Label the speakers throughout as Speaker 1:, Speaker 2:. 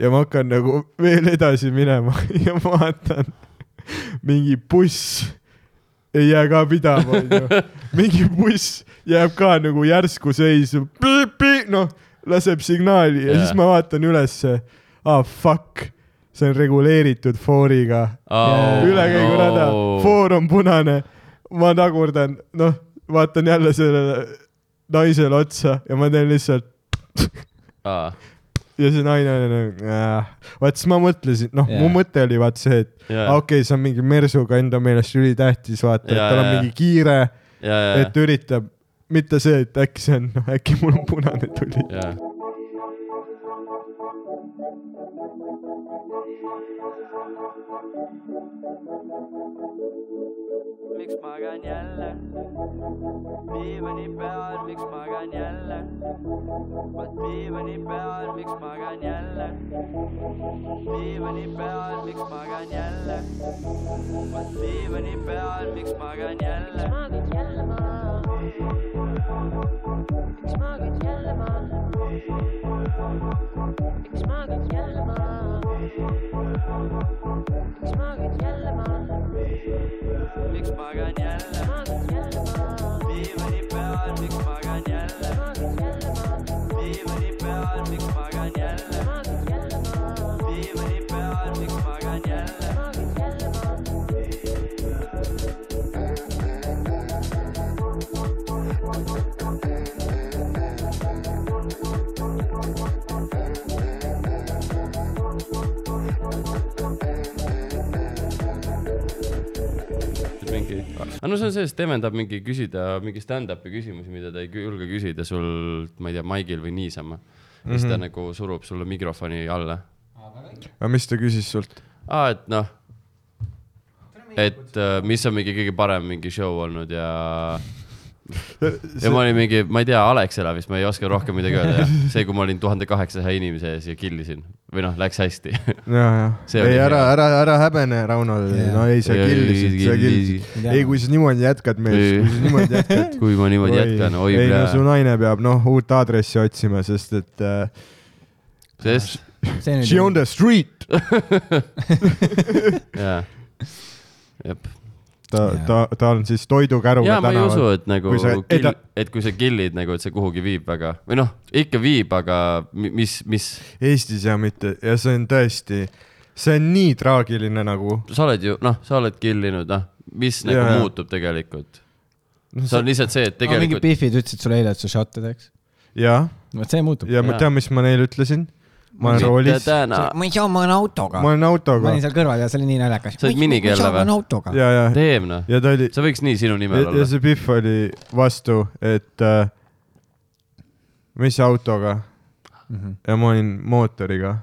Speaker 1: ja ma hakkan nagu veel edasi minema ja vaatan , mingi buss ei jää ka pidama , onju . mingi buss jääb ka nagu järsku seisu , noh , laseb signaali ja yeah. siis
Speaker 2: Jaa.
Speaker 1: ma vaatan ülesse , ah fuck , see on reguleeritud fooriga
Speaker 2: oh,
Speaker 1: ülekäigurada no. , foor on punane , ma tagurdan , noh , vaatan jälle sellele naisele otsa ja ma teen lihtsalt
Speaker 2: ah, .
Speaker 1: ja see naine on nagu äh. , vaat siis ma mõtlesin , noh yeah. , mu
Speaker 2: Jaa.
Speaker 1: mõte oli vaat see , et
Speaker 2: ja ,
Speaker 1: okei okay, , see on mingi mersuga enda meelest ülitähtis , vaata , et
Speaker 2: Jaa,
Speaker 1: tal on
Speaker 2: jaa.
Speaker 1: mingi kiire ,
Speaker 2: ja , ja
Speaker 1: et , üritab , mitte see , et äkki see on , noh äkki mul on punane tuli .
Speaker 2: ja .
Speaker 3: miks magan jälle ? diivani peal , miks magan jälle ? vot diivani peal , miks magan jälle ? diivani peal , miks magan jälle ? vot diivani peal , miks magan jälle ?
Speaker 4: Miks magad jälle maha? Miks magad jälle maha? Miks magad jälle maha?
Speaker 3: miks
Speaker 4: Miks magad jälle maha?
Speaker 3: magan jälle ?
Speaker 4: Magad jälle maha?
Speaker 3: diivani peal , miks magan jälle ?
Speaker 4: Magad jälle maha?
Speaker 3: diivani peal , miks magan jälle ?
Speaker 4: Magad jälle maha?
Speaker 3: diivani peal , miks magan jälle ?
Speaker 4: Magad jälle maha?
Speaker 2: mingi , aga no see on see , et Steven tahab mingi küsida mingi stand-up'i küsimusi , mida ta ei kü- julge küsida sult , ma ei tea , maigil või niisama . ja siis ta
Speaker 1: Mhm.
Speaker 2: nagu surub sulle mikrofoni alla .
Speaker 1: aga mis ta küsis sult ?
Speaker 2: aa , et noh , et äh, mis on mingi kõige parem mingi show olnud ja , ja ma olin mingi , ma ei tea , Alexela vist , ma ei oska rohkem midagi öelda , see , kui ma olin tuhande kaheksasaja inimese ees ja killisin või noh , läks hästi .
Speaker 1: ja ,
Speaker 2: See
Speaker 1: ja ,
Speaker 2: oli
Speaker 1: ei
Speaker 2: hea.
Speaker 1: ära , ära , ära häbene , Rauno
Speaker 5: Jaa. ,
Speaker 1: no ei , sa
Speaker 2: Ei,
Speaker 1: killisid , sa
Speaker 2: ei,
Speaker 1: killisid .
Speaker 5: ei.
Speaker 1: ei , kui sa niimoodi jätkad , mees , kui sa niimoodi jätkad ,
Speaker 2: kui ma niimoodi jätkan , oi
Speaker 1: ei no su
Speaker 2: plee ,
Speaker 1: naine peab noh uut aadressi otsima , sest et uh,
Speaker 2: sest ,
Speaker 5: see
Speaker 1: she on the
Speaker 5: nüüd ,
Speaker 1: street .
Speaker 2: jaa , jep
Speaker 1: ta
Speaker 5: Jaa. ,
Speaker 1: ta , ta on siis toidukäruga
Speaker 2: ja ma ei usu
Speaker 1: tänaval .,
Speaker 2: et nagu
Speaker 1: Kui , sa- ei,
Speaker 2: kill,
Speaker 1: ta-
Speaker 2: et kui sa kill'id nagu , et see kuhugi viib väga või noh , ikka viib , aga mi- mis , mis ,
Speaker 1: Eestis ja mitte ja see on tõesti , see on nii traagiline nagu .
Speaker 2: sa oled ju noh , sa oled kill inud , noh , mis nagu
Speaker 1: Jaa.
Speaker 2: yeah. muutub tegelikult ? see on lihtsalt see , et
Speaker 5: mingid
Speaker 2: tegelikult
Speaker 5: Biffid ütlesid sulle eile , et sa šottad , eks ?
Speaker 1: jah ,
Speaker 5: vot see muutub .
Speaker 1: ja ma
Speaker 2: Jaa.
Speaker 1: tean , mis ma neile ütlesin . ma olen roolis ,
Speaker 2: täna ,
Speaker 5: ma ei saa , ma olen autoga
Speaker 1: ma . olen
Speaker 5: ma
Speaker 1: autoga
Speaker 5: olin seal kõrval ja see oli nii naljakas .
Speaker 2: Sa olid minikeelne või?
Speaker 5: ma olen autoga .
Speaker 1: ja , ja ,
Speaker 2: teeb noh ,
Speaker 1: ja ta oli ,
Speaker 2: see võiks nii sinu nimel
Speaker 1: ja
Speaker 2: olla .
Speaker 1: see Pihv oli vastu , et uh, mis autoga
Speaker 5: Mhm.
Speaker 1: ja ma olin mootoriga .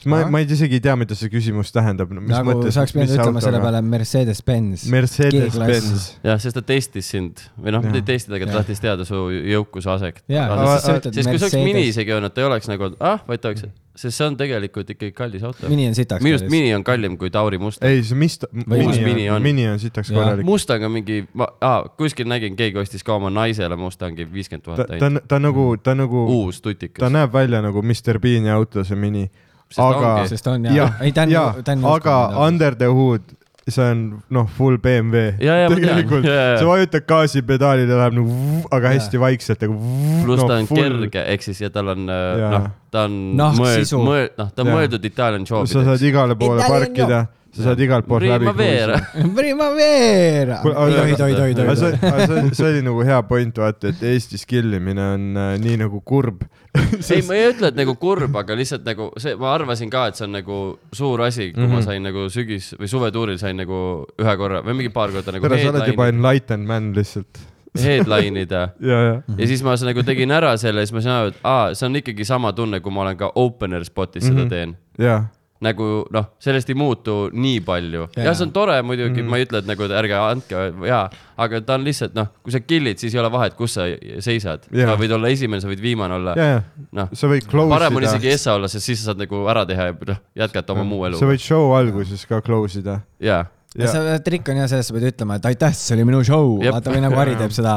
Speaker 1: siis ma ,
Speaker 5: Ahah.
Speaker 1: ma ei tea isegi ei tea , mida see küsimus tähendab no, .
Speaker 5: nagu sa oleks pidanud ütlema selle . peale Mercedes-Benz .
Speaker 1: Mercedes-Benz
Speaker 5: G-klass.
Speaker 2: jah , sest ta testis sind või noh ,
Speaker 1: Jaa.
Speaker 2: mitte ei testida , aga ta
Speaker 5: Jaa.
Speaker 2: tahtis teada su jõukuse aset .
Speaker 5: jaa ,
Speaker 1: Aga-
Speaker 5: aga siis sa ütled
Speaker 2: siis kui see oleks mini
Speaker 5: Mercedes .
Speaker 2: isegi olnud , ta ei oleks nagu , ah , vaid ta oleks , sest see on tegelikult ikkagi kallis auto . minu
Speaker 5: mini on sitaks .
Speaker 2: arust . mini on kallim kui Tauri Mustang .
Speaker 1: ei , see mis ta ,
Speaker 5: Või
Speaker 2: mis
Speaker 1: mini
Speaker 2: mini
Speaker 1: on ,
Speaker 2: on?
Speaker 1: mini on sitaks
Speaker 5: Jaa.
Speaker 1: korralik .
Speaker 2: Mustang on mingi , ma ah, kuskil nägin , keegi ostis ka oma naisele Mustangi viiskümmend
Speaker 1: ta ,
Speaker 2: tuhat
Speaker 1: ta on ,
Speaker 2: ainult ,
Speaker 1: ta on nagu ,
Speaker 5: Mm.
Speaker 1: ta on nagu ,
Speaker 2: uus
Speaker 1: ta
Speaker 2: tutikas .
Speaker 1: näeb välja nagu Mr Bean'i auto , see mini .
Speaker 2: ta
Speaker 1: aga ,
Speaker 2: ongi.
Speaker 5: sest ta on
Speaker 1: ja
Speaker 5: jaa , ei , ta on nagu-
Speaker 1: ja ,
Speaker 5: ta on .
Speaker 1: aga . Under the Hood , see on noh , full BMW .
Speaker 2: Ja, ja, ma tean.
Speaker 1: tegelikult
Speaker 2: Ja, ja, ja.
Speaker 1: sa vajutad gaasipedaalile , läheb nagu , aga hästi vaikselt nagu .
Speaker 2: pluss ta on kerge , ehk siis ja tal on ,
Speaker 1: Jaa.
Speaker 2: noh , ta on
Speaker 5: Nahk
Speaker 2: mõeld- ,
Speaker 5: sisu.
Speaker 2: mõeld- , noh , ta on
Speaker 1: Jaa.
Speaker 2: mõeldud Italian
Speaker 1: sa saad
Speaker 2: show'deks .
Speaker 1: igale poole
Speaker 5: Italian
Speaker 1: parkida , sa saad igalt poolt läbi .
Speaker 2: Primavera ,
Speaker 5: Primavera .
Speaker 1: Kuule,
Speaker 5: ei tohi , tohi ,
Speaker 1: aga
Speaker 5: tohi ,
Speaker 1: see ,
Speaker 5: tohi .
Speaker 1: aga see , see oli nagu hea point , vaata , et Eestis killimine on äh, nii nagu kurb .
Speaker 2: ei , ma ei ütle , et nagu kurb , aga lihtsalt nagu see , ma arvasin ka , et see on nagu suur asi , kui
Speaker 1: Mhm.
Speaker 2: ma sain nagu sügis või suvetuuril sain nagu ühe korra või mingi paar korda nagu
Speaker 1: tere , sa oled juba
Speaker 2: headline ,
Speaker 1: enlightened man lihtsalt .
Speaker 2: headline ida
Speaker 1: ja , ja .
Speaker 2: ja siis ma s- nagu tegin ära selle ja siis ma sain aru , et aa , see on ikkagi sama tunne , kui ma olen ka opener spot'is
Speaker 1: Mhm.
Speaker 2: seda teen .
Speaker 1: ja ,
Speaker 2: nagu noh , sellest ei muutu nii palju .
Speaker 5: Jaa.
Speaker 2: jah , see on tore muidugi mm. ,
Speaker 1: Mhm.
Speaker 2: ma ei ütle , et nagu et ärge andke ja , aga ta on lihtsalt noh , kui sa kill'id , siis ei ole vahet , kus sa seisad
Speaker 1: Jaa.
Speaker 2: yeah. . sa võid olla esimene , sa võid viimane olla
Speaker 1: ja , ja
Speaker 2: noh ,
Speaker 1: sa võid close
Speaker 2: parem on isegi
Speaker 1: ida .
Speaker 2: essa olla , sest siis sa saad nagu ära teha ja noh , jätkata oma muu elu
Speaker 1: sa . võid show alguses ka close ida .
Speaker 2: jaa ,
Speaker 1: ja ,
Speaker 5: see trikk on jah selles , sa pead ütlema , et aitäh , see oli minu show ,
Speaker 2: Jep.
Speaker 5: vaata või nagu Harri teeb seda .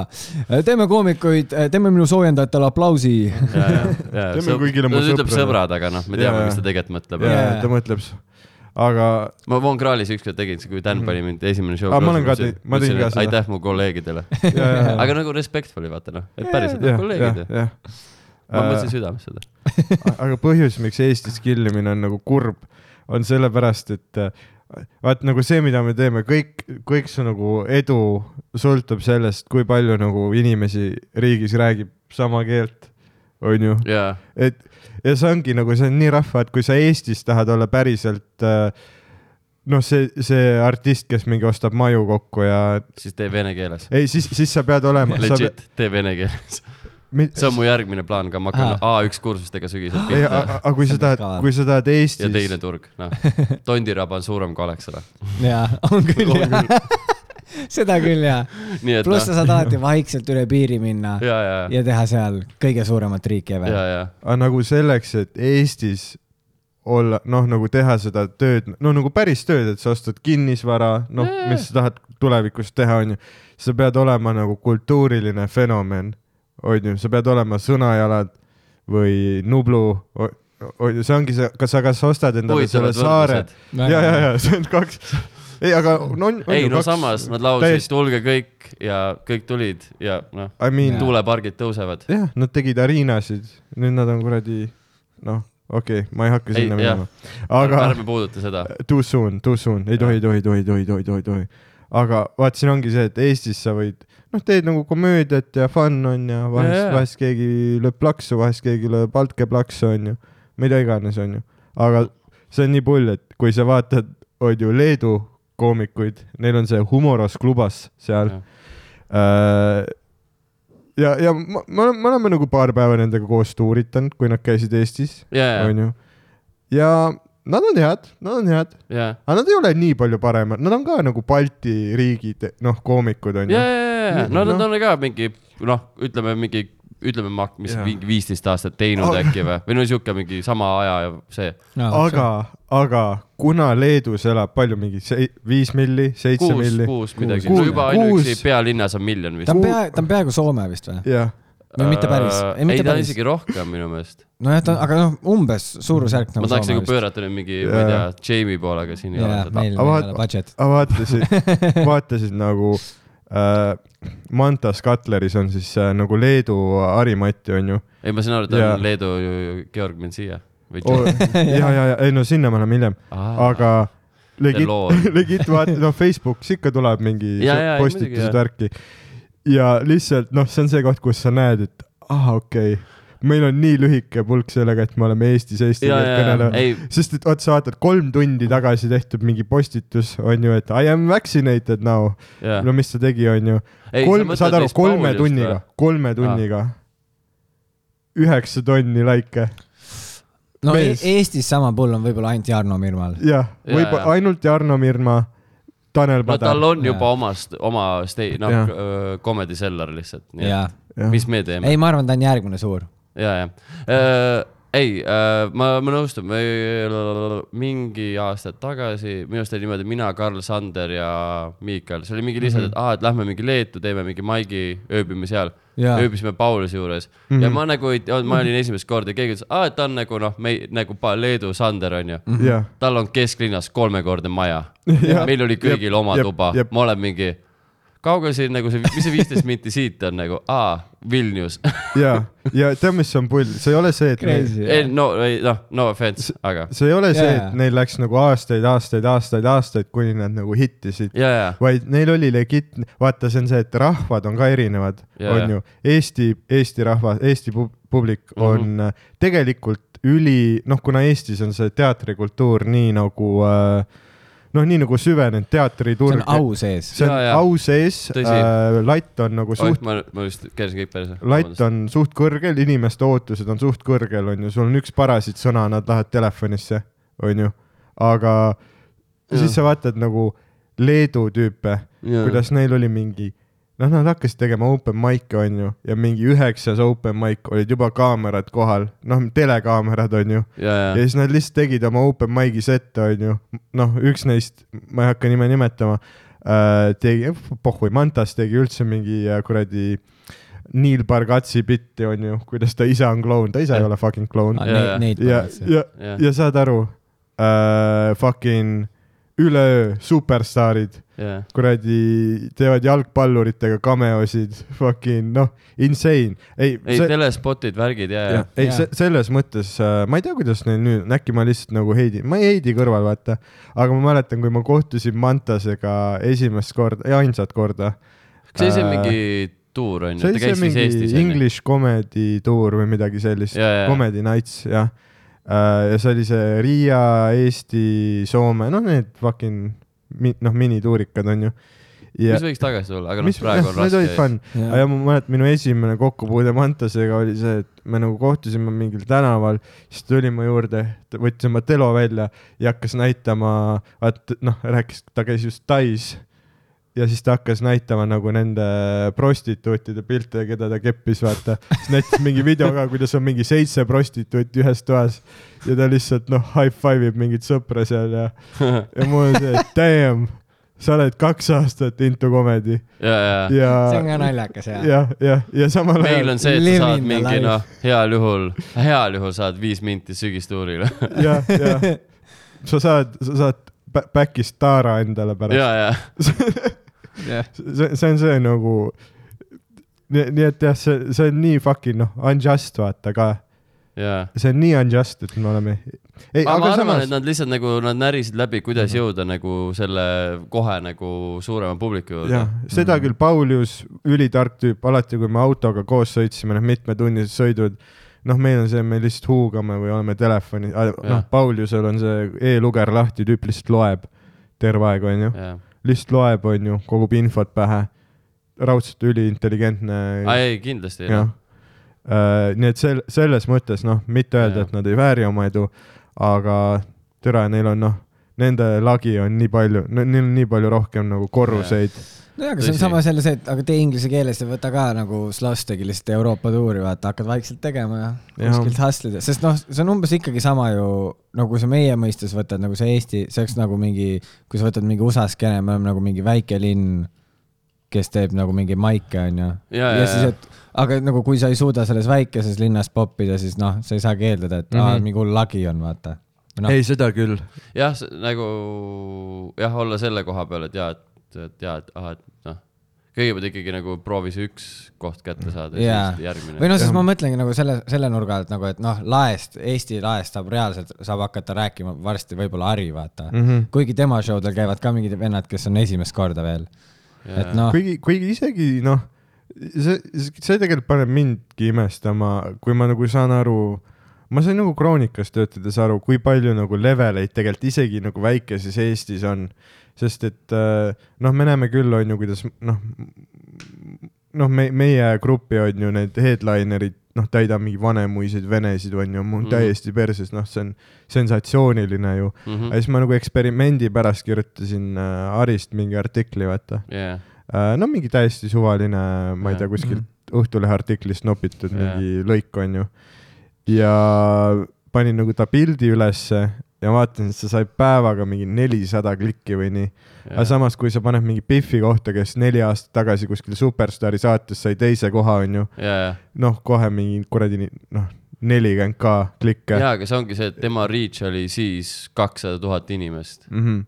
Speaker 5: teeme koomikuid , teeme minu soojendajatele aplausi .
Speaker 2: ja , ja , ja
Speaker 1: Teeme kõigile mu
Speaker 2: ta ütleb
Speaker 1: sõpradele.
Speaker 2: sõbrad , aga noh , me teame
Speaker 1: Jaa. ,
Speaker 2: mis ta tegelikult mõtleb .
Speaker 1: ja
Speaker 5: Jaa.
Speaker 1: ta mõtleb , aga
Speaker 2: ma Von Krahlis ükskord tegin , kui Dan pani mind esimene show .
Speaker 1: Mhm. Aa, ma olen ka tei- ma tegin ka seda.
Speaker 2: aitäh mu kolleegidele .
Speaker 1: ja , ja ,
Speaker 2: aga nagu respectfully vaata noh , et päriselt
Speaker 1: ja , ja
Speaker 2: kolleegid ,.
Speaker 1: ja Äh,
Speaker 2: ma mõtlesin südames seda .
Speaker 1: aga põhjus , miks Eestis killimine on nagu kurb , on sellepärast , et äh, vaat nagu see , mida me teeme , kõik , kõik see nagu edu sõltub sellest , kui palju nagu inimesi riigis räägib sama keelt , onju .
Speaker 2: ja ,
Speaker 1: et ja see ongi nagu , see on nii rahva , et kui sa Eestis tahad olla päriselt äh, noh , see , see artist , kes mingi ostab maju kokku ja
Speaker 2: siis tee vene keeles .
Speaker 1: ei , siis , siis sa pead olema .
Speaker 2: Legit , tee vene keeles . see on mu järgmine plaan ka , ma hakkan A1 kursustega sügisel pihta
Speaker 1: aga aga kui sa
Speaker 5: See on
Speaker 1: tahad
Speaker 5: kaval. ,
Speaker 1: kui sa tahad
Speaker 2: ja
Speaker 1: Eestis
Speaker 2: teine turg , noh . Tondiraba on suurem kui Alexela .
Speaker 5: jaa , on küll jah . seda küll jah .
Speaker 2: nii et noh ,
Speaker 5: pluss sa saad alati vaikselt üle piiri minna
Speaker 2: ja , ja ,
Speaker 5: ja teha seal kõige suuremat riiki ever
Speaker 2: ja , ja
Speaker 1: aga nagu selleks , et Eestis olla , noh , nagu teha seda tööd , no nagu päris tööd , et sa ostad kinnisvara , noh , mis sa tahad tulevikus teha , onju . sa pead olema nagu kultuuriline fenomen , onju , sa pead olema Sõnajalad või Nublu , onju , see ongi see , kas sa , kas sa ostad endale selle
Speaker 2: huvitavad
Speaker 1: saare
Speaker 2: võrdlused ..
Speaker 1: ja , ja , ja see on kaks , ei , aga no on .
Speaker 2: ei no samas nad laulsid
Speaker 1: täiesti-
Speaker 2: Tulge kõik ja kõik tulid ja noh ,
Speaker 1: I mean ,
Speaker 2: tuulepargid tõusevad .
Speaker 1: jah , nad tegid Arinasid , nüüd nad on kuradi , noh , okei okay, , ma ei hakka
Speaker 2: Ei,
Speaker 1: sinna
Speaker 2: jah.
Speaker 1: minema ,
Speaker 2: aga
Speaker 1: aga
Speaker 2: ärme puuduta seda .
Speaker 1: too soon , too soon , ei tohi , tohi , tohi , tohi , tohi , tohi , tohi . aga vaat siin ongi see , et Eestis sa võid , noh , teed nagu komöödiat ja fun on ja vahest
Speaker 2: Jajah.
Speaker 1: yeah. , vahest keegi lööb plaksu , vahest keegi lööb altkäplaksu on ju , mida iganes on ju , aga see on nii pull , et kui sa vaatad , on ju Leedu koomikuid , neil on see Humoros klubas seal . ja , ja ma- me oleme , me oleme nagu paar päeva nendega koos tuuritanud , kui nad käisid Eestis ,
Speaker 2: ja , ja ,
Speaker 1: onju . ja nad on head , nad on head ,
Speaker 2: ja ,
Speaker 1: aga nad ei ole nii palju paremad , nad on ka nagu Balti riigid , noh , koomikud on
Speaker 2: ja ,
Speaker 1: ju .
Speaker 2: ja , ja , no
Speaker 1: Noh.
Speaker 2: nad on ka mingi noh , ütleme mingi , ütleme , mis
Speaker 1: Jaa. Oh.
Speaker 2: mingi viisteist aastat teinud
Speaker 1: Aga-
Speaker 2: äkki või , või no sihuke mingi sama aja ja see .
Speaker 1: aga , aga kuna Leedus elab palju , mingi sei- viis milli , seitse
Speaker 2: kuus ,
Speaker 1: milli .
Speaker 2: kuus midagi ,
Speaker 1: Kuus-
Speaker 2: no juba
Speaker 1: kuus-
Speaker 2: ainuüksi pealinnas on miljon
Speaker 5: ta
Speaker 2: vist .
Speaker 5: on pea , ta on peaaegu Soome vist või ?
Speaker 1: jah ,
Speaker 5: no mitte päris. Ei,
Speaker 2: Äh, ei ,
Speaker 5: mitte
Speaker 2: ta on
Speaker 5: päris.
Speaker 2: isegi rohkem minu meelest .
Speaker 5: nojah , ta , aga noh , umbes suurusjärk
Speaker 2: ma
Speaker 5: nagu
Speaker 2: tahaks
Speaker 5: Soome
Speaker 2: nagu
Speaker 5: vist .
Speaker 2: pöörata nüüd mingi , ma ei tea
Speaker 1: Jaa. ,
Speaker 2: Jamie poole , aga siin ei ole
Speaker 5: jaa ,
Speaker 2: seda .
Speaker 5: meil meil ei
Speaker 1: Aga
Speaker 5: ole budget .
Speaker 1: aga vaatasid , vaatasid nagu äh, Mantas Katleris on siis äh, nagu Leedu Harimatti on ju .
Speaker 2: ei , ma saan aru , et ta
Speaker 1: Jaa.
Speaker 2: on Leedu Georg Mencia või
Speaker 1: ja , ja , ja ei no sinna me oleme hiljem ,
Speaker 2: Aa.
Speaker 1: aga legit
Speaker 2: loo on. ,
Speaker 1: legit vaata , noh , Facebookis ikka tuleb mingi
Speaker 2: Ja, ja, ei, muidugi,
Speaker 1: postitused
Speaker 2: jah.
Speaker 1: värki . ja lihtsalt noh , see on see koht , kus sa näed , et ah , okei okay. , meil on nii lühike pulk sellega , et me oleme Eestis eesti
Speaker 2: ja ,
Speaker 1: keelt
Speaker 2: ja ,
Speaker 1: kõnelenud .
Speaker 2: ei ,
Speaker 1: sest et vaat sa vaatad , kolm tundi tagasi tehtud mingi postitus on ju , et I am vaccinated now .
Speaker 2: ja .
Speaker 1: no mis ta tegi , on ju .
Speaker 2: Ei, sa
Speaker 1: kolm ,
Speaker 2: mõtled
Speaker 1: saad aru ,
Speaker 2: neist
Speaker 1: kolme
Speaker 2: Pauliust
Speaker 1: tunniga
Speaker 2: või? , Ah.
Speaker 1: kolme tunniga . üheksa tonni likee ,
Speaker 5: no e
Speaker 1: mees.
Speaker 5: Eestis sama pull on võib-olla ainult Jarno Mirmal .
Speaker 1: jah ,
Speaker 2: Jaa,
Speaker 1: võib-olla
Speaker 2: jaa.
Speaker 1: ainult Jarno Mirma , Tanel
Speaker 2: no
Speaker 1: Padar
Speaker 2: tal on juba
Speaker 5: Jaa.
Speaker 2: omast , oma stei- , noh
Speaker 1: Jah. ,
Speaker 2: comedy seller lihtsalt , nii
Speaker 5: jaa .
Speaker 1: Jah.
Speaker 2: et mis me teeme .
Speaker 5: ei , ma arvan , ta on järgmine suur .
Speaker 2: ja , ja . Äh, ei , ma , ma nõustun , mingi aastaid tagasi , minu arust oli niimoodi mina , Karl Sander ja Miikal , see oli mingi
Speaker 1: Mhm.
Speaker 2: lihtsalt , et aa , et lähme mingi Leetu , teeme mingi maigi , ööbime seal .
Speaker 5: Jaa.
Speaker 2: ööbisime Pauluse juures mm
Speaker 1: Mhm.
Speaker 2: -hmm. ja ma nagu ei teadnud , ma olin esimest korda ja keegi ütles , aa , et ta on nagu noh , me nagu pa- Leedu Sander onju mm .
Speaker 1: jah ,
Speaker 2: tal on kesklinnas kolmekordne maja .
Speaker 1: Mhm. Jah.
Speaker 2: meil oli kõigil
Speaker 1: Jep,
Speaker 2: oma
Speaker 1: jep,
Speaker 2: tuba
Speaker 1: jep. ,
Speaker 2: ma olen mingi , kaugel siin nagu see , mis see viisteist minti siit on nagu , aa , Vilnius .
Speaker 1: ja , ja tead , mis on pull , see ei ole see , et neil,
Speaker 5: Crazy .
Speaker 2: ei no , ei noh , no offense , aga
Speaker 1: see ei ole see
Speaker 5: Jaa,
Speaker 1: yeah. ,
Speaker 5: jaa.
Speaker 1: et neil läks nagu aastaid , aastaid , aastaid , aastaid , kuni nad nagu hittisid ,
Speaker 2: ja , ja ,
Speaker 1: vaid neil oli legit , vaata , see on see , et rahvad on ka erinevad
Speaker 2: Jaa, Mhm.
Speaker 1: yeah. , on ju . Eesti , Eesti rahvas , Eesti pub- publik on mm -hmm. tegelikult üli , noh , kuna Eestis on see teatrikultuur nii nagu äh, noh , nii nagu süvenenud
Speaker 5: see
Speaker 1: teatriturg
Speaker 5: on . au sees .
Speaker 1: see on
Speaker 2: Jaa, jaa.
Speaker 1: au sees ,
Speaker 2: Tõsi.
Speaker 1: äh, latt on nagu suht
Speaker 2: oih , ma , ma just keerasin kõik päris .
Speaker 1: latt on suht kõrgel , inimeste ootused on suht kõrgel , on ju , sul on üks parasiit sõna , nad lähevad telefonisse , on ju , aga ja. siis sa vaatad nagu Leedu tüüpe ,
Speaker 2: Jaa.
Speaker 1: kuidas neil oli mingi noh , nad hakkasid tegema open mic'e , onju , ja mingi üheksas open mic olid juba kaamerad kohal , noh , telekaamerad , onju .
Speaker 2: ja ,
Speaker 1: ja
Speaker 2: ja ,
Speaker 1: siis nad lihtsalt tegid oma open mic'i sette , onju . noh , üks neist , ma ei hakka nime nimetama , tegi , pohhui , Mantas tegi üldse mingi äh, kuradi Neil Bargatsi bitti , onju , kuidas ta ise on kloun , ta ise ei ole fucking kloun .
Speaker 2: Ah, jaa,
Speaker 5: Neid
Speaker 1: ja ,
Speaker 5: pannakse .
Speaker 1: ja ,
Speaker 2: ja ,
Speaker 1: ja saad aru äh, , fucking üleöö superstaarid ,
Speaker 2: ja ,
Speaker 1: kuradi , teevad jalgpalluritega cameosid , fucking noh , insane . ei,
Speaker 2: ei see... , telespotid , värgid ja , ja
Speaker 1: jah , ei se- selles mõttes äh, ma ei tea , kuidas neil nüüd , äkki ma lihtsalt nagu Heidi , ma ei Heidi kõrval vaata , aga ma mäletan , kui ma kohtusin Mantasega esimest korda ja ainsat korda .
Speaker 2: kas see ise mingi tuur on
Speaker 1: Äh,
Speaker 2: ju ,
Speaker 1: see
Speaker 2: ta
Speaker 1: oli
Speaker 2: käis
Speaker 1: see
Speaker 2: siis Eestis
Speaker 1: mingi English Comedy Tour või midagi sellist
Speaker 2: Jaa, jaa. ,
Speaker 1: Comedy Nights , jah . ja see oli see Riia , Eesti , Soome , noh , need fucking mi- noh , minituurikad on ju .
Speaker 2: mis võiks tagasi tulla , aga noh , praegu on
Speaker 1: need olid
Speaker 2: raske .
Speaker 1: fun , aga ja ma mäletan , minu esimene kokkupuude Mantasega oli see , et me nagu kohtusime mingil tänaval , siis tuli mu juurde , võttis oma telo välja ja hakkas näitama , vaat noh , rääkis , ta käis just Tais . ja siis ta hakkas näitama nagu nende prostituutide pilte , keda ta keppis , vaata . siis näitas mingi video ka , kuidas on mingi seitse prostituuti ühes toas ja ta lihtsalt noh , high five ib mingit sõpra seal ja , ja mul on see , et damn , sa oled kaks aastat into comedy
Speaker 2: ja , ja ,
Speaker 1: ja .
Speaker 5: see on ka naljakas jah .
Speaker 1: jah , jah , ja samal
Speaker 2: meil
Speaker 1: ajal
Speaker 2: on see , et sa saad
Speaker 5: Living the
Speaker 2: mingi
Speaker 5: life.
Speaker 2: noh , heal juhul , heal juhul saad viis minti sügistuurile .
Speaker 1: jah , jah , sa saad , sa saad ba- back'ist taara endale pärast .
Speaker 2: ja , ja ,
Speaker 1: see , see on see nagu , nii et jah , see , see on nii fucking noh , unjust vaata ka ,
Speaker 2: ja .
Speaker 1: see on nii unjust , et me oleme . ei ,
Speaker 2: aga
Speaker 1: aga
Speaker 2: ma arvan samas... , et
Speaker 1: samas ,
Speaker 2: nad lihtsalt nagu , nad närisid läbi , kuidas mm -hmm. jõuda nagu selle kohe nagu suurema publiku juurde
Speaker 1: jah ., seda küll , Paulius , ülitark tüüp , alati kui me autoga koos sõitsime , need mitmetunnised sõidud , noh , meil on see , me lihtsalt huugame või oleme telefoni , noh
Speaker 2: Jah. ,
Speaker 1: Pauliusel on see e-luger lahti , tüüp lihtsalt loeb terve aeg , onju . lihtsalt loeb , onju , kogub infot pähe . raudselt üliintelligentne .
Speaker 2: aa ei , kindlasti .
Speaker 1: jah . nii et sel- , selles mõttes noh , mitte öelda ,
Speaker 2: Jah.
Speaker 1: et nad ei vääri oma edu , aga türa , neil on noh , nende lagi on nii palju , neil on nii palju rohkem nagu korruseid .
Speaker 5: nojah , aga see on
Speaker 2: Tõsi.
Speaker 5: samas jälle see , et aga tee inglise keeles ja võta ka nagu Slush tegi lihtsalt Euroopa tuuri , vaata , hakkad vaikselt tegema ja
Speaker 1: Jah.
Speaker 5: kuskilt hustlida , sest noh , see on umbes ikkagi sama ju , no kui sa meie mõistes võtad nagu see Eesti , see oleks nagu mingi , kui sa võtad mingi USA skeene , me oleme nagu mingi väike linn , kes teeb nagu mingeid maike , onju .
Speaker 2: Ja, ja,
Speaker 5: ja
Speaker 2: ja.
Speaker 5: siis , et aga nagu kui sa ei suuda selles väikeses linnas popida , siis noh , sa ei saagi eeldada , et mm -hmm. aa , mingi hull lagi on , vaata . noh ,
Speaker 1: seda küll .
Speaker 2: jah , nagu jah , olla selle koha peal , et jaa , et , et jaa , et ahah , et noh , kõigepealt ikkagi nagu proovi see üks koht kätte saada ja
Speaker 5: Jaa.
Speaker 2: siis järgmine
Speaker 5: või . noh , siis
Speaker 1: Jah.
Speaker 5: ma mõtlengi nagu selle , selle nurga alt nagu , et noh , laest , Eesti laest saab reaalselt , saab hakata rääkima varsti võib-olla Harri , vaata mm .
Speaker 1: Mhm.
Speaker 5: -hmm. kuigi tema showdel käivad ka mingid vennad , kes on esimest korda veel . et noh ,
Speaker 1: kuigi , kuigi isegi noh , see , see tegelikult paneb mindki imestama , kui ma nagu saan aru , ma sain nagu Kroonikas töötades aru , kui palju nagu leveleid tegelikult isegi nagu väikeses Eestis on , sest et äh, noh , me näeme küll , on ju , kuidas noh , noh , me , meie gruppi on ju need headlinerid , noh , täidab mingi vanemuiseid venesid , on ju , mul
Speaker 2: Mhm.
Speaker 1: täiesti perses , noh , see on sensatsiooniline ju .
Speaker 2: Mhm.
Speaker 1: ja siis ma nagu eksperimendi pärast kirjutasin äh, Arist mingi artikli , vaata .
Speaker 2: jah ,
Speaker 1: Äh, no mingi täiesti suvaline , ma ei
Speaker 2: Jah. Mhm.
Speaker 1: tea , kuskilt Õhtulehe artiklist nopitud
Speaker 2: Jah.
Speaker 1: mingi lõik onju . ja panin nagu ta pildi ülesse ja vaatasin , et see sai päevaga mingi nelisada klikki või nii . aga
Speaker 2: jah ,
Speaker 1: samas , kui sa paned mingi Biffi kohta , kes neli aastat tagasi kuskil Superstaari saates sai teise koha onju ,
Speaker 2: jah .
Speaker 1: noh , kohe mingi kuradi nii- noh , nelikümmend ka klikke .
Speaker 2: jaa , aga see ongi see , et tema reach oli siis kakssada tuhat inimest .
Speaker 1: Mm -hmm.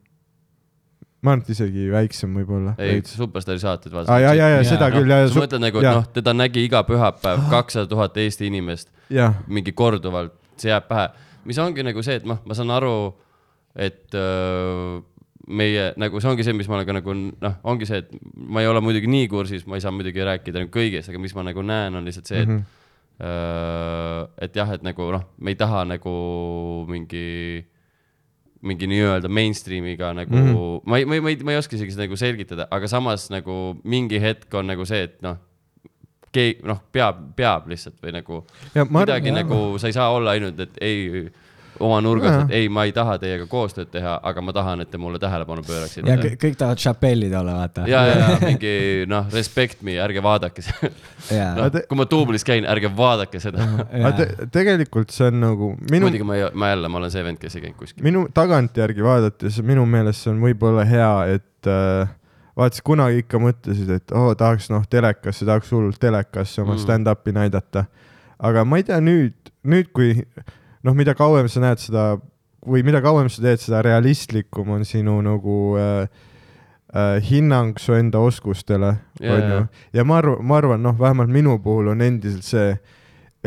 Speaker 1: ma arvan , et isegi väiksem võib-olla .
Speaker 2: ei , Superstaari saated
Speaker 1: aa , ja , ja , ja
Speaker 5: Jaa. Ah.
Speaker 1: seda küll , ja ,
Speaker 2: noh,
Speaker 1: ja
Speaker 2: sa , mõtled nagu , et
Speaker 1: jaa.
Speaker 2: noh , teda nägi iga pühapäev kakssada tuhat Eesti inimest ,
Speaker 1: jah ,
Speaker 2: mingi korduvalt , see jääb pähe . mis ongi nagu see , et noh , ma saan aru , et öö, meie nagu see ongi see , mis ma olen ka nagu noh , ongi see , et ma ei ole muidugi nii kursis , ma ei saa muidugi rääkida nagu kõigest , aga mis ma nagu näen , on lihtsalt see , et mm , -hmm. öö, et jah , et nagu noh , me ei taha nagu mingi mingi nii-öelda mainstream'iga nagu mm , -hmm. ma ei , ma ei , ma ei , ma ei oska isegi seda nagu selgitada , aga samas nagu mingi hetk on nagu see , et noh , keegi noh , peab , peab lihtsalt või nagu
Speaker 1: ja ma
Speaker 2: midagi . nagu sa ei saa olla ainult , et ei , oma nurgast ,
Speaker 1: Jaa.
Speaker 2: et ei , ma ei taha teiega koostööd teha , aga ma tahan , et te mulle tähelepanu pööraksite .
Speaker 5: ja kõik kõik tahavad Chappelle'id olla , vaata .
Speaker 2: ja , ja , ja mingi noh , respect me , ärge vaadake seda .
Speaker 5: ja
Speaker 2: noh , kui ma duublis käin , ärge vaadake seda .
Speaker 1: aga te, tegelikult see on nagu minu ,
Speaker 2: muidugi ma , ma jälle , ma olen see vend , kes ei käinud kuskil .
Speaker 1: minu tagantjärgi vaadates minu meelest see on võib-olla hea , et äh, vaata , sa kunagi ikka mõtlesid , et oo oh, , tahaks noh , telekasse , tahaks hullult telekasse oma
Speaker 2: Mm.
Speaker 1: mm. stand-up'i näidata . aga ma ei tea nüüd , nüüd kui noh , mida kauem sa näed seda või mida kauem sa teed , seda realistlikum on sinu nagu äh, äh, hinnang su enda oskustele ,
Speaker 2: Jaa,
Speaker 1: onju
Speaker 2: jaa. .
Speaker 1: ja ma arvan , ma arvan , noh , vähemalt minu puhul on endiselt see ,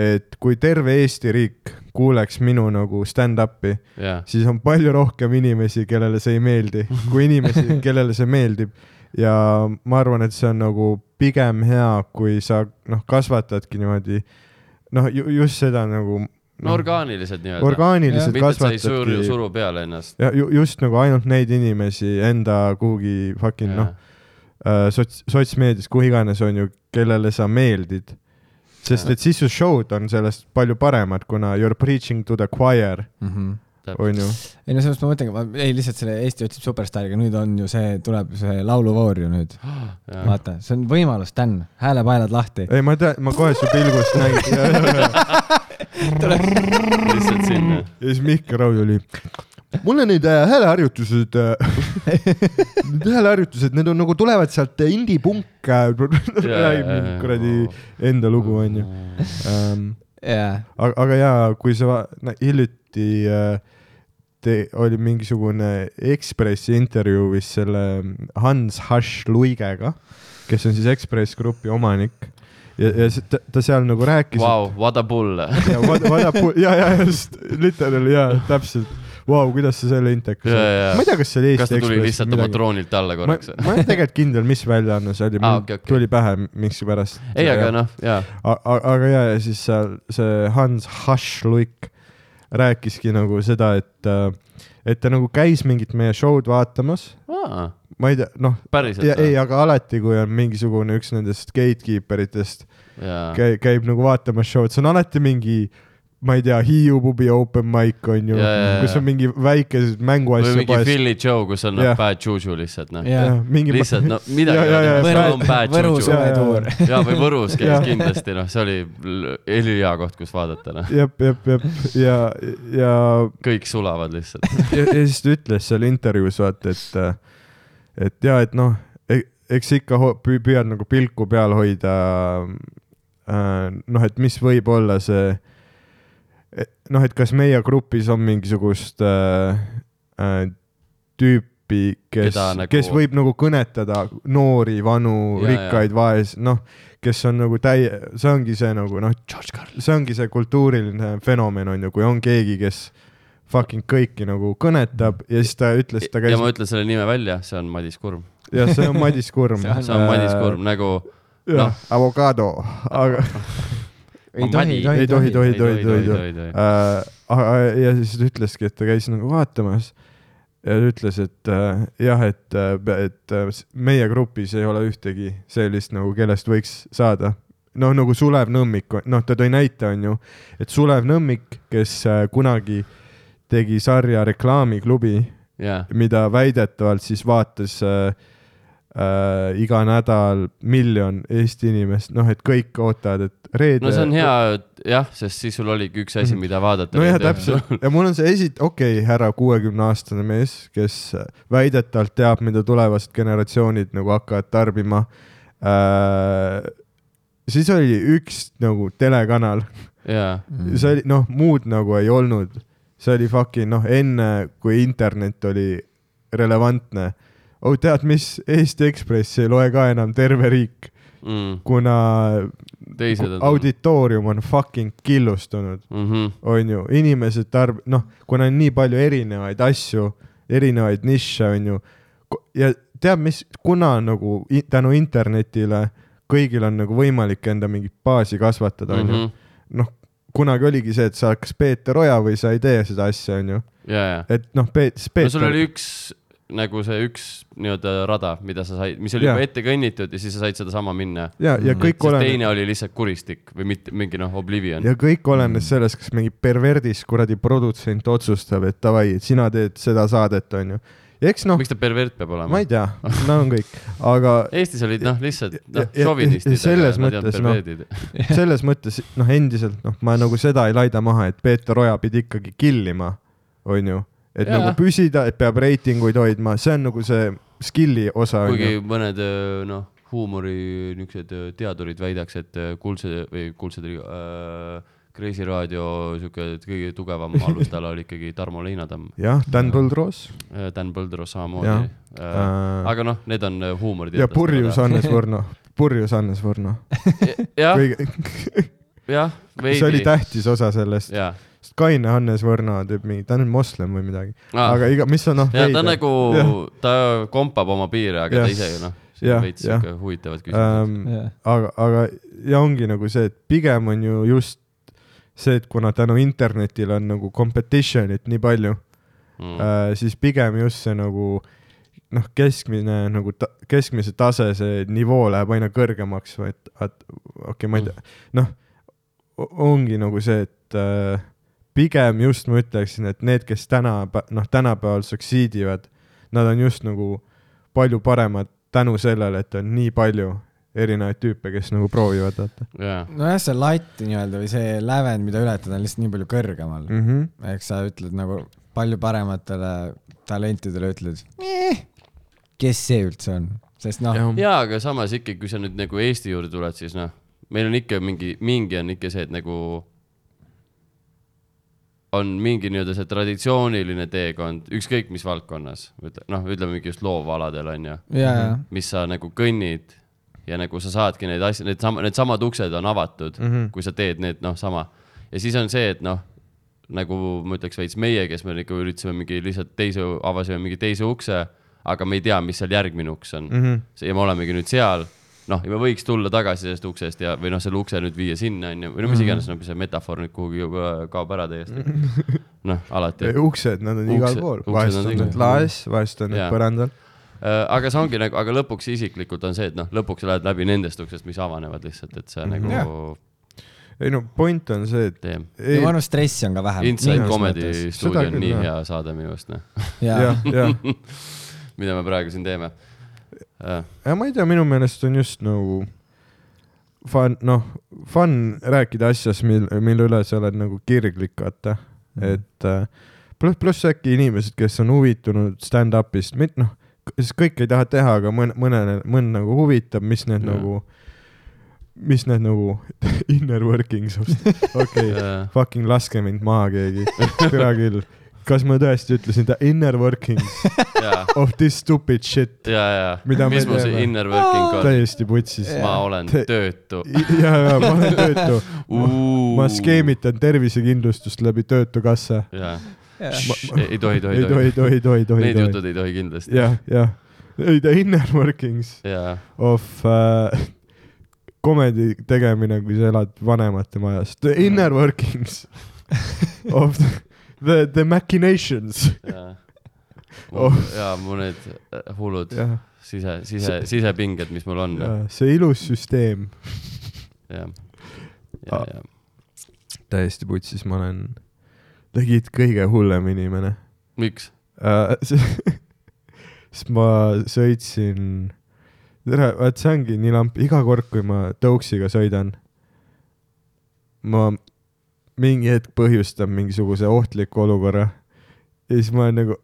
Speaker 1: et kui terve Eesti riik kuuleks minu nagu stand-up'i ,
Speaker 2: jah ,
Speaker 1: siis on palju rohkem inimesi , kellele see ei meeldi , kui inimesi , kellele see meeldib . ja ma arvan , et see on nagu pigem hea , kui sa noh , kasvatadki niimoodi noh , just seda nagu
Speaker 2: no orgaaniliselt nii-öelda .
Speaker 1: orgaaniliselt
Speaker 2: mitte , et sa ei suru ,
Speaker 1: kasvatadki .
Speaker 2: suru peale ennast .
Speaker 1: ja ju- just nagu ainult neid inimesi enda kuhugi fucking noh , sots , sotsmeedias , kuhu iganes on ju , kellele sa meeldid . sest
Speaker 2: Jaa.
Speaker 1: et siis su show'd on sellest palju paremad , kuna you are preaching to the choir ,
Speaker 5: Mhm.
Speaker 1: on ju .
Speaker 5: ei no sellepärast ma mõtlengi , ma ei lihtsalt selle Eesti otsib superstaariga , nüüd on ju see , tuleb see lauluvoor ju nüüd . vaata , see on võimalus , Dan , häälepaelad lahti .
Speaker 1: ei , ma tean , ma kohe su pilgust nägin .
Speaker 2: lihtsalt sinna .
Speaker 1: ja siis Mihkel Raud oli , mul on need äh, hääleharjutused äh, , need hääleharjutused , need on nagu tulevad sealt äh, indie-punk äh, , räägib mingi kuradi enda lugu onju ähm, .
Speaker 5: jaa ,
Speaker 1: aga , aga jaa , kui sa va- no, hiljuti äh, te, oli mingisugune Ekspressi intervjuu vist selle ähm, Hans Hash Luigega , kes on siis Ekspress Grupi omanik ja , ja see- ta, ta seal nagu rääkis et-
Speaker 2: Vau , what a bull .
Speaker 1: ja vada , vada , ja , ja just , literally ja täpselt , vau , kuidas sa selle intekas
Speaker 2: Jaa, jaa.
Speaker 1: ma ei tea , kas see oli
Speaker 2: kas
Speaker 1: Eesti
Speaker 2: ta tuli
Speaker 1: Ekspress
Speaker 2: lihtsalt
Speaker 1: või
Speaker 2: oma
Speaker 1: midagi.
Speaker 2: troonilt alla korraks
Speaker 1: ma, ? ma olen tegelikult kindel , mis väljaanne see oli ,
Speaker 2: Aa,
Speaker 1: mul
Speaker 2: Ah, okei, okei.
Speaker 1: tuli pähe miskipärast .
Speaker 2: ei , aga . noh , jaa .
Speaker 1: aga ja , ja siis seal see Hans Hašluik rääkiski nagu seda , et , et ta nagu käis mingit meie show'd vaatamas , ma ei tea , noh ,
Speaker 2: päriselt
Speaker 1: ja ei ,
Speaker 2: või ?
Speaker 1: aga alati , kui on mingisugune üks nendest gatekeeper itest ,
Speaker 2: jaa .
Speaker 1: käib , käib nagu vaatamas show'd , see on alati mingi , ma ei tea , Hiiu pubi open mic on ju
Speaker 2: Jaa, jaa, jaa. ,
Speaker 1: kus on mingi väikeseid
Speaker 2: või
Speaker 1: mänguasju
Speaker 2: mingi . Philly Joe , kus on noh
Speaker 1: Jah.
Speaker 2: bad juju lihtsalt noh .
Speaker 5: jaa .
Speaker 1: mingi
Speaker 2: lihtsalt no midagi nagu
Speaker 1: Ja, ja, ja,
Speaker 2: ei
Speaker 1: Võru-
Speaker 2: ole , bad
Speaker 5: Võru
Speaker 2: juju .
Speaker 5: suvetuur .
Speaker 2: jaa , või Võrus käis
Speaker 1: Jah.
Speaker 2: kindlasti noh , see oli l- ülihea koht , kus vaadata noh .
Speaker 1: jah , jah , jah , ja , ja ,
Speaker 2: kõik sulavad lihtsalt .
Speaker 1: ja , ja siis ta ütles seal intervjuus vaata , et , et ja , et noh , eks sa ikka ho- püü- püüad nagu pilku peal hoida . noh , et mis võib olla see , noh , et kas meie grupis on mingisugust äh, äh, tüüpi , kes
Speaker 2: Keda , nagu-
Speaker 1: kes võib nagu kõnetada noori , vanu ,
Speaker 2: Ja, ja.
Speaker 1: rikkaid , vaes- , noh , kes on nagu täie , see ongi see nagu noh ,
Speaker 2: George Carlin .
Speaker 1: see ongi see kultuuriline fenomen on ju , kui on keegi , kes fucking kõiki nagu kõnetab ja siis ta ütles , ta käis
Speaker 2: ja ma ütlen selle nime välja , see on Madis Kurm .
Speaker 1: ja see on Madis Kurm .
Speaker 2: see on Madis Kurm . nagu ,
Speaker 1: jah
Speaker 2: noh. ,
Speaker 1: avokaado , aga
Speaker 5: ei
Speaker 2: Ma
Speaker 5: tohi
Speaker 1: ei
Speaker 2: mani- ,
Speaker 5: tohi ,
Speaker 1: tohi , tohi , tohi , tohi ,
Speaker 2: tohi, tohi.
Speaker 1: tohi . Äh, ah, ja siis ta ütleski , et ta käis nagu vaatamas ja ta ütles , et äh, jah , et , et äh, s- meie grupis ei ole ühtegi sellist nagu , kellest võiks saada . noh , nagu Sulev Nõmmik , noh , ta tõi näite , on ju , et Sulev Nõmmik , kes äh, kunagi tegi sarja Reklaamiklubi ,
Speaker 2: jaa .
Speaker 1: mida väidetavalt siis vaatas äh, äh, iga nädal miljon Eesti inimest , noh , et kõik ootavad , et reede .
Speaker 2: no see on hea , jah , sest siis sul oligi üks asi , mida vaadata .
Speaker 1: nojah , täpselt ja mul on see esi- , okei okay, , härra kuuekümneaastane mees , kes äh, väidetavalt teab , mida tulevased generatsioonid nagu hakkavad tarbima äh, . siis oli üks nagu telekanal ,
Speaker 2: jaa ,
Speaker 1: see oli noh , muud nagu ei olnud , see oli fucking noh , enne kui internet oli relevantne . oh tead , mis , Eesti Ekspressi ei loe ka enam terve riik ,
Speaker 2: Mm.
Speaker 1: kuna
Speaker 2: teised on .
Speaker 1: auditoorium on fucking killustunud
Speaker 2: mhmh ,
Speaker 1: on ju , inimesed tarb- , noh , kuna on nii palju erinevaid asju , erinevaid nišše , on ju , ja tead , mis , kuna nagu i- tänu internetile kõigil on nagu võimalik enda mingit baasi kasvatada , on ju
Speaker 2: mhmh ,
Speaker 1: noh , kunagi oligi see , et sa kas Peeter Oja või sa ei tee seda asja , on ju ,
Speaker 2: jaa , jaa .
Speaker 1: et noh , Peet- ,
Speaker 2: no sul
Speaker 1: Peeter
Speaker 2: oli üks nagu see üks nii-öelda rada , mida sa said , mis oli
Speaker 1: Jaa.
Speaker 2: juba ette kõnnitud ja siis sa said sedasama minna .
Speaker 1: ja , ja kõik
Speaker 2: sest
Speaker 1: oleneb ,
Speaker 2: Mhm. teine oli lihtsalt kuristik või mitte mingi noh , Oblivion .
Speaker 1: ja kõik
Speaker 2: Mhm.
Speaker 1: olenes sellest , kas mingi perverdis kuradi produtsent otsustab , et davai , sina teed seda saadet , onju . eks noh ,
Speaker 2: miks ta pervert peab olema
Speaker 1: ma ? ei tea , no on kõik , aga
Speaker 2: Eestis olid noh , lihtsalt
Speaker 1: Ja-
Speaker 2: noh
Speaker 1: ja- , ja-
Speaker 2: šovinistid .
Speaker 1: ja selles mõttes, noh, selles mõttes noh , endiselt noh , ma nagu seda ei laida maha , et Peeter Oja pidi ikkagi killima , onju , et
Speaker 2: Jaa.
Speaker 1: nagu püsida , et peab reitinguid hoidma , see on nagu see skill'i osa .
Speaker 2: kuigi mõned öö, noh , huumori niisugused öö, teadurid väidaks , et öö, kuldse või kuldsed äh, Kreisi raadio sihuke kõige tugevam alustala oli ikkagi Tarmo Leinatamm ,
Speaker 1: jah , Dan Põldroos
Speaker 2: Äh, Dan Põldro
Speaker 1: Jah.
Speaker 2: samamoodi .
Speaker 1: Äh,
Speaker 2: aga noh , need on öö, huumoriteadlased .
Speaker 1: ja purjus . Hannes Võrno , purjus Hannes Võrno .
Speaker 2: jah , jah ,
Speaker 1: see oli
Speaker 2: veidi .
Speaker 1: tähtis osa sellest ,
Speaker 2: jaa ,
Speaker 1: sest kaine Hannes Võrno teeb mingi , ta on moslem või midagi ,
Speaker 2: Aa.
Speaker 1: aga iga , mis on noh .
Speaker 2: ja Ah, ta nagu , ta kompab oma piire , aga ta
Speaker 1: Jah.
Speaker 2: ise ju noh ,
Speaker 1: Jah,
Speaker 2: veits
Speaker 1: jah.
Speaker 2: sihuke huvitavad küsimused .
Speaker 1: ähm, . aga , aga ja ongi nagu see , et pigem on ju just see , et kuna tänu internetile on nagu competition'it nii palju mm. , äh, siis pigem just see nagu noh , keskmine nagu ta, , keskmise tase , see nivoo läheb aina kõrgemaks , et , et okei okay, , ma ei
Speaker 2: Mm.
Speaker 1: tea , noh , ongi nagu see , et äh, pigem just ma ütleksin , et need , kes täna , noh , tänapäeval succeed ivad , nad on just nagu palju paremad tänu sellele , et on nii palju erinevaid tüüpe , kes nagu proovivad , vaata
Speaker 2: jaa ,
Speaker 5: nojah , see latt nii-öelda või see lävend , mida ületada , on lihtsalt nii palju kõrgemal mm. .
Speaker 1: mm . -hmm.
Speaker 5: ehk sa ütled nagu palju parematele talentidele ütled eh, , kes see üldse on , sest noh ,
Speaker 2: jaa , aga samas ikkagi , kui sa nüüd nagu Eesti juurde tuled , siis noh , meil on ikka mingi , mingi on ikka see , et nagu on mingi nii-öelda see traditsiooniline teekond , ükskõik mis valdkonnas , noh , ütleme mingi just loovaladel on ju ,
Speaker 5: ja , ja ,
Speaker 2: mis sa nagu kõnnid ja nagu sa saadki neid asju , need sama , needsamad uksed on avatud
Speaker 1: Mhm.
Speaker 2: mm , -hmm. kui sa teed need noh , sama ja siis on see , et noh , nagu ma ütleks veits meie , kes me nagu üritasime mingi lihtsalt teise , avasime mingi teise ukse , aga me ei tea , mis seal järgmine uks on
Speaker 1: Mhm.
Speaker 2: mm . -hmm. ja me olemegi nüüd seal , noh , ja me võiks tulla tagasi sellest uksest ja , või noh , selle ukse nüüd viia sinna onju , või no mis iganes , nagu see metafoor nüüd kuhugi juba kaob ära täiesti . noh , alati .
Speaker 1: uksed , nad on igal
Speaker 2: Uksed-
Speaker 1: pool ,
Speaker 2: uksed
Speaker 1: vahest
Speaker 2: on
Speaker 1: on
Speaker 2: igal
Speaker 1: need
Speaker 2: pool.
Speaker 1: laes , vahest on need
Speaker 2: Jaa.
Speaker 1: põrandal .
Speaker 2: Äh, aga see ongi nagu , aga lõpuks isiklikult on see , et noh , lõpuks sa lähed läbi nendest uksest , mis avanevad lihtsalt , et see nagu
Speaker 1: Jah. ei no point on see , et
Speaker 2: teeb .
Speaker 5: ja
Speaker 1: ei
Speaker 5: ma , arvan , stressi on ka vähem .
Speaker 2: Inside
Speaker 1: mingis
Speaker 2: Comedy stuudio
Speaker 1: Seda
Speaker 2: on
Speaker 1: küll,
Speaker 2: nii
Speaker 1: jah.
Speaker 2: hea saade minu arust , noh ,
Speaker 5: ja ,
Speaker 1: jah , jah ,
Speaker 2: mida me praegu siin teeme . Äh,
Speaker 1: ja ma ei tea , minu meelest on just nagu fun , noh , fun rääkida asjast , mil- , mille üle sa oled nagu kirglik , vaata mm. ,
Speaker 5: Mhm.
Speaker 1: et äh, pluss , pluss äkki inimesed , kes on huvitunud stand-up'ist , mitte noh , siis kõik ei taha teha , aga mõne , mõne , mõnd nagu huvitab , mis need
Speaker 2: Jaa.
Speaker 1: yeah. nagu , mis need nagu inner workings of , okei ,
Speaker 2: äh,
Speaker 1: fucking laske mind maha keegi , hea küll . kas ma tõesti ütlesin the inner workings
Speaker 2: ja ,
Speaker 1: of this stupid shit ?
Speaker 2: ja , ja ,
Speaker 1: Mida
Speaker 2: mis
Speaker 1: me
Speaker 2: mu see
Speaker 1: teeme?
Speaker 2: inner working on ,
Speaker 1: täiesti putsis .
Speaker 2: ma olen
Speaker 1: Te-
Speaker 2: töötu .
Speaker 1: ja , ja ma olen töötu . ma . skeemitan tervisekindlustust läbi Töötukassa .
Speaker 2: jaa ,
Speaker 5: ja ,
Speaker 2: ei
Speaker 1: ei
Speaker 2: tohi , ei tohi ,
Speaker 1: tohi , ei tohi , ei tohi , ei tohi , ei
Speaker 2: Need
Speaker 1: tohi .
Speaker 2: jutud ei tohi kindlasti .
Speaker 1: jah , jah . ei , the inner workings
Speaker 2: jaa ,
Speaker 1: of uh, comedy tegemine , kui sa elad vanemate majas . The
Speaker 2: Mm.
Speaker 1: inner workings of the, the , the machinations .
Speaker 2: jaa .
Speaker 1: Oh.
Speaker 2: jaa , mu need äh, hullud
Speaker 1: jah ,
Speaker 2: sise , sise , sisepinged , mis mul on , noh.
Speaker 1: jah , see ilus süsteem .
Speaker 2: jah .
Speaker 1: Ah.
Speaker 2: ja , ja
Speaker 1: täiesti putsis ma olen . tegid kõige hullem inimene
Speaker 2: miks ?
Speaker 1: Äh, see- sest ma sõitsin , tere , vaat see ongi nii lamp , iga kord , kui ma tõuksiga sõidan , ma mingi hetk põhjustan mingisuguse ohtliku olukorra ja siis ma olen nagu .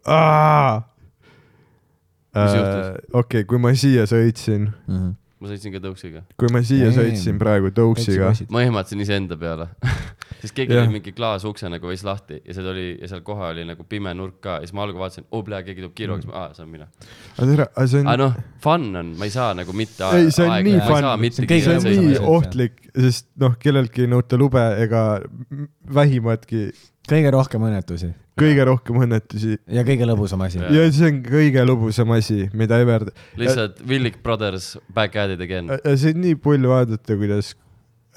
Speaker 2: Mis
Speaker 1: okei , kui ma siia sõitsin ,
Speaker 5: Mhm.
Speaker 2: ma sõitsin ka tõuksiga ,
Speaker 1: kui ma siia
Speaker 5: Ei.
Speaker 1: sõitsin praegu tõuksiga ,
Speaker 2: ma ehmatasin iseenda peale , sest keegi
Speaker 1: Jah.
Speaker 2: oli mingi klaasukse nagu veits lahti ja seal oli ja seal kohe oli nagu pime nurk ka ja siis ma algul vaatasin , oo plea , keegi tuleb kiiruga , siis ma , aa , see on mina .
Speaker 1: aga tere , aga see
Speaker 2: aga
Speaker 1: Mm. on ,
Speaker 2: noh , fun on , ma ei saa nagu mitte
Speaker 1: Ei, see on nii fun.
Speaker 5: See on
Speaker 2: see
Speaker 5: kõige
Speaker 1: see
Speaker 2: on
Speaker 1: on
Speaker 5: seisab
Speaker 1: nii
Speaker 5: ees, jah.
Speaker 1: ohtlik , sest noh , kelleltki ei nõuta lube ega m- vähimatki
Speaker 5: kõige rohkem õnnetusi
Speaker 1: kõige rohkem õnnetusi
Speaker 5: ja kõige lõbusam asi .
Speaker 1: ja see on kõige lõbusam asi , mida ever ,
Speaker 2: nii lihtsalt Villig Brothers back at it again .
Speaker 1: see on nii pull vaadata , kuidas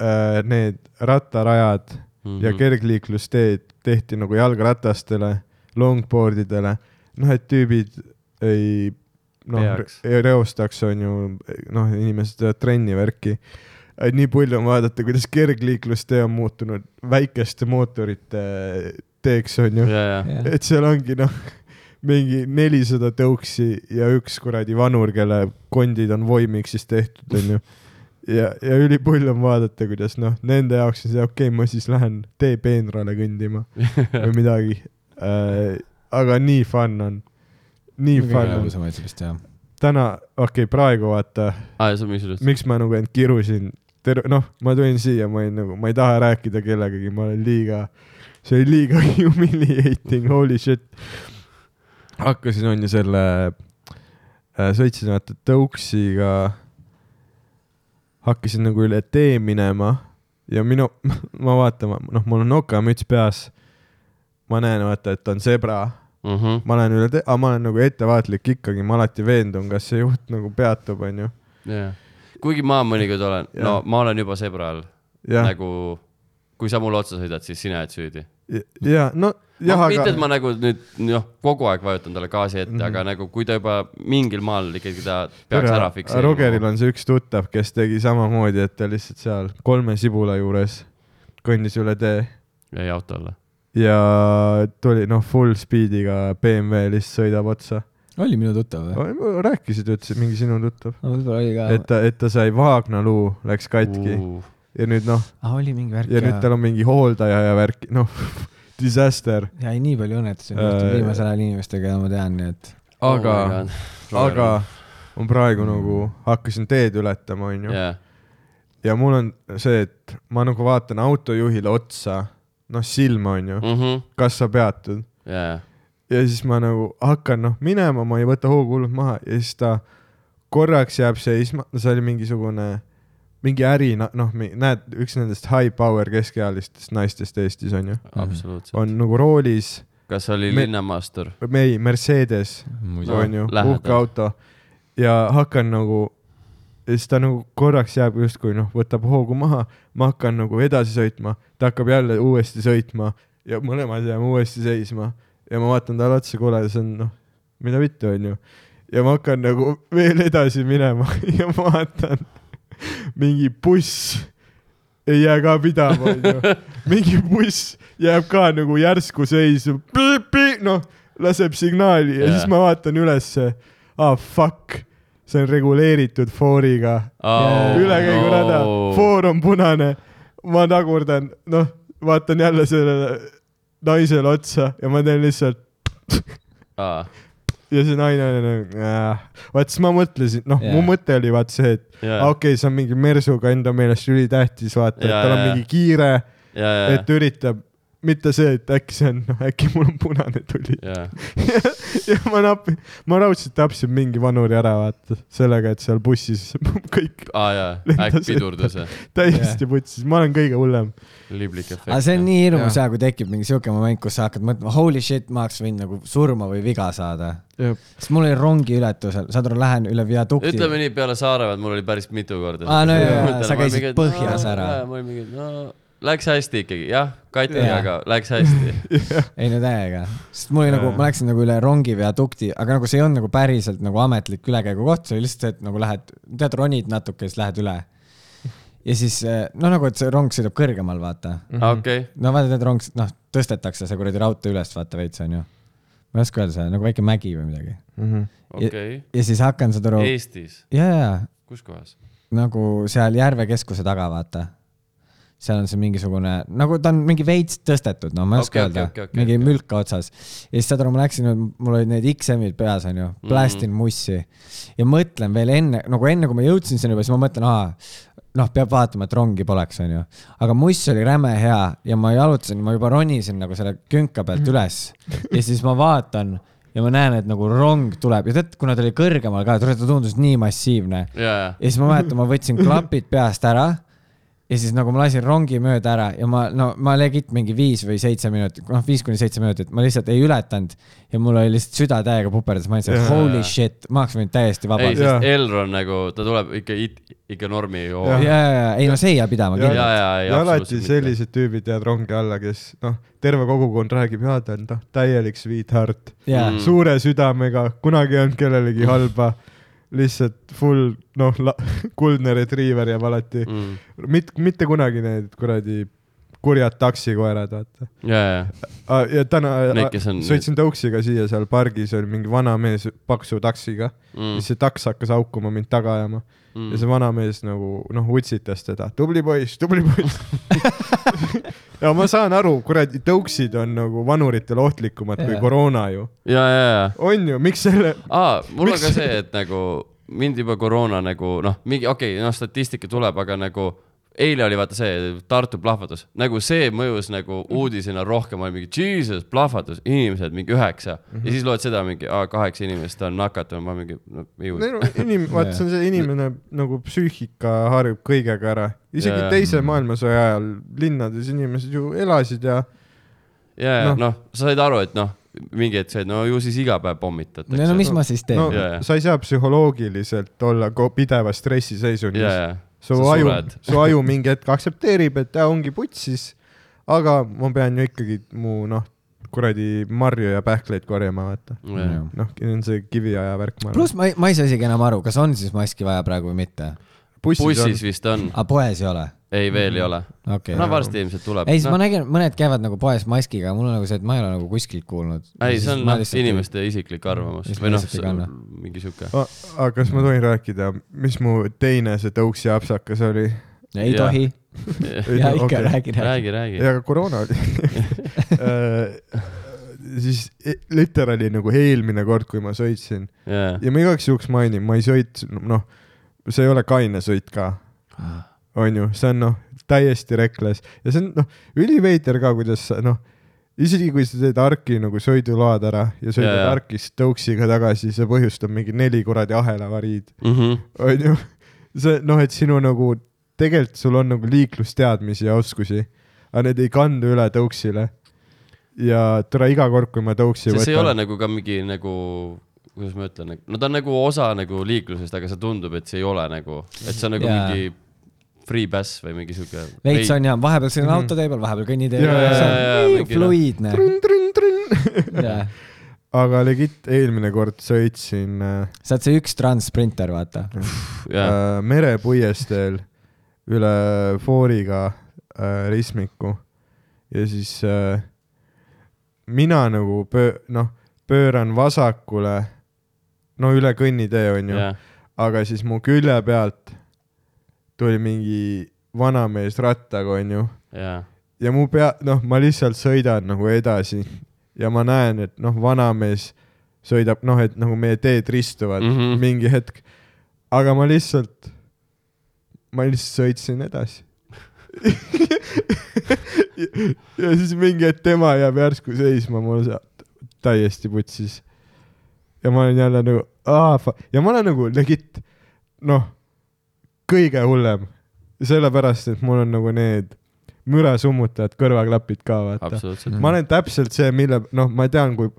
Speaker 1: äh, need rattarajad mm
Speaker 2: Mhm.
Speaker 1: -hmm. ja kergliiklusteed tehti nagu jalgratastele , longboard idele , noh , et tüübid ei noh
Speaker 2: Peaks. ,
Speaker 1: reostaks , on ju , noh , inimesed teevad trenni värki . nii palju on vaadata , kuidas kergliiklustee on muutunud väikeste mootorite teeks , on ju .
Speaker 2: jajah .
Speaker 1: et seal ongi noh , mingi nelisada tõuksi ja üks kuradi vanur , kelle kondid on voimiksis tehtud , onju . ja , ja ülipull on vaadata , kuidas noh , nende jaoks on see okei okay, , ma siis lähen tee peenrale kõndima või midagi äh, . aga nii fun on , nii fun on .
Speaker 5: lõbusamaid vist jah .
Speaker 1: täna , okei okay, , praegu vaata ,
Speaker 2: aa , Ah, see on mis üles .
Speaker 1: miks ma nagu end kirusin , terve , noh , ma tulin siia , ma olin nagu , ma ei taha rääkida kellegagi , ma olen liiga , see oli liiga humiliating , holy shit . hakkasin , on ju , selle , sõitsin vaata tõuksiga , hakkasin nagu üle tee minema ja minu , ma vaatan , noh , mul on nokamüts peas . ma näen , vaata , et on zebra
Speaker 2: Mhm.
Speaker 1: ma olen üle te- , aga ma olen nagu ettevaatlik ikkagi , ma alati veendun , kas see juht nagu peatub , onju .
Speaker 2: kuigi ma mõnikord olen ,
Speaker 1: Jah.
Speaker 2: no ma olen juba sõbra all ,
Speaker 1: jah ,
Speaker 2: nagu kui sa mulle otsa sõidad , siis sina jääd süüdi .
Speaker 1: ja no jah ,
Speaker 2: Ma, mitte , et
Speaker 1: aga ,
Speaker 2: ma
Speaker 1: Mhm.
Speaker 2: nagu nüüd noh , kogu aeg vajutan talle gaasi ette mm , -hmm. aga nagu kui ta juba mingil maal ikkagi ta peaks ära fikseerima .
Speaker 1: Rogeril on see üks tuttav , kes tegi samamoodi , et ta lihtsalt seal kolme sibula juures kõndis üle tee
Speaker 2: jäi auto alla .
Speaker 1: ja tuli noh , full speed'iga BMW lihtsalt sõidab otsa .
Speaker 5: oli minu tuttav või ?
Speaker 1: rääkisid , ütlesid mingi sinu tuttav ,
Speaker 5: võib-olla oli
Speaker 1: et
Speaker 5: ka .
Speaker 1: ta , et ta sai vaagnaluu , läks katki ja nüüd noh ,
Speaker 5: aa , Ah, oli mingi värk
Speaker 1: ja nüüd tal on mingi hooldaja ja värk , noh , disaster ,
Speaker 5: ja ei , nii palju õnnetusi on
Speaker 1: Äh,
Speaker 5: juhtunud viimasel ajal inimestega ja ma tean , nii et
Speaker 1: aga oh . aga ma praegu nagu hakkasin teed ületama , onju .
Speaker 2: jah ,
Speaker 1: ja mul on see , et ma nagu vaatan autojuhile otsa , noh silma ,
Speaker 2: Mm.
Speaker 1: onju ,
Speaker 2: Mhm.
Speaker 1: kas sa peatud .
Speaker 2: jah ,
Speaker 1: ja siis ma nagu hakkan noh minema , ma ei võta hoogu hullult maha ja siis ta korraks jääb seisma , see oli mingisugune , mingi äri , noh , näed , üks nendest high power keskealistest naistest Eestis onju ,
Speaker 2: absoluutselt .
Speaker 1: Mhm. on nagu roolis ,
Speaker 2: kas oli
Speaker 1: Me-
Speaker 2: Me... linnamaastur ?
Speaker 1: ei , Mercedes
Speaker 2: No,
Speaker 1: onju ,
Speaker 2: lähedal.
Speaker 1: uhke auto ja hakkan nagu , siis ta nagu korraks jääb justkui noh , võtab hoogu maha , ma hakkan nagu edasi sõitma , ta hakkab jälle uuesti sõitma ja mõlemad jääme uuesti seisma ja ma vaatan talle otsa , kuule , see on noh , mida vittu onju . ja ma hakkan nagu veel edasi minema ja ma vaatan , mingi buss ei jää ka pidama onju , mingi buss jääb ka nagu järsku seisu , noh , laseb signaali ja yeah.
Speaker 2: Jaa.
Speaker 1: siis ma vaatan ülesse ah fuck , see on reguleeritud fooriga
Speaker 2: Oh,
Speaker 1: ülekäigurada no. , foor on punane . ma tagurdan , noh , vaatan jälle sellele naisele otsa ja ma teen lihtsalt
Speaker 2: aa ,
Speaker 1: ja see naine on nagu äh. , vaat siis ma mõtlesin , noh yeah. , mu
Speaker 5: Jaa.
Speaker 1: mõte oli vaat see , et
Speaker 2: ja ,
Speaker 1: yeah. okei okay, , see on mingi mersuga enda meelest ülitähtis , vaata yeah, , et
Speaker 2: Jaa,
Speaker 1: tal on
Speaker 2: jaa,
Speaker 1: yeah. mingi kiire ,
Speaker 2: ja , ja
Speaker 1: et , üritab , mitte see , et äkki see on , noh äkki mul on punane tuli .
Speaker 2: ja ,
Speaker 1: ja, ja ma napin , ma raudselt tapsin mingi vanuri ära , vaata , sellega , et seal bussis kõik
Speaker 2: aa ja , äkki
Speaker 1: Lendas
Speaker 2: pidurdus jah ,
Speaker 1: täiesti yeah. putsis , ma olen kõige hullem .
Speaker 2: liblik efekt .
Speaker 5: aga see on nii hirmus
Speaker 1: Jah.
Speaker 5: ja kui tekib mingi siuke moment , kus sa hakkad mõtlema , holy shit , ma oleks võinud nagu surma või viga saada . sest mul oli rongi ületusel , saad aru , lähen üle viadukti .
Speaker 2: ütleme nii , peale Saaremaa mul oli päris mitu korda .
Speaker 5: Aa, Ah, no jaa, jaa, sa käisid põhjas ära.
Speaker 2: ma olin mingi , no läks hästi ikkagi , jah , Kati ,
Speaker 5: Jaa.
Speaker 2: aga läks hästi .
Speaker 1: Mhm.
Speaker 5: ei no täiega , sest mul oli nagu , ma läksin nagu üle rongi viadukti , aga nagu see ei olnud nagu päriselt nagu ametlik ülekäigukoht , see oli lihtsalt see , et nagu lähed , tead , ronid natuke ja siis lähed üle . ja siis noh , nagu , et see rong sõidab kõrgemal , vaata .
Speaker 2: Ah, okei ,
Speaker 5: no vaata , tead , rong , noh , tõstetakse see kuradi raudtee üles , vaata veits onju . ma ei oska öelda , see on nagu väike mägi või midagi .
Speaker 2: okei ,
Speaker 5: ja siis hakkan seda aru , ja ,
Speaker 2: Eestis ,
Speaker 5: ja , ja
Speaker 2: kus kohas ?
Speaker 5: nagu seal Järve keskuse taga , vaata . seal on see mingisugune , nagu ta on mingi veits tõstetud , no ma ei oska
Speaker 2: Okei,
Speaker 5: öelda
Speaker 2: okei, okei, , okei,
Speaker 5: mingi
Speaker 2: okei.
Speaker 5: mülka otsas . ja siis saad aru , ma läksin , mul olid need XM-id peas , onju ,
Speaker 2: Mhm.
Speaker 5: plästin mussi ja mõtlen veel enne , nagu enne , kui ma jõudsin sinna juba , siis ma mõtlen , aa , noh , peab vaatama , et rongi poleks , onju . aga muss oli räme hea ja ma jalutasin , ma juba ronisin nagu selle künka pealt üles ja siis ma vaatan ja ma näen , et nagu rong tuleb ja tead , kuna ta oli kõrgemal ka , ta tundus nii massiivne
Speaker 2: ja , ja ,
Speaker 5: ja siis ma mäletan , ma võtsin klapid peast ära ja siis nagu ma lasin rongi mööda ära ja ma , no ma legit mingi viis või seitse minutit , noh , viis kuni seitse minutit , ma lihtsalt ei ületanud ja mul oli lihtsalt süda täiega puperdas , ma mõtlesin ,
Speaker 1: Jaa.
Speaker 5: et holy shit , ma oleks võinud täiesti
Speaker 2: ei ,
Speaker 5: vabalt .
Speaker 1: Jaa.
Speaker 2: sest Elron nagu , ta tuleb ikka , ikka normi .
Speaker 5: ja ,
Speaker 1: Jah.
Speaker 2: ja ,
Speaker 5: ja , ja ei no see ei jää pidama
Speaker 1: Jaa.
Speaker 2: ja ,
Speaker 5: kindlasti .
Speaker 2: ja
Speaker 1: ja . alati . sellised tüübid jäävad rongi alla , kes noh , terve kogukond räägib , jaa , ta on noh , täielik sweetheart
Speaker 5: jaa
Speaker 2: Mm. ,
Speaker 1: suure südamega , kunagi ei olnud kellelegi halba , lihtsalt full noh , kuldne retriiver jääb alati mm. , mit, mitte kunagi need kuradi kurjad taksikoerad , vaata .
Speaker 2: ja , ja ,
Speaker 1: ja täna ah,
Speaker 2: Need, kes on-
Speaker 1: sõitsin tõuksiga siia , seal pargis oli mingi vanamees paksu taksiga mm. , siis see taks hakkas haukuma mind taga ajama mm. ja see vanamees nagu noh , utsitas teda , tubli poiss , tubli poiss . ja ma saan aru , kuradi tõuksid on nagu vanuritele ohtlikumad yeah. kui
Speaker 5: Jaa.
Speaker 1: koroona ju ,
Speaker 2: ja , ja , ja
Speaker 1: on ju , miks selle
Speaker 2: aa , mul on
Speaker 1: Miks-
Speaker 2: ka see , et nagu mind juba koroona nagu noh , mingi okei okay, , noh , statistika tuleb , aga nagu eile oli vaata see Tartu plahvatus , nagu see mõjus nagu
Speaker 5: Mhm.
Speaker 2: uudisena rohkem , oli mingi jesus , plahvatus , inimesed mingi üheksa mm -hmm.
Speaker 5: Mhm.
Speaker 2: ja siis loed seda mingi aa, kaheksa inimest on nakatunud , ma mingi no, ei
Speaker 1: no
Speaker 2: usu .
Speaker 1: no inim- , vaata , see on see inimene nagu psüühika harjub kõigega ära , isegi
Speaker 2: Jaa.
Speaker 1: yeah. teise maailmasõja ajal linnades inimesed ju elasid ja
Speaker 2: ja , ja
Speaker 1: noh.
Speaker 2: noh , sa said aru , et noh , mingi hetk said , no ju siis iga päev pommitatakse .
Speaker 5: no mis ma siis teen
Speaker 1: no
Speaker 5: no, ?
Speaker 2: Jaa, jaa.
Speaker 1: sa ei saa psühholoogiliselt olla ko- pidevas stressiseisundis
Speaker 2: ja ,
Speaker 1: yeah. .
Speaker 2: ja ,
Speaker 1: su
Speaker 2: sa
Speaker 1: aju
Speaker 2: sured. ,
Speaker 1: su aju mingi hetk aktsepteerib , et ta ongi putsis , aga ma pean ju ikkagi mu noh , kuradi marju ja pähkleid korjama , vaata .
Speaker 2: ja .
Speaker 1: noh , on see kiviaja värk , ma arvan .
Speaker 5: pluss ma ei , ma ei saa isegi enam aru , kas on siis maski vaja praegu või mitte .
Speaker 2: bussis vist on ,
Speaker 5: aga poes ei ole ?
Speaker 2: ei veel ei ole .
Speaker 5: Ah. okei
Speaker 2: Mm. no . varsti ilmselt tuleb .
Speaker 5: ei , siis ma nägin , mõned käivad nagu poes maskiga , mul on nagu see , et ma ei ole nagu kuskilt kuulnud .
Speaker 2: ei , see on noh , inimeste isiklik arvamus
Speaker 5: Lihtsalt
Speaker 2: või noh
Speaker 5: lihtsalt ei , kanna. Oh,
Speaker 2: mingi sihuke .
Speaker 1: A- aga kas ma tohin rääkida , mis mu teine see tõuksi apsakas oli ?
Speaker 5: ei
Speaker 2: Jaa.
Speaker 5: tohi . ja ikka okay. räägi , räägi .
Speaker 2: räägi , räägi .
Speaker 1: ja ka koroona oli Äh, siis e- literaali nagu eelmine kord , kui ma sõitsin
Speaker 2: jaa ,
Speaker 1: ja ma igaks juhuks mainin , ma ei sõit , noh , see ei ole kaine sõit ka , onju , see on noh , täiesti rekles ja see on noh , üliveider ka , kuidas sa noh , isegi kui sa teed arki nagu sõiduload ära ja sõidad
Speaker 2: Jaa,
Speaker 1: yeah.
Speaker 2: jaa.
Speaker 1: arkist tõuksiga tagasi , see põhjustab mingi neli kuradi ahelavariid ,
Speaker 2: Mhm.
Speaker 1: onju . see noh , et sinu nagu tegelikult sul on nagu liiklusteadmisi ja oskusi , aga need ei kandu üle tõuksile . ja tore iga kord , kui ma tõuksi
Speaker 2: sest see ei ole
Speaker 1: võtan ,
Speaker 2: nagu ka mingi nagu , kuidas ma ütlen , no ta on nagu osa nagu liiklusest , aga see tundub , et see ei ole nagu , et see on nagu
Speaker 5: Jaa.
Speaker 2: mingi free pass või mingi sihuke .
Speaker 5: veits on jah , vahepeal sõidan autotee peal , vahepeal kõnniteel .
Speaker 1: Jaa, jaa,
Speaker 5: see
Speaker 2: Mhm. jaa,
Speaker 5: on
Speaker 2: jaa,
Speaker 5: nii
Speaker 2: mingi
Speaker 5: fluiidne . jaa ,
Speaker 1: aga legit eelmine kord sõitsin äh,
Speaker 5: sa oled see üks transsprinter , vaata .
Speaker 2: jah ,
Speaker 1: äh, merepuiesteel üle fooriga äh, ristmiku ja siis äh, mina nagu pöö- , noh , pööran vasakule , no üle kõnnitee onju ,
Speaker 2: jah .
Speaker 1: aga siis mu külje pealt tuli mingi vanamees rattaga onju
Speaker 2: jaa ,
Speaker 1: ja mu pea , noh , ma lihtsalt sõidan nagu edasi ja ma näen , et noh , vanamees sõidab , noh , et nagu meie teed ristuvad mm
Speaker 2: Mhm.
Speaker 1: -hmm. mingi hetk . aga ma lihtsalt , ma lihtsalt sõitsin edasi . ja ja siis mingi hetk tema jääb järsku seisma mul sealt täiesti putsis . ja ma olen jälle nagu , aa , ja ma olen nagu legit , noh , kõige hullem , sellepärast et mul on nagu need mürasummutajad , kõrvaklapid ka , vaata .
Speaker 5: Mm.
Speaker 2: absoluutselt .
Speaker 1: ma olen täpselt see , mille , noh , ma tean , kui ,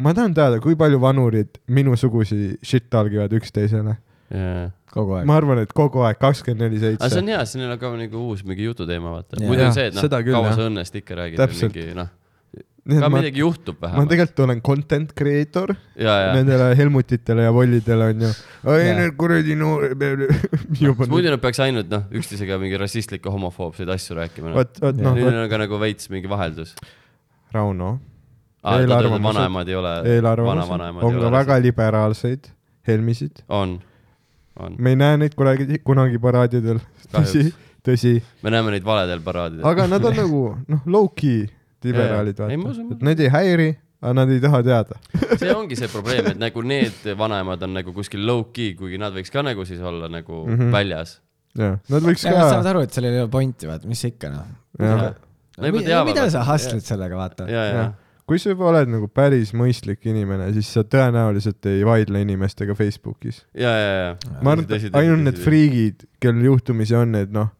Speaker 1: ma tahan teada , kui palju vanurid minusugusi shit talgivad üksteisele .
Speaker 2: jaa .
Speaker 5: kogu aeg .
Speaker 1: ma arvan , et kogu aeg kakskümmend neli
Speaker 2: aga see
Speaker 1: seitse
Speaker 2: on . hea , siin on ka nagu uus mingi jututeema , vaata .
Speaker 5: Jaa.
Speaker 2: muidu
Speaker 1: Jah,
Speaker 2: on see , et noh
Speaker 1: seda , küll,
Speaker 2: kaua
Speaker 1: jah.
Speaker 2: sa õnnest ikka räägid või
Speaker 1: Täpselt.
Speaker 2: mingi noh ,
Speaker 1: nii
Speaker 2: ka
Speaker 1: et ma ,
Speaker 2: midagi juhtub
Speaker 1: ma
Speaker 2: vähemalt .
Speaker 1: tegelikult olen content creator
Speaker 2: jaa , jaa
Speaker 1: nendele Helmutitele ja Vollidele onju . ei ,
Speaker 5: Jaa.
Speaker 1: need kuradi noored juba
Speaker 2: Sest . muidu nad peaks ainult noh , üksteisega mingi rassistlikke , homofoobseid asju rääkima .
Speaker 1: vot , vot noh ,
Speaker 2: nüüd
Speaker 1: vot
Speaker 2: on ka nagu veits mingi vaheldus .
Speaker 1: Rauno ,
Speaker 2: aa , et nad
Speaker 1: Eelarvamused-
Speaker 2: öeldavad , vanaemad ei ole ,
Speaker 1: eelarvamus
Speaker 2: vanavanaemad
Speaker 1: on ka väga liberaalseid helmisid .
Speaker 2: on , on .
Speaker 1: me ei näe neid kunagi , kunagi paraadidel . tõsi
Speaker 2: Kahjuks. ,
Speaker 1: tõsi
Speaker 2: me näeme neid valedel paraadidel .
Speaker 1: aga nad on nagu noh , low-key liberaalid
Speaker 2: Jaa, jaa. Ei, ma
Speaker 1: vaata
Speaker 2: usun- ,
Speaker 1: et neid ei häiri , aga nad ei taha teada .
Speaker 2: see ongi see probleem , et nagu need vanaemad on nagu kuskil low-key , kuigi nad võiks ka nagu siis olla nagu mm -hmm.
Speaker 1: Mhm.
Speaker 2: väljas .
Speaker 1: Nad võiks
Speaker 5: ja nad
Speaker 1: ka
Speaker 5: saavad , aru , et sellel ei ole pointi , vaata , mis ikka noh .
Speaker 1: jah ,
Speaker 2: Nad juba
Speaker 5: mida
Speaker 2: teavad,
Speaker 5: mida sa
Speaker 2: vaata.
Speaker 5: hustled sellega , vaata .
Speaker 2: ja , ja
Speaker 1: Jah. , kui sa juba oled nagu päris mõistlik inimene , siis sa tõenäoliselt ei vaidle inimestega Facebookis .
Speaker 2: ja , ja , ja .
Speaker 1: ma arvan , et ainult need . friigid , kellel juhtumisi on need noh ,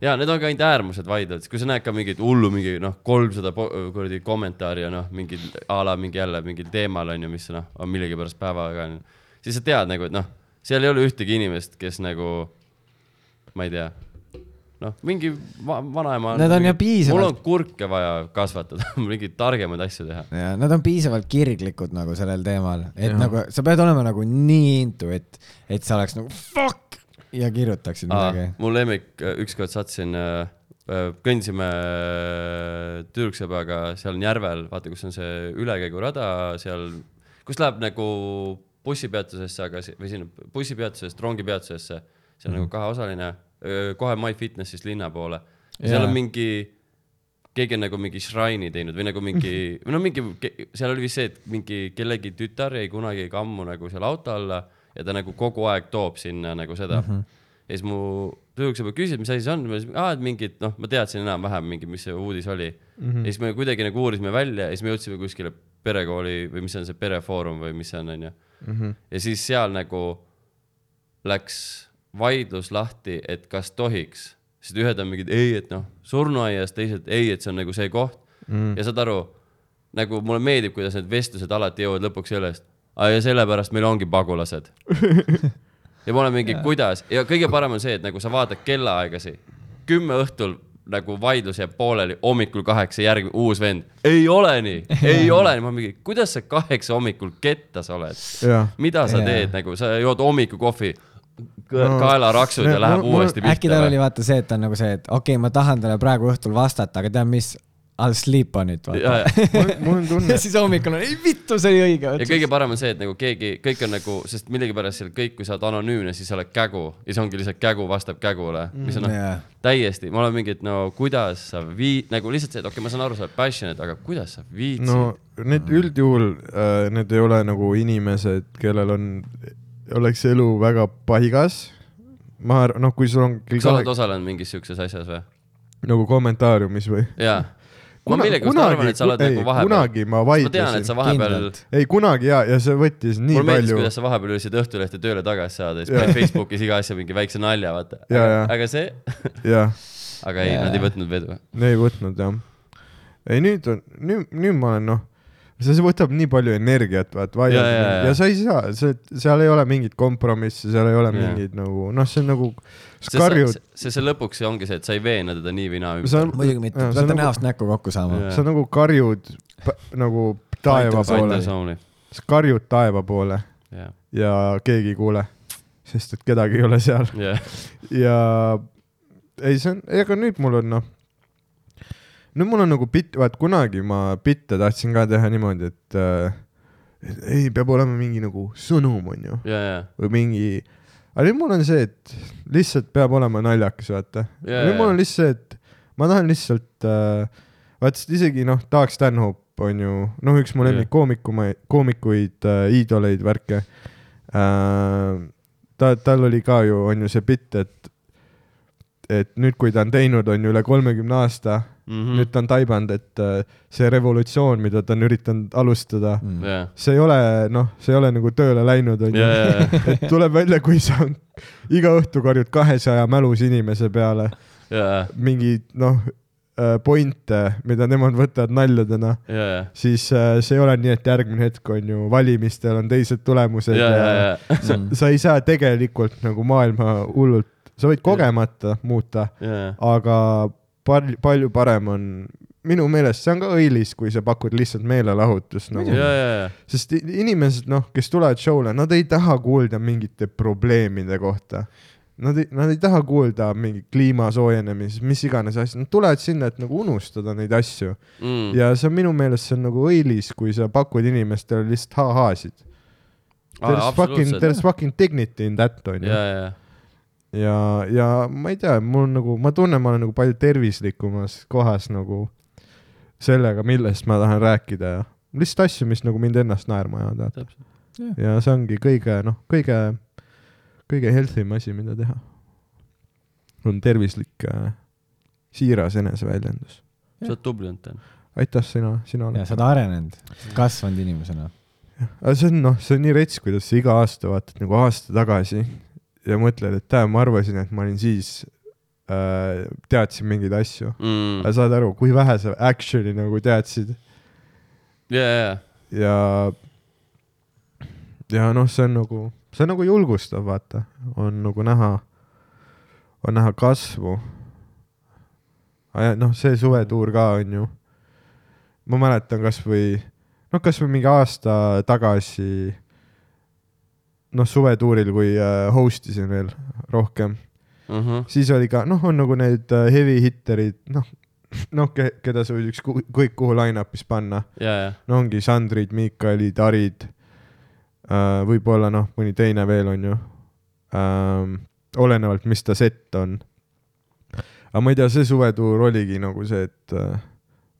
Speaker 2: ja need on ka ainult äärmused vaidlused , kui sa näed ka mingit hullu mingi noh , kolmsada kuradi kommentaari ja noh , mingil a la mingi jälle mingil teemal on ju , mis noh , on millegipärast päevaga on ju . siis sa tead nagu , et noh , seal ei ole ühtegi inimest , kes nagu , ma ei tea , noh , mingi va vanaema .
Speaker 5: Nad on ju piisavalt-
Speaker 2: mul on kurke vaja kasvatada , mingeid targemaid asju teha .
Speaker 5: ja nad on piisavalt kirglikud nagu sellel teemal , et ja. nagu sa pead olema nagu nii into , et , et sa oleks nagu fuck ja kirjutaksid
Speaker 2: Aa,
Speaker 5: midagi .
Speaker 2: mu lemmik , ükskord sattusin , kõndisime äh, tüdruksõbraga seal on järvel , vaata , kus on see ülekäigurada seal , kus läheb nagu bussipeatusesse , aga si- või sinna bussipeatusest rongipeatusesse , see on mm.
Speaker 5: Mhm.
Speaker 2: nagu kaheosaline , kohe MyFitnesse'ist linna poole . ja seal
Speaker 5: Jaa.
Speaker 2: on mingi , keegi on nagu mingi šraini teinud või nagu mingi , või no mingi , seal oli vist see , et mingi kellegi tütar jäi kunagi kammu nagu seal auto alla ja ta nagu kogu aeg toob sinna nagu seda mm . -hmm. ja siis mu tüdruks juba küsis , mis asi see on , ma ütlesin , aa , et mingid , noh , ma teadsin enam-vähem mingi , mis see uudis oli mm . -hmm. ja siis me kuidagi nagu uurisime välja ja siis me jõudsime kuskile perekooli või mis on see perefoorum või mis see on , onju . ja siis seal nagu läks vaidlus lahti , et kas tohiks , sest ühed on mingid ei , et noh , surnuaias , teised ei , et see on nagu see koht mm. ja saad aru , nagu mulle meeldib , kuidas need vestlused alati jõuavad lõpuks sellest , ja sellepärast meil ongi pagulased . ja ma olen mingi yeah. kuidas ja kõige parem on see , et nagu sa vaatad kellaaegasi , kümme õhtul nagu vaidlus jääb pooleli , hommikul kaheksa järgmine uus vend , ei ole nii , ei ole nii , ma mingi , kuidas sa kaheksa hommikul kettas oled ?
Speaker 1: jah .
Speaker 2: mida sa
Speaker 5: Jaa.
Speaker 2: teed nagu , sa jood hommikukohvi , kaelaraksud ja
Speaker 1: No,
Speaker 2: läheb
Speaker 1: mul- mul-
Speaker 2: uuesti
Speaker 5: äkki tal
Speaker 2: pihta
Speaker 5: oli . vaata see , et ta on nagu see , et okei okay, , ma tahan talle praegu õhtul vastata , aga tead mis , I'll sleep on it , vaata .
Speaker 1: mul on tunne
Speaker 5: ja , siis hommikul on , ei vittu , see oli õige
Speaker 2: ja kõige parem on see , et nagu keegi , kõik on nagu , sest millegipärast seal kõik , kui sa oled anonüümne , siis sa oled kägu ja see ongi lihtsalt kägu vastab kägule , mis on noh
Speaker 5: Mm, jaa.
Speaker 2: täiesti , ma olen mingi , et no kuidas sa vii- , nagu lihtsalt see , et okei okay, , ma saan aru , sa oled passionate , aga kuidas sa viitsid no.
Speaker 1: no need üldjuhul , need ei ole nagu inimesed , kellel on , oleks elu väga paigas . ma arvan , noh , kui sul on küll
Speaker 2: kas sa oled
Speaker 1: kahe-
Speaker 2: osalenud mingis siukses asjas või ?
Speaker 1: nagu kommentaariumis või ?
Speaker 2: jaa . ma millegipärast arvan , et sa oled
Speaker 1: ei,
Speaker 2: nagu vahepeal ,
Speaker 1: kunagi ma
Speaker 2: ma tean , et sa
Speaker 1: vaidlesin .
Speaker 2: vahepeal
Speaker 5: kindlalt.
Speaker 1: ei , kunagi ja , ja see võttis nii
Speaker 2: mulle meeldis ,
Speaker 1: palju
Speaker 2: kuidas . sa vahepeal üritasid Õhtulehte tööle tagasi saada , siis
Speaker 1: Jaa.
Speaker 2: panid Facebookis iga asja mingi väikse nalja , vaata .
Speaker 1: Jaa, jaa.
Speaker 2: aga see ,
Speaker 1: jah ,
Speaker 2: aga ei ,
Speaker 5: Jaa.
Speaker 2: nad ei võtnud vedu .
Speaker 1: ei võtnud jah . ei , nüüd on , nüüd , nüüd ma olen noh , see see võtab nii palju energiat , vaat vaidlus
Speaker 2: Ja,
Speaker 1: ja,
Speaker 2: ja,
Speaker 1: ja,
Speaker 2: ja.
Speaker 1: ja sa ei saa , see , seal ei ole mingit kompromissi , seal ei ole
Speaker 2: Ja.
Speaker 1: mingit nagu noh , see on nagu ,
Speaker 2: sest
Speaker 1: sa karjud
Speaker 2: sa- , see , see lõpuks ongi see , et sa ei veena teda nii või naa
Speaker 1: See
Speaker 2: ümber
Speaker 1: on- .
Speaker 5: muidugi mitte ,
Speaker 1: Jaa, see
Speaker 5: peate
Speaker 1: on
Speaker 5: nagu...
Speaker 1: nagu-
Speaker 5: näost näkku kokku saama .
Speaker 2: Jaa.
Speaker 1: sa nagu karjud p- nagu taeva
Speaker 5: Fighters
Speaker 1: poole , sa karjud taeva poole
Speaker 2: jah ,
Speaker 1: ja keegi ei kuule , sest et kedagi ei ole seal
Speaker 2: jah .
Speaker 1: ja ei , see on , ega nüüd mul on noh , nüüd mul on nagu bitt , vaat kunagi ma bitte tahtsin ka teha niimoodi , et äh, et ei , peab olema mingi nagu sõnum , onju ,
Speaker 2: ja , ja ,
Speaker 1: või mingi , aga nüüd mul on see , et lihtsalt peab olema naljakas , vaata .
Speaker 2: Jaa,
Speaker 1: nüüd
Speaker 2: jaa.
Speaker 1: mul on lihtsalt , ma tahan lihtsalt äh, , vaat sest isegi noh , Taak Stanhope on ju , noh , üks mu
Speaker 2: Jaa.
Speaker 1: lemmikkoomikumaid , koomikuid äh, , iidoleid , värke äh, . ta , tal oli ka ju , on ju see bitt , et , et nüüd , kui ta on teinud , on ju üle kolmekümne aasta
Speaker 2: Mhm.
Speaker 1: mm. , nüüd ta on taibanud , et äh, see revolutsioon , mida ta on üritanud alustada mm. ,
Speaker 5: Mm.
Speaker 2: jah ,
Speaker 1: see ei ole , noh , see ei ole nagu tööle läinud , on ju
Speaker 2: ja , ja ,
Speaker 1: et tuleb välja , kui sa on- iga õhtu karjud kahesaja mälus inimese peale
Speaker 2: ja ,
Speaker 1: mingeid noh , point'e , mida nemad võtavad naljadena ,
Speaker 2: ja , ja ,
Speaker 1: siis äh, see ei ole nii , et järgmine hetk on ju valimistel on teised tulemused
Speaker 2: ja , ja , ja ,
Speaker 1: sa, sa ei saa tegelikult nagu maailma hullult , sa võid kogemata muuta ,
Speaker 2: ja ,
Speaker 1: aga palju , palju parem on minu meelest see on ka õilis , kui sa pakud lihtsalt meelelahutust nagu
Speaker 2: ja , ja ,
Speaker 1: sest i- inimesed , noh , kes tulevad show'le , nad ei taha kuulda mingite probleemide kohta . Nad ei , nad ei taha kuulda mingi kliima soojenemisest , mis iganes asja , nad tulevad sinna , et nagu unustada neid asju
Speaker 2: ja .
Speaker 1: ja see on minu meelest , see on nagu õilis , kui sa pakud inimestele lihtsalt ha-haasid . There's fucking ,
Speaker 2: absoluutselt ,
Speaker 1: there's fucking dignity in that onju
Speaker 2: ja , ja ,
Speaker 1: ja , ja ma ei tea , mul on nagu , ma tunnen , ma olen nagu palju tervislikumas kohas nagu sellega , millest ma tahan rääkida ja lihtsalt asju , mis nagu mind ennast naerma ajavad , vaata .
Speaker 2: täpselt .
Speaker 1: ja see ongi kõige noh , kõige , kõige healthy im asi , mida teha . on tervislik äh, siiras eneseväljendus .
Speaker 2: sa oled tubli olnud , Dan .
Speaker 1: aitäh sina , sina
Speaker 5: ja
Speaker 1: oled
Speaker 5: sa . oled arenenud , kasvanud inimesena .
Speaker 1: aga see on noh , see on nii rets , kuidas sa iga aasta vaatad nagu aasta tagasi ja mõtled , et täna ma arvasin , et ma olin siis äh, teadsin mingeid asju
Speaker 2: mm. .
Speaker 1: mm. . saad aru , kui vähe sa action'i nagu teadsid
Speaker 2: ja , ja ,
Speaker 1: ja , ja noh , see on nagu , see on nagu julgustav , vaata , on nagu näha , on näha kasvu . noh , see suvetuur ka on ju , ma mäletan kasvõi , noh , kasvõi mingi aasta tagasi , noh , suvetuuril , kui äh, host isin veel rohkem ,
Speaker 2: ja .
Speaker 1: siis oli ka , noh , on nagu need äh, heavy hitterid , noh , noh , keda sa võid ükskõik kuhu line-up'is panna
Speaker 2: ja , ja ,
Speaker 1: no ongi Sandrid , Miikalid , Arid , võib-olla noh , mõni teine veel on ju . olenevalt , mis ta sett on . aga ma ei tea , see suvetuur oligi nagu see , et äh,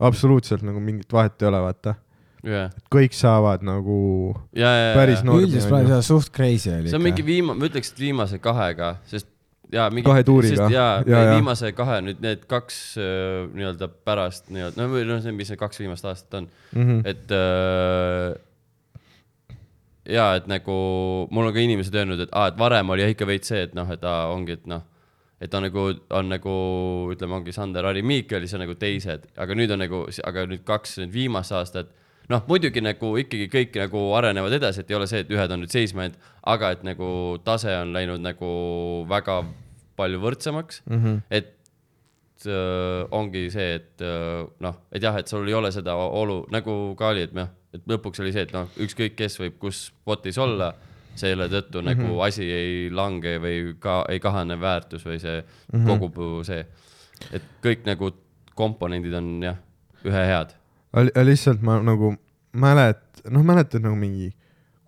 Speaker 1: absoluutselt nagu mingit vahet ei ole , vaata .
Speaker 2: ja ,
Speaker 1: kõik saavad nagu
Speaker 2: ja , ja .
Speaker 1: Päris noor-
Speaker 5: üldises plaanis jah , suht crazy oli
Speaker 2: see on mingi . viimane , ma ütleks , et viimase kahega , sest ja mingi
Speaker 1: Kahe tuuriga.
Speaker 2: ja, ja
Speaker 1: Jaa, , jaa.
Speaker 2: viimase kahe nüüd need kaks äh, nii-öelda pärast nii-öelda , no või noh , see , mis need kaks viimast aastat on ,
Speaker 1: mm . -hmm.
Speaker 2: et äh, . ja et nagu mul on ka inimesed öelnud , et aa , et varem oli ikka veits see , et noh , et aa , ongi , et noh , et on nagu , on nagu ütleme , ongi Sander Ari Miik oli seal nagu teised , aga nüüd on nagu , aga nüüd kaks nüüd viimast aastat noh , muidugi nagu ikkagi kõik nagu arenevad edasi , et ei ole see , et ühed on nüüd seisma jäänud , aga et nagu tase on läinud nagu väga palju võrdsemaks mm , -hmm. et äh, ongi see , et äh, noh , et jah , et sul ei ole seda olu nagu ka oli , et noh , et lõpuks oli see , et noh , ükskõik kes võib kus spot'is olla , selle tõttu mm -hmm. nagu asi ei lange või ka ei kahane väärtus või see mm -hmm. kogub see , et kõik nagu komponendid on jah , ühe head .
Speaker 1: aga lihtsalt ma nagu mälet- , noh , mäletad nagu mingi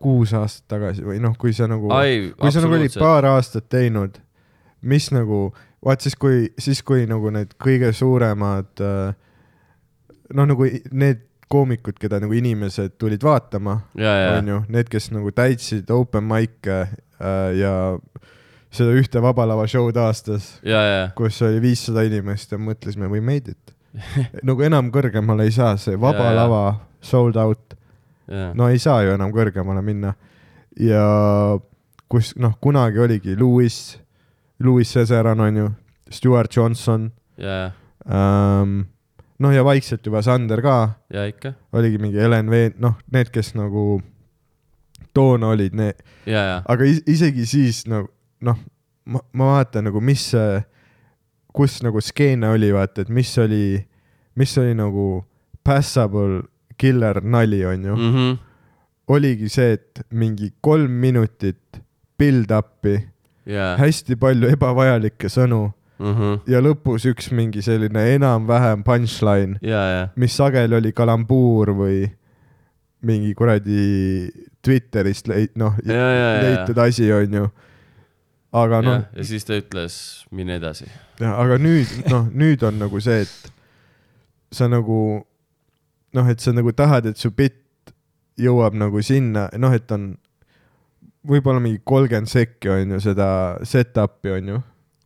Speaker 1: kuus aastat tagasi või noh , kui sa nagu ,
Speaker 2: Ai,
Speaker 1: kui sa nagu olid
Speaker 2: absoluutselt.
Speaker 1: paar aastat teinud , mis nagu , vaat siis kui , siis kui nagu need kõige suuremad , noh , nagu i- need koomikud , keda nagu inimesed tulid vaatama ,
Speaker 2: ja , ja ,
Speaker 1: onju , need , kes nagu täitsid open mic'e äh, ja seda ühte Vaba Lava show'd aastas ,
Speaker 2: ja , ja
Speaker 1: kus oli viissada inimest ja mõtlesime , we made it . nagu enam kõrgemale ei saa , see vaba
Speaker 2: Jaa,
Speaker 1: ja,
Speaker 2: jaa.
Speaker 1: lava , sold out ,
Speaker 2: ja ,
Speaker 1: no ei saa ju enam kõrgemale minna . ja kus noh , kunagi oligi Lewis , Lewis Cesaran on ju , Stewart Johnson
Speaker 2: ja ,
Speaker 1: ähm, , noh ja vaikselt juba Sander ka ,
Speaker 2: ja ikka ,
Speaker 1: oligi mingi Helen Veen , noh , need , kes nagu toona olid , need ,
Speaker 2: ja , ja ,
Speaker 1: aga is isegi siis nagu noh , ma , ma vaatan nagu , mis , kus nagu skeene oli , vaata , et mis oli , mis oli nagu passable killer nali , onju mm. .
Speaker 2: Mhm.
Speaker 1: oligi see , et mingi kolm minutit build-up'i ,
Speaker 2: ja , Mhm.
Speaker 1: hästi palju ebavajalikke sõnu ja lõpus üks mingi selline enam-vähem punchline ,
Speaker 2: ja , ja ,
Speaker 1: mis sageli oli kalambuur või mingi kuradi Twitterist leid- , noh ,
Speaker 2: Ja, ja, ja,
Speaker 1: leitud asi , onju . aga
Speaker 2: ja
Speaker 1: noh ,,
Speaker 2: ja siis ta ütles , mine edasi .
Speaker 1: aga nüüd , noh , nüüd on nagu see , et sa nagu noh , et sa nagu tahad , et su bitt jõuab nagu sinna , noh , et on võib-olla mingi kolmkümmend sekki onju seda set-up'i onju ,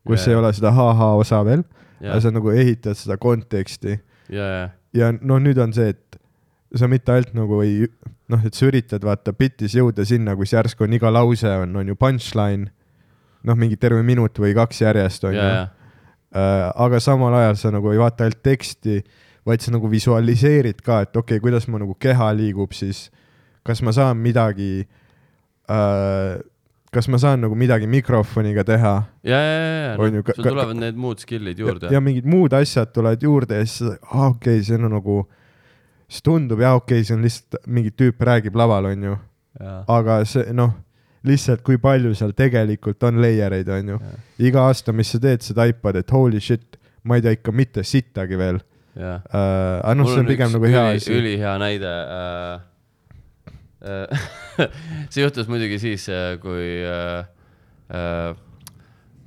Speaker 1: kus
Speaker 2: Ja,
Speaker 1: ei
Speaker 2: ja.
Speaker 1: ole seda ha-ha osa veel ,
Speaker 2: ja
Speaker 1: aga , sa nagu ehitad seda konteksti
Speaker 2: ja , ja ,
Speaker 1: ja noh , nüüd on see , et sa mitte ainult nagu ei , noh , et sa üritad vaata bitis jõuda sinna , kus järsku on iga lause on , on ju punchline , noh , mingi terve minut või kaks järjest
Speaker 2: ja ,
Speaker 1: on
Speaker 2: ja ,
Speaker 1: ju , aga samal ajal sa nagu ei vaata ainult teksti , vaid sa nagu visualiseerid ka , et okei okay, , kuidas mu nagu keha liigub siis , kas ma saan midagi äh, , kas ma saan nagu midagi mikrofoniga teha
Speaker 2: ja , ja , ja ,
Speaker 1: On ju,
Speaker 2: no
Speaker 1: ka-
Speaker 2: Noh, sul
Speaker 1: ka-
Speaker 2: tulevad need muud skill'id
Speaker 1: ja,
Speaker 2: juurde .
Speaker 1: ja mingid muud asjad tulevad juurde ja siis , aa okei okay, , see on nagu , siis tundub jaa , okei okay, , see on lihtsalt mingi tüüp räägib laval , onju ,
Speaker 2: ja ,
Speaker 1: aga see noh , lihtsalt kui palju seal tegelikult on layer eid , onju . iga aasta , mis sa teed , sa taipad , et holy shit , ma ei tea ikka mitte sittagi veel
Speaker 2: ja .
Speaker 1: uh, . aga noh , see on pigem nagu hea
Speaker 2: üli,
Speaker 1: asi .
Speaker 2: ülihea näide äh, . Äh, see juhtus muidugi siis , kui äh, äh,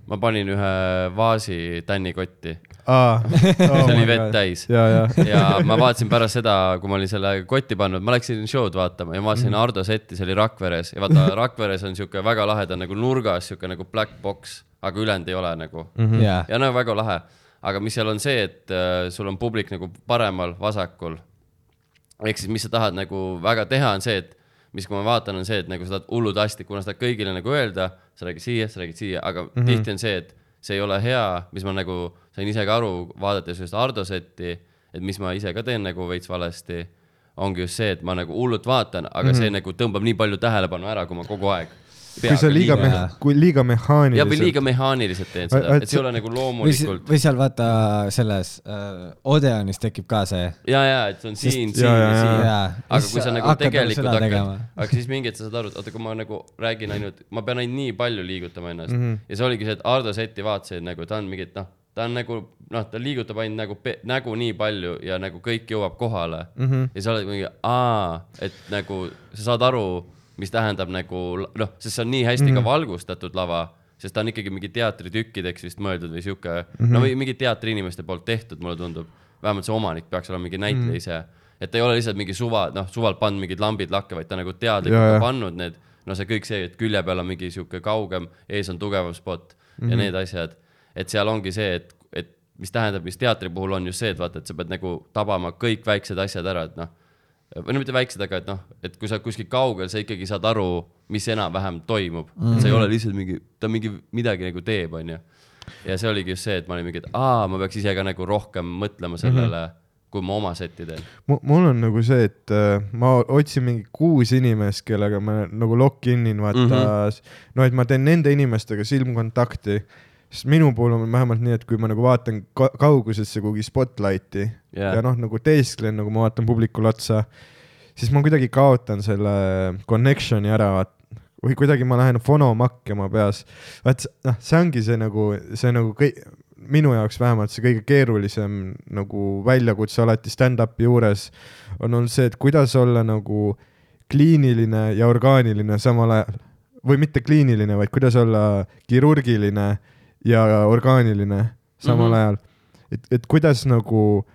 Speaker 2: ma panin ühe vaasi tännikotti ,
Speaker 1: aa , Oh
Speaker 2: see oli vett täis .
Speaker 1: ja , ja ,
Speaker 2: ja ma vaatasin pärast seda , kui ma olin selle kotti pannud , ma läksin show'd vaatama ja ma vaatasin
Speaker 1: Mhm.
Speaker 2: Ardo setti , see oli Rakveres ja vaata Rakveres on siuke väga laheda nagu nurgas siuke nagu black box , aga ülejäänud ei ole nagu
Speaker 1: Mhm.
Speaker 2: mm .
Speaker 5: jaa ,
Speaker 2: ja no väga lahe , aga mis seal on see , et äh, sul on publik nagu paremal , vasakul . ehk siis , mis sa tahad nagu väga teha , on see , et mis , kui ma vaatan , on see , et nagu sa tahad hullult hästi , kuna sa tahad kõigile nagu öelda , sa räägid siia , sa räägid siia , aga mm -hmm. tihti on see , et see ei ole hea , mis ma nagu sain ise ka aru , vaadates just Ardo setti , et mis ma ise ka teen nagu veits valesti , ongi just see , et ma nagu hullult vaatan , aga mm -hmm. see nagu tõmbab nii palju tähelepanu ära , kui ma kogu aeg .
Speaker 1: kui sa liiga , kui liiga mehaaniliselt .
Speaker 2: ja või liiga mehaaniliselt teed seda ,
Speaker 1: Vaid-
Speaker 2: et see ei ole nagu
Speaker 5: või s-
Speaker 2: loomulikult
Speaker 5: või seal vaata selles äh, Odeonis tekib ka see .
Speaker 2: ja , ja et see on siin , siin
Speaker 1: ja,
Speaker 2: ja
Speaker 1: ja, ja.
Speaker 2: siin .
Speaker 5: Jaa.
Speaker 2: aga
Speaker 5: Siis
Speaker 2: kui sa
Speaker 5: sa
Speaker 2: nagu
Speaker 5: hakkad nagu
Speaker 2: tegelikult
Speaker 5: seda
Speaker 2: hakkad
Speaker 5: tegema. ,
Speaker 2: aga siis mingi hetk sa saad aru , et oota , kui ma nagu räägin ainult , ma pean ainult nii palju liigutama ennast
Speaker 5: Mhm.
Speaker 2: mm -hmm. ja see oligi see , et Ardo Setti vaatasin nagu ta on mingi , et noh , ta on nagu noh , ta liigutab ainult nagu pe- nägu nii palju ja nagu kõik jõuab kohale mm .
Speaker 5: Mhm.
Speaker 2: -hmm. ja sa oled mingi aa , et nagu sa saad aru , mis tähendab nagu l- noh , sest see on nii hästi mm
Speaker 5: Mhm.
Speaker 2: -hmm. ka valgustatud lava sest ta on ikkagi mingi teatritükkideks vist mõeldud või sihuke mm ,
Speaker 1: Mhm.
Speaker 2: -hmm. no või mingi teatriinimeste poolt tehtud , mulle tundub . vähemalt see omanik peaks olema mingi
Speaker 1: Mhm.
Speaker 2: näitleja ise mm -hmm. , et ta ei ole lihtsalt mingi suva , noh , suvalt pannud mingid lambid lakke , vaid ta nagu teadlikult
Speaker 1: Jaa,
Speaker 2: on
Speaker 1: jah.
Speaker 2: pannud need . no see kõik see , et külje peal on mingi sihuke kaugem , ees on tugevam spot mm -hmm. ja need asjad . et seal ongi see , et , et mis tähendab , mis teatri puhul on just see , et vaata , et sa pead nagu tabama kõik väiksed asjad ära , et noh . või no mitte väiksed , aga et noh , et kui sa oled kuskil kaugel , sa ikkagi saad aru , mis enam-vähem toimub mm . -hmm. et sa ei ole lihtsalt mingi , ta mingi midagi nagu teeb , onju ja see oligi just see , et ma olin mingi , et aa , ma peaks ise ka nagu rohkem mõtlema sellele mm , -hmm. kui ma oma seti teen .
Speaker 1: Mu- mul on nagu see , et äh, ma otsin mingi kuus inimest , kellega ma nagu lock-in in vaata mm , -hmm. no et ma teen nende inimestega silmkontakti , sest minu puhul on vähemalt nii , et kui ma nagu vaatan ka kaugusesse kuhugi spotlighti
Speaker 2: Jaa.
Speaker 1: yeah. ja noh , nagu teesklen , nagu ma vaatan publikule otsa , siis ma kuidagi kaotan selle connection'i ära , vaat või kuidagi ma lähen fonomakki oma peas . vaat s- noh , see ongi see nagu , see nagu kõik , minu jaoks vähemalt see kõige keerulisem nagu väljakutse alati stand-up'i juures on olnud see , et kuidas olla nagu kliiniline ja orgaaniline samal ajal . või mitte kliiniline , vaid kuidas olla kirurgiline ja orgaaniline samal mm
Speaker 2: Mhm.
Speaker 1: -hmm. ajal . et , et kuidas nagu ,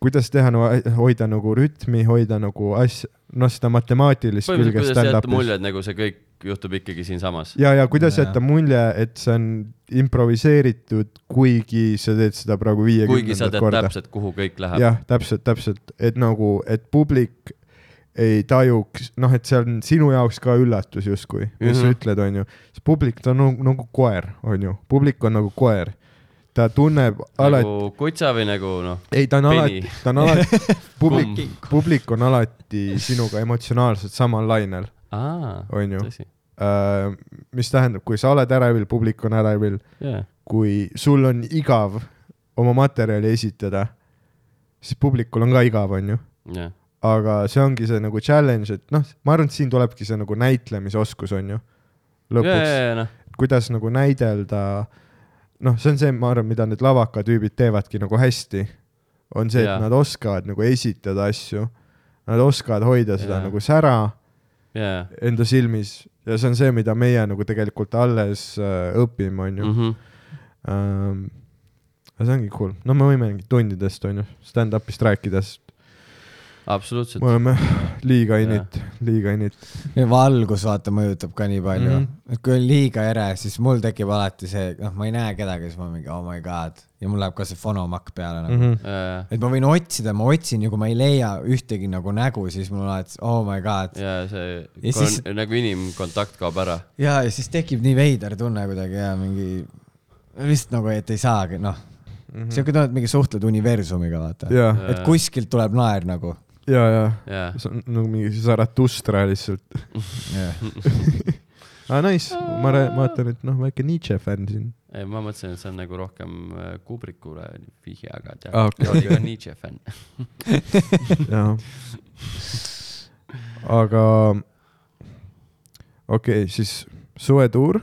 Speaker 1: kuidas teha no, , hoida nagu rütmi , hoida nagu asja , noh , seda matemaatilist külge
Speaker 2: põhimõtteliselt , kuidas jätta
Speaker 1: stand-up'is .
Speaker 2: mulje , et nagu see kõik juhtub ikkagi siinsamas .
Speaker 1: ja , ja kuidas
Speaker 5: Jaa.
Speaker 1: jätta mulje , et see on improviseeritud , kuigi sa teed seda praegu
Speaker 2: kuigi sa
Speaker 1: viiekümnendat
Speaker 2: tead
Speaker 1: korda .
Speaker 2: täpselt , kuhu kõik läheb .
Speaker 1: jah , täpselt , täpselt , et nagu , et publik ei tajuks , noh , et see on sinu jaoks ka üllatus justkui , mis mm
Speaker 2: Mhm.
Speaker 1: -hmm. sa ütled , onju . sest publik , ta on nagu, nagu koer , onju , publik on nagu koer . ta tunneb alati ,
Speaker 2: nagu kutsa või nagu noh ,
Speaker 1: ei , ta on
Speaker 2: peni.
Speaker 1: alati , ta on alati , publik
Speaker 2: Kumb? ,
Speaker 1: publik on alati sinuga emotsionaalselt samal lainel .
Speaker 2: aa ,
Speaker 1: On ju.
Speaker 2: tõsi ,
Speaker 1: mis tähendab , kui sa oled ärevil , publik on ärevil ,
Speaker 2: jaa .
Speaker 1: kui sul on igav oma materjali esitada , siis publikul on ka igav , onju .
Speaker 2: jah ,
Speaker 1: aga see ongi see nagu challenge , et noh , ma arvan , et siin tulebki see nagu näitlemisoskus , onju .
Speaker 2: ja ,
Speaker 1: lõpuks ,
Speaker 2: ja , noh ,
Speaker 1: kuidas nagu näidelda , noh , see on see , ma arvan , mida need lavaka tüübid teevadki nagu hästi , on see , et
Speaker 2: Jaa.
Speaker 1: nad oskavad nagu esitada asju , nad oskavad hoida seda
Speaker 2: Jaa.
Speaker 1: nagu sära
Speaker 2: ja ,
Speaker 1: enda silmis ja see on see , mida meie nagu tegelikult alles äh, õpime , onju .
Speaker 2: ja .
Speaker 1: ähm, . aga see ongi cool , no me võime mingi tundidest onju , stand-up'ist rääkides ,
Speaker 2: absoluutselt
Speaker 1: me . oleme liiga in it , liiga in it .
Speaker 5: valgus vaata mõjutab ka nii palju mm ,
Speaker 1: Mhm.
Speaker 5: -hmm. et kui on liiga ere , siis mul tekib alati see , noh , ma ei näe kedagi , siis ma mingi oh my god ja mul läheb ka see fonomakk peale
Speaker 1: Mhm.
Speaker 5: nagu mm . -hmm.
Speaker 2: ja ,
Speaker 5: et ma võin otsida , ma otsin ja kui ma ei leia ühtegi nagu nägu , siis mul alati oh my god ja,
Speaker 2: ja see
Speaker 5: Ja
Speaker 2: kon-
Speaker 5: siis-
Speaker 2: nagu inimkontakt kaob ära .
Speaker 5: ja , ja siis tekib nii veider tunne kuidagi ja mingi lihtsalt nagu , et ei saagi , noh mm
Speaker 1: Mhm.
Speaker 5: -hmm. , siuke tunne , et mingi suhtled universumiga , vaata
Speaker 1: ja ,
Speaker 5: et kuskilt tuleb naer nagu .
Speaker 1: ja , ja
Speaker 2: ja ,
Speaker 1: see on nagu mingi Zaratustra lihtsalt . aa , Ah, nice , ma rää- vaatan , et noh , väike Nietzsche fänn siin .
Speaker 2: ei ma mõtlesin , et see on nagu rohkem äh, Kubrikule vihje , aga tead
Speaker 1: Aa, Ah, okei,
Speaker 2: ta oli ka
Speaker 1: okei.
Speaker 2: Nietzsche fänn .
Speaker 1: jah . aga okei okay, , siis suvetuur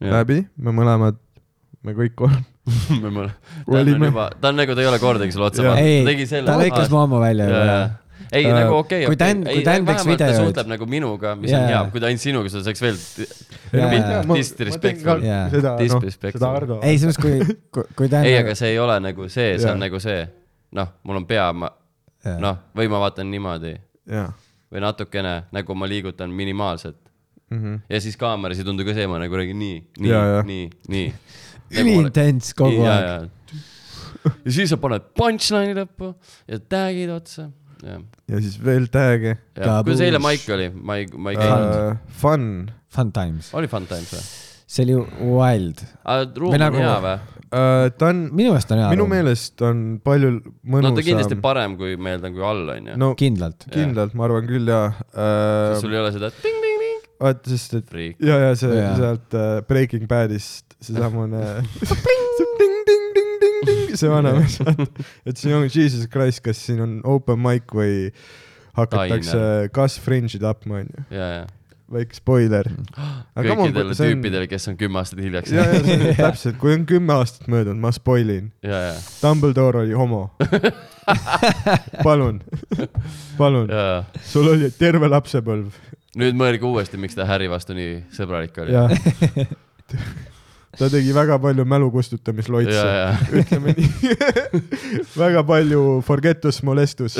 Speaker 1: läbi , me mõlemad , me kõik kolm .
Speaker 2: me mõle- , ta on
Speaker 1: Olime-
Speaker 2: juba , ta on nagu , ta ei ole kordagi sulle otsa
Speaker 1: Jaa.
Speaker 5: ei
Speaker 2: vaadanud , ta tegi , selle .
Speaker 5: ta lõikas mu hamma välja juba jah .
Speaker 2: ei
Speaker 1: Äh,
Speaker 2: nagu okei ,
Speaker 5: kui Dan- kui Dan teeks videoid-
Speaker 2: suhtleb nagu minuga , mis on
Speaker 5: Jaa.
Speaker 2: hea , kui ta ainult sinuga , siis oleks veel t-
Speaker 5: Ei, no
Speaker 2: Mid-
Speaker 5: jaa.
Speaker 2: disrespectful .
Speaker 5: Jaa.
Speaker 1: seda , noh ,
Speaker 2: Disrespectful.
Speaker 1: seda Ardo .
Speaker 5: ei , selles mõttes , kui , kui Dan
Speaker 2: ei , aga see ei ole nagu see , see
Speaker 1: Jaa.
Speaker 2: on nagu see , noh , mul on pea , ma ,
Speaker 5: noh ,
Speaker 2: noh , või ma vaatan niimoodi
Speaker 1: jah
Speaker 2: või natukene nagu ma liigutan minimaalselt
Speaker 1: mm .
Speaker 5: Mhm.
Speaker 1: -hmm.
Speaker 2: ja siis kaameras ei tundu ka see , ma nagu räägin nii , nii
Speaker 1: Jaa, jaa. ,
Speaker 2: nii , nii . Nagu
Speaker 5: üliintens kogu aeg ..
Speaker 2: ja siis sa paned punchline'i lõppu ja tag'id otsa ja ,
Speaker 1: ja siis veel tag'e
Speaker 2: ja kuidas eile
Speaker 5: Kabuus.
Speaker 2: Maik oli , ma ei , ma ei käinud .
Speaker 1: uh, . Äh, Fun ,
Speaker 5: Fun times .
Speaker 2: oli fun times või ?
Speaker 5: see oli wild .
Speaker 2: ruum
Speaker 5: Või
Speaker 2: on
Speaker 5: nagu-
Speaker 2: hea või ?
Speaker 1: Äh, ta on ,
Speaker 5: minu meelest on hea
Speaker 1: minu . meelest on palju
Speaker 2: no ta kindlasti
Speaker 1: mõnusam .
Speaker 2: parem kui meil on , kui all on ju .
Speaker 1: ähm, no
Speaker 5: kindlalt .
Speaker 1: kindlalt , ma arvan küll jaa
Speaker 2: siis sul
Speaker 1: äh, .
Speaker 2: ei ole seda ting-ting-ting ,
Speaker 1: vaata , sest et
Speaker 2: friik .
Speaker 1: ja , ja see
Speaker 5: Jaa.
Speaker 1: sealt äh, Breaking Badist seesamune see ting-ting-ting-ting-ting , see vanamees , et siin on Jesus Christ , kas siin on open mic või hakatakse , kas fringe'i tapma onju ,
Speaker 2: ja , ja .
Speaker 1: väike spoiler .
Speaker 2: kõikidele tüüpidele , kes on kümme aastat hiljaks
Speaker 1: ja , ja
Speaker 2: jäänud .
Speaker 1: see- täpselt , kui on kümme aastat möödunud , ma spoil in .
Speaker 2: ja , ja ,
Speaker 1: Dumbledore oli homo . palun , palun ,
Speaker 2: ja .
Speaker 1: sul oli terve lapsepõlv .
Speaker 2: nüüd mõelge uuesti , miks ta Harry vastu nii sõbralik oli .
Speaker 1: jah . ta tegi väga palju mälu kustutamisloitse
Speaker 2: ja , ja .
Speaker 1: ütleme nii . väga palju forgetus molestus .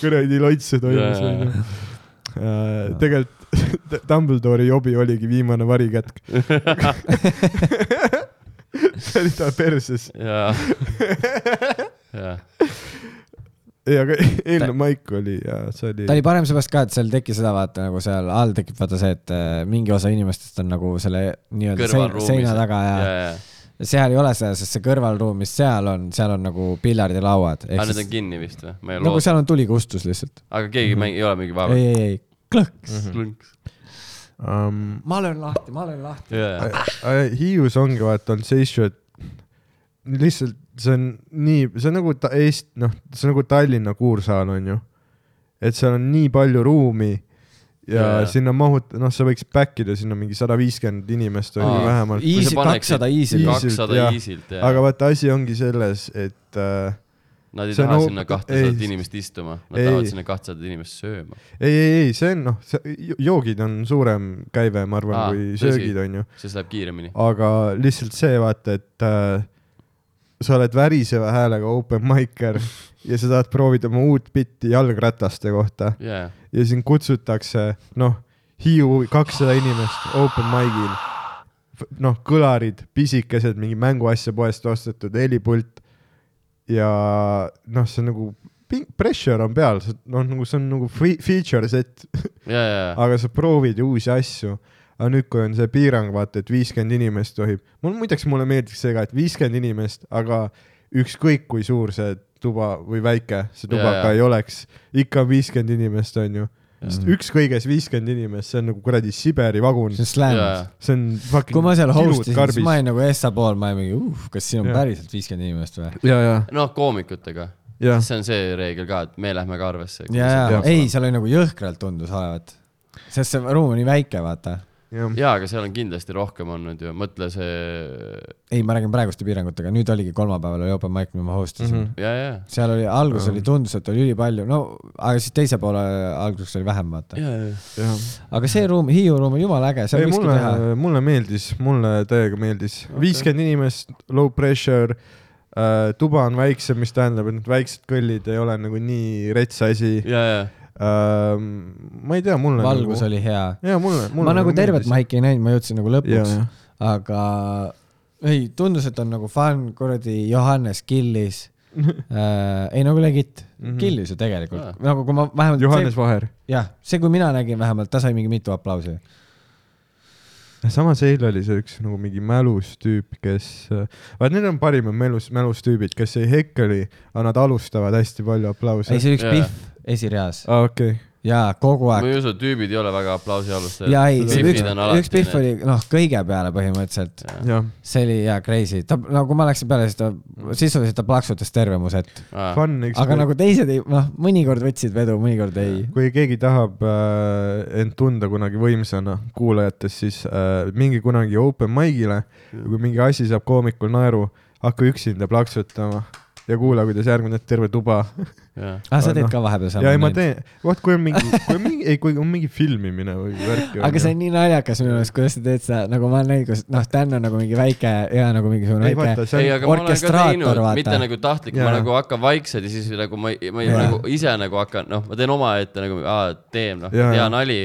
Speaker 1: kuradi loitse toimus
Speaker 2: Jaa.
Speaker 1: onju . tegelikult Dumbledore'i jobi oligi viimane varikätk . see oli ta perses .
Speaker 2: ja , ja ,
Speaker 1: ei , aga eelnev maik oli ja see oli .
Speaker 5: ta oli parem seepärast ka , et seal tekkis seda vaata nagu seal all tekib vaata see , et äh, mingi osa inimestest on nagu selle nii-öelda sein-
Speaker 2: kõrvalruumis .
Speaker 5: seina taga ja,
Speaker 2: ja ,
Speaker 5: ja
Speaker 2: ja .
Speaker 5: seal ei ole seda , sest see kõrvalruum , mis seal on , seal on nagu pillard ja lauad .
Speaker 2: aga need on kinni vist või ? ma ei
Speaker 5: nagu
Speaker 2: loota .
Speaker 5: seal on tulikustus lihtsalt .
Speaker 2: aga keegi mängi- , ei ole mingi
Speaker 5: ei ,
Speaker 2: vaeva .
Speaker 5: ei , ei , klõks .
Speaker 2: klõnks .
Speaker 1: um, .
Speaker 5: ma löön lahti , ma löön lahti .
Speaker 2: ja , ja .
Speaker 1: Hiius ongi vaata olnud see issue , et lihtsalt see on nii , see on nagu ta- Eest- , noh , see on nagu Tallinna kuursaal onju . et seal on nii palju ruumi ja
Speaker 2: Jaa.
Speaker 1: yeah. sinna mahut- , noh , sa võiks back ida sinna mingi sada viiskümmend inimest või
Speaker 2: Aa.
Speaker 1: vähemalt .
Speaker 2: Kui sa
Speaker 5: Easy ,
Speaker 2: paneksid-
Speaker 5: kakssada easy .
Speaker 1: Easy.
Speaker 2: kakssada
Speaker 1: jah.
Speaker 2: iisilt ja
Speaker 1: aga . vaata , asi ongi selles , et äh,
Speaker 2: Nad ei
Speaker 1: see on
Speaker 2: taha
Speaker 1: au-
Speaker 2: sinna kahtesadat
Speaker 1: ei.
Speaker 2: inimest istuma , nad
Speaker 1: Ei.
Speaker 2: tahavad sinna kahtesadat inimest sööma .
Speaker 1: ei , ei , ei , see on noh , joogid on suurem käive , ma arvan
Speaker 2: Aa,
Speaker 1: ah, , kui
Speaker 2: tõsi.
Speaker 1: söögid onju .
Speaker 2: siis läheb kiiremini .
Speaker 1: aga lihtsalt see vaata , et äh, sa oled väriseva häälega open micer ja sa tahad proovida oma uut bitti jalgrataste kohta
Speaker 2: jaa ,
Speaker 1: ja sind kutsutakse , noh , Hiiu kakssada inimest open mic'il . noh , kõlarid , pisikesed , mingi mänguasja poest ostetud helipult . ja noh , see on nagu , pressure on peal , noh , nagu see on nagu fe- feature set
Speaker 2: ja , ja ,
Speaker 1: aga sa proovid ju uusi asju . aga nüüd , kui on see piirang , vaata , et viiskümmend inimest tohib , mul muideks mulle meeldiks see ka , et viiskümmend inimest , aga ükskõik kui suur see tuba või väike see tuba
Speaker 2: Jaa,
Speaker 1: ka
Speaker 2: jaa.
Speaker 1: ei oleks , ikka on viiskümmend inimest , onju .
Speaker 5: Mhm.
Speaker 1: ükskõiges viiskümmend inimest , see on nagu kuradi Siberi vagun
Speaker 5: see , on
Speaker 2: ja ,
Speaker 5: slam .
Speaker 2: ja ,
Speaker 1: see on fucking
Speaker 5: kui ma seal
Speaker 1: kilud
Speaker 5: host isin , siis
Speaker 1: karbis.
Speaker 5: ma olin nagu Essa pool , ma olin mingi , uh , kas siin on
Speaker 1: Jah.
Speaker 5: päriselt viiskümmend inimest või ?
Speaker 1: ja , ja ,
Speaker 2: noh , koomikutega .
Speaker 1: ja ,
Speaker 2: see on see reegel ka , et me lähme ka arvesse .
Speaker 5: ja , ja
Speaker 1: peab
Speaker 5: ei
Speaker 1: olema. ,
Speaker 5: seal oli nagu jõhkralt tundus olevat . sest see ruum on nii väike , vaata .
Speaker 1: jah .
Speaker 2: jaa , aga seal on kindlasti rohkem olnud ju , mõtle see ,
Speaker 5: ei , ma räägin praeguste piirangutega , nüüd oligi kolmapäeval oli open mic , mida ma host isin mm . -hmm.
Speaker 2: ja , ja ,
Speaker 5: seal oli , alguses
Speaker 1: Mhm.
Speaker 5: oli , tundus , et oli ülipalju , no aga siis teise poole äh, alguses oli vähem , vaata .
Speaker 2: ja , ja ,
Speaker 1: jah .
Speaker 5: aga see ruum , Hiiu ruum on jumala äge , seal
Speaker 1: ei ,
Speaker 5: võikski
Speaker 1: mulle
Speaker 5: teha .,
Speaker 1: mulle meeldis , mulle täiega meeldis okay. . viiskümmend inimest , low pressure äh, , tuba on väiksem , mis tähendab , et need väiksed kõllid ei ole nagu nii rets asi äh, .
Speaker 2: ja , ja ,
Speaker 1: ma ei tea , mulle .
Speaker 5: valgus oli hea .
Speaker 1: oli . ja mulle , mulle .
Speaker 5: ma nagu tervet . maiki ei näinud , ma jõudsin nagu
Speaker 1: ja ,
Speaker 5: lõpuks , aga ei , tundus , et on nagu fun , kuradi Johannes killis äh, . ei nagu legit
Speaker 1: Mhm. ,
Speaker 5: killis ju tegelikult
Speaker 2: Jaa. ,
Speaker 5: nagu kui ma vähemalt .
Speaker 1: Johannes . Vaher .
Speaker 5: jah , see , kui mina nägin vähemalt , ta sai mingi mitu aplausi .
Speaker 1: samas eile oli see üks nagu mingi mälus tüüp , kes , vaat need on parimad mälus , mälus tüübid , kes ei hekkeli , aga nad alustavad hästi palju
Speaker 5: ei ,
Speaker 1: aplause .
Speaker 5: see üks
Speaker 2: Jaa.
Speaker 5: Pihv esireas
Speaker 1: aa , okei .
Speaker 5: ja kogu
Speaker 2: ma
Speaker 5: aeg .
Speaker 2: ei usu , tüübid ei ole väga aplausi alustajad .
Speaker 5: ja ei ,
Speaker 1: see
Speaker 5: üks , üks Pihv . oli noh , kõige peale põhimõtteliselt ,
Speaker 1: jah ,
Speaker 5: see oli ja crazy , ta nagu kui ma läksin peale , siis ta sisuliselt ta plaksutas terve mu set ,
Speaker 1: fun .
Speaker 5: aga nagu teised ei , noh , mõnikord võtsid vedu , mõnikord ei .
Speaker 1: kui keegi tahab äh, end tunda kunagi võimsana kuulajatest , siis äh, minge kunagi open mic'ile ja kui mingi asi saab koomikul naeru , hakka üksinda plaksutama ja kuula , kuidas järgmine terve tuba .
Speaker 5: aa , Ah, sa teed
Speaker 1: Noh.
Speaker 5: ka vahepeal
Speaker 1: ja ei , ma
Speaker 5: sama ?
Speaker 1: teen , vot kui on mingi , kui on mingi , ei , kui on mingi filmimine või värk .
Speaker 5: aga see on nii naljakas minu meelest , kuidas sa teed seda , nagu ma olen näinud , kus noh , Dan on nagu mingi väike ja nagu mingisugune
Speaker 1: ei vaata
Speaker 5: väike ,,
Speaker 2: ei ,
Speaker 1: see on ,
Speaker 2: aga ma olen ka
Speaker 5: orkestraator,
Speaker 2: teinud ,
Speaker 5: vaata.
Speaker 2: mitte nagu tahtlik , ma
Speaker 1: Jaa.
Speaker 2: nagu hakkan vaikselt ja siis nagu ma ei , ma ei
Speaker 5: Jaa.
Speaker 2: nagu ise nagu hakkan , noh , ma teen omaette nagu , aa , teen , noh ,
Speaker 1: Jaa,
Speaker 2: hea
Speaker 1: jaa.
Speaker 2: nali .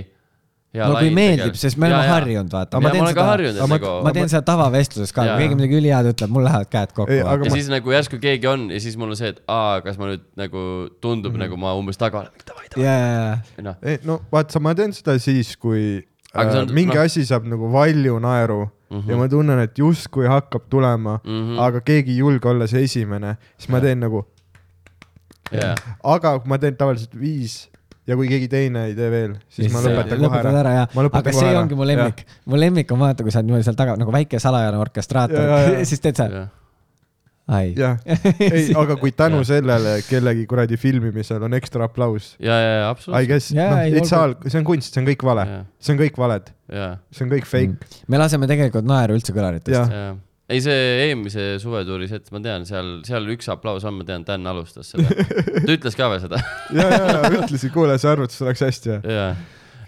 Speaker 5: no kui meeldib , sest me oleme . harjunud , vaata .
Speaker 2: ja ma olen ka harjunud , et
Speaker 1: aga ma-
Speaker 2: nagu
Speaker 5: ma teen seda tavavestluses ka ,
Speaker 2: Jaa.
Speaker 5: kui keegi midagi ülihead ütleb , mul lähevad käed kokku
Speaker 1: Ei, . aga
Speaker 2: ja
Speaker 1: ma-
Speaker 2: siis nagu järsku keegi on ja siis mul on see , et aa , kas ma nüüd nagu
Speaker 1: Mhm.
Speaker 2: tundub mm -hmm. nagu ma umbes taga olen , davai ,
Speaker 5: ja , ja , ja ,
Speaker 2: davai , noh .
Speaker 1: no vaata , ma teen seda siis , kui äh,
Speaker 2: Aga see on-
Speaker 1: mingi
Speaker 2: noh.
Speaker 1: asi saab nagu valju naeru mm -hmm. ja ma tunnen , et justkui hakkab tulema mm ,
Speaker 2: Mhm.
Speaker 1: -hmm. aga keegi ei julge olla see esimene , siis ma teen nagu ,
Speaker 2: jaa .
Speaker 1: aga ma teen tavaliselt viis ja kui keegi teine ei tee veel , siis ma
Speaker 2: Siis
Speaker 1: lõpetan kohe ära .
Speaker 5: äh, ära jah
Speaker 1: Ma , lõpetan
Speaker 5: aga
Speaker 1: kohe
Speaker 5: see
Speaker 1: ära.
Speaker 5: ongi mu lemmik . mu lemmik on vaata , kui sa oled niimoodi seal taga nagu väike salajane orkestraator
Speaker 1: Ja, ja, , ja.
Speaker 5: siis teed seal , ai .
Speaker 1: jah , ei , aga kui tänu
Speaker 2: Jah.
Speaker 1: sellele kellegi kuradi filmimisel on ekstra aplaus ,
Speaker 2: ja , ja ,
Speaker 1: I
Speaker 2: absoluutselt .
Speaker 1: guess ,
Speaker 5: Jaa,
Speaker 1: noh ,
Speaker 5: ei,
Speaker 1: it's all , see on kunst , see on kõik vale ,
Speaker 2: jaa ,
Speaker 1: see on kõik valed ,
Speaker 2: jaa ,
Speaker 1: see on kõik fake .
Speaker 5: Mm. me laseme tegelikult naeru üldse kõlaritest .
Speaker 1: jah ,
Speaker 2: jaa . ei , see eelmise suvetuuri set , ma tean , seal , seal üks aplaus on , ma tean , Dan alustas seda . ta ütles ka veel seda ,
Speaker 5: Mm.
Speaker 1: ja , ja , ja ütlesin , kuule , see arvutus läks hästi , jah .
Speaker 2: jaa .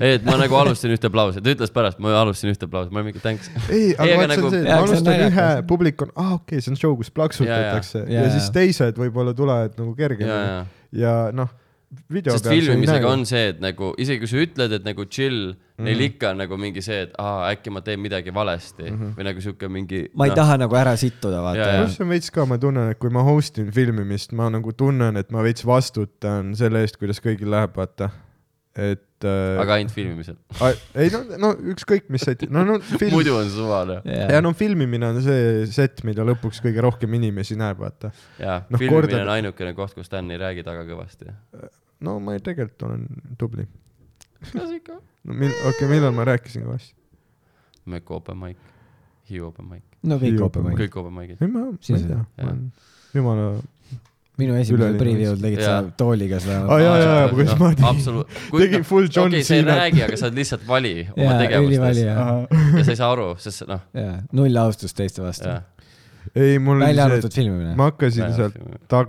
Speaker 2: ei , et ma nagu alustasin ühte aplausi , ta ütles pärast , ma alustasin ühte aplausi , ma olin mingi thanks .
Speaker 1: ei ,
Speaker 2: Ei,
Speaker 1: aga
Speaker 2: aga
Speaker 1: vaat see
Speaker 2: nagu-
Speaker 1: on see , et
Speaker 5: Jaa,
Speaker 1: ma
Speaker 5: see on
Speaker 1: alustan
Speaker 5: naljakas.
Speaker 1: ühe , publik on , aa , okei , see on show , kus plaksutatakse
Speaker 5: Jaa, jaa.
Speaker 1: ja
Speaker 5: Jaa,
Speaker 1: siis
Speaker 5: jaa.
Speaker 1: teised võib-olla tulevad nagu
Speaker 2: jaa ,
Speaker 1: kergemini
Speaker 2: jaa
Speaker 1: ja noh , video
Speaker 2: sest filmimisega on . see , et nagu isegi kui sa ütled , et nagu chill
Speaker 1: Mhm.
Speaker 2: mm. , neil ikka on nagu mingi see , et aa , äkki ma teen midagi valesti
Speaker 1: Mhm.
Speaker 2: mm -hmm. või nagu sihuke mingi .
Speaker 5: ma ei . taha nagu ära sittuda ,
Speaker 2: Jaa, jaa.
Speaker 5: vaata .
Speaker 1: pluss on veits ka , ma tunnen , et kui ma host in filmimist , ma nagu tunnen , et ma veits vastutan selle eest , kuidas kõigil läheb , vaata . et äh,
Speaker 2: aga ainult filmimisel .
Speaker 1: A- ei no , no ükskõik , mis set , no , no film ,
Speaker 2: muidu on suvaline .
Speaker 1: ja no filmimine on see set , mida lõpuks kõige rohkem inimesi näeb , vaata .
Speaker 2: jaa no, ,
Speaker 1: Noh,
Speaker 2: filmimine korda...
Speaker 1: kordad-
Speaker 2: on ainukene koht , kus Dan ei räägi taga kõvasti .
Speaker 1: no ma ei- tegelikult olen tubli .
Speaker 2: kas ikka ?
Speaker 1: no mil- , okei okay, , millal ma rääkisin kõvasti ?
Speaker 2: Mökko open mic , Hiiu open mic ,
Speaker 5: no kõik open mic .
Speaker 2: kõik open mic'id .
Speaker 1: ei ma , ma
Speaker 5: Siis-
Speaker 1: ei tea ,
Speaker 2: jah.
Speaker 1: ma olen jumala ,
Speaker 5: minu esimesel
Speaker 1: Üleni-
Speaker 5: preview'l tegid sa
Speaker 2: Jaa.
Speaker 5: tooliga
Speaker 1: Aa,
Speaker 5: seda .
Speaker 1: Ah, jaa, jaa, jaa, kuidas ma tegin-
Speaker 2: Noh, absoluut- .
Speaker 1: tegin full John
Speaker 2: okei , sa ei
Speaker 1: Cenat.
Speaker 2: räägi , aga sa oled lihtsalt vali oma
Speaker 5: jaa , ülivali
Speaker 2: tegevustes .
Speaker 5: ja ,
Speaker 2: ja sa ei saa aru , sest noh ,
Speaker 5: ja null austust teiste vastu .
Speaker 2: jah .
Speaker 1: ei mul oli
Speaker 5: välja
Speaker 1: see ,
Speaker 5: arvatud filmimine
Speaker 1: et . ma hakkasin sealt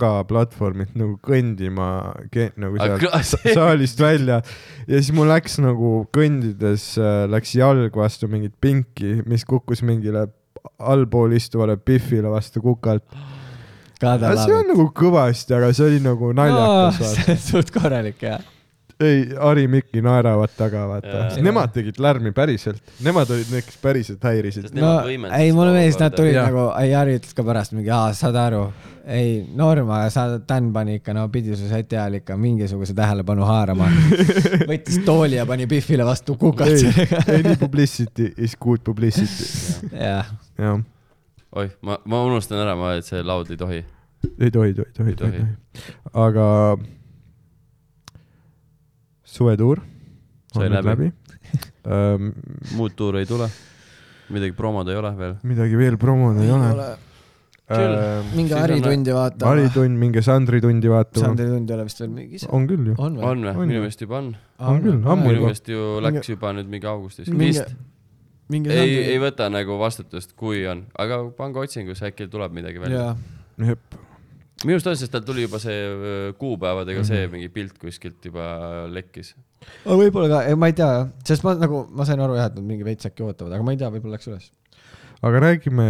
Speaker 1: tagaplatvormilt nagu kõndima ke- nagu
Speaker 2: Aga
Speaker 1: sealt
Speaker 2: klas-
Speaker 1: sa- saalist välja ja siis mul läks nagu kõndides äh, läks jalg vastu mingit pinki , mis kukkus mingile allpool istuvale Biffile vastu kukalt .
Speaker 5: Kada
Speaker 1: see on
Speaker 5: Laavik .
Speaker 1: nagu kõvasti , aga see oli nagu naljakas no, .
Speaker 5: see on suht korralik jah .
Speaker 1: ei , Ari Mikki naeravad taga , vaata
Speaker 2: Jaa. .
Speaker 1: Nemad tegid lärmi päriselt , nemad olid need , kes päriselt häirisid .
Speaker 2: Sest
Speaker 5: no
Speaker 2: nemad võimendasid
Speaker 5: ei , mulle
Speaker 2: seda
Speaker 5: meeldis , nad
Speaker 2: olukorda.
Speaker 5: tulid
Speaker 1: Jah.
Speaker 5: nagu , ei Jari ütles ka pärast mingi , aa , saad aru . ei , norm , aga sa , Dan pani ikka , no pidi su seti ajal ikka mingisuguse tähelepanu haarama . võttis tooli ja pani Biffile vastu kukalt
Speaker 1: ei ,
Speaker 5: sellega .
Speaker 1: any publicity is good publicity .
Speaker 5: jah ,
Speaker 1: jah ,
Speaker 2: oih , ma , ma unustan ära , ma , et see laud ei tohi .
Speaker 1: ei tohi , tohi , tohi ,
Speaker 2: Ei
Speaker 1: tohi,
Speaker 2: tohi.
Speaker 1: tohi. , aga suvetuur
Speaker 2: Sai
Speaker 1: on nüüd
Speaker 2: läbi.
Speaker 1: läbi .
Speaker 2: muud tuure ei tule . midagi promod ei ole veel .
Speaker 1: midagi veel promoda ei ole .
Speaker 2: Chill.
Speaker 5: minge
Speaker 2: Siis on-
Speaker 5: haritundi vaatama .
Speaker 1: Maritund , minge Sandri tundi vaatama .
Speaker 5: Sandri tund ei ole vist veel mingis .
Speaker 1: on küll ju .
Speaker 5: on või ?
Speaker 2: on või
Speaker 1: On ?
Speaker 2: minu meelest juba on .
Speaker 1: on küll, ammu
Speaker 2: minu
Speaker 1: juba.
Speaker 2: meelest ju läks juba nüüd mingi augustis .
Speaker 5: minge
Speaker 2: vist .,
Speaker 5: minge
Speaker 2: ei ,
Speaker 5: Sandri
Speaker 2: ei . võta nagu vastutust , kui on , aga pange otsingus , äkki tuleb midagi välja .
Speaker 5: jaa ,
Speaker 1: jep ,
Speaker 2: minu arust on , sest tal tuli juba see öö, kuupäevadega
Speaker 1: Mhm.
Speaker 2: see mingi pilt kuskilt juba lekkis .
Speaker 5: aga võib-olla ka , ei ma ei tea , sest ma nagu , ma sain aru jah , et nad mingi veits äkki ootavad , aga ma ei tea , võib-olla läks üles .
Speaker 1: aga räägime ,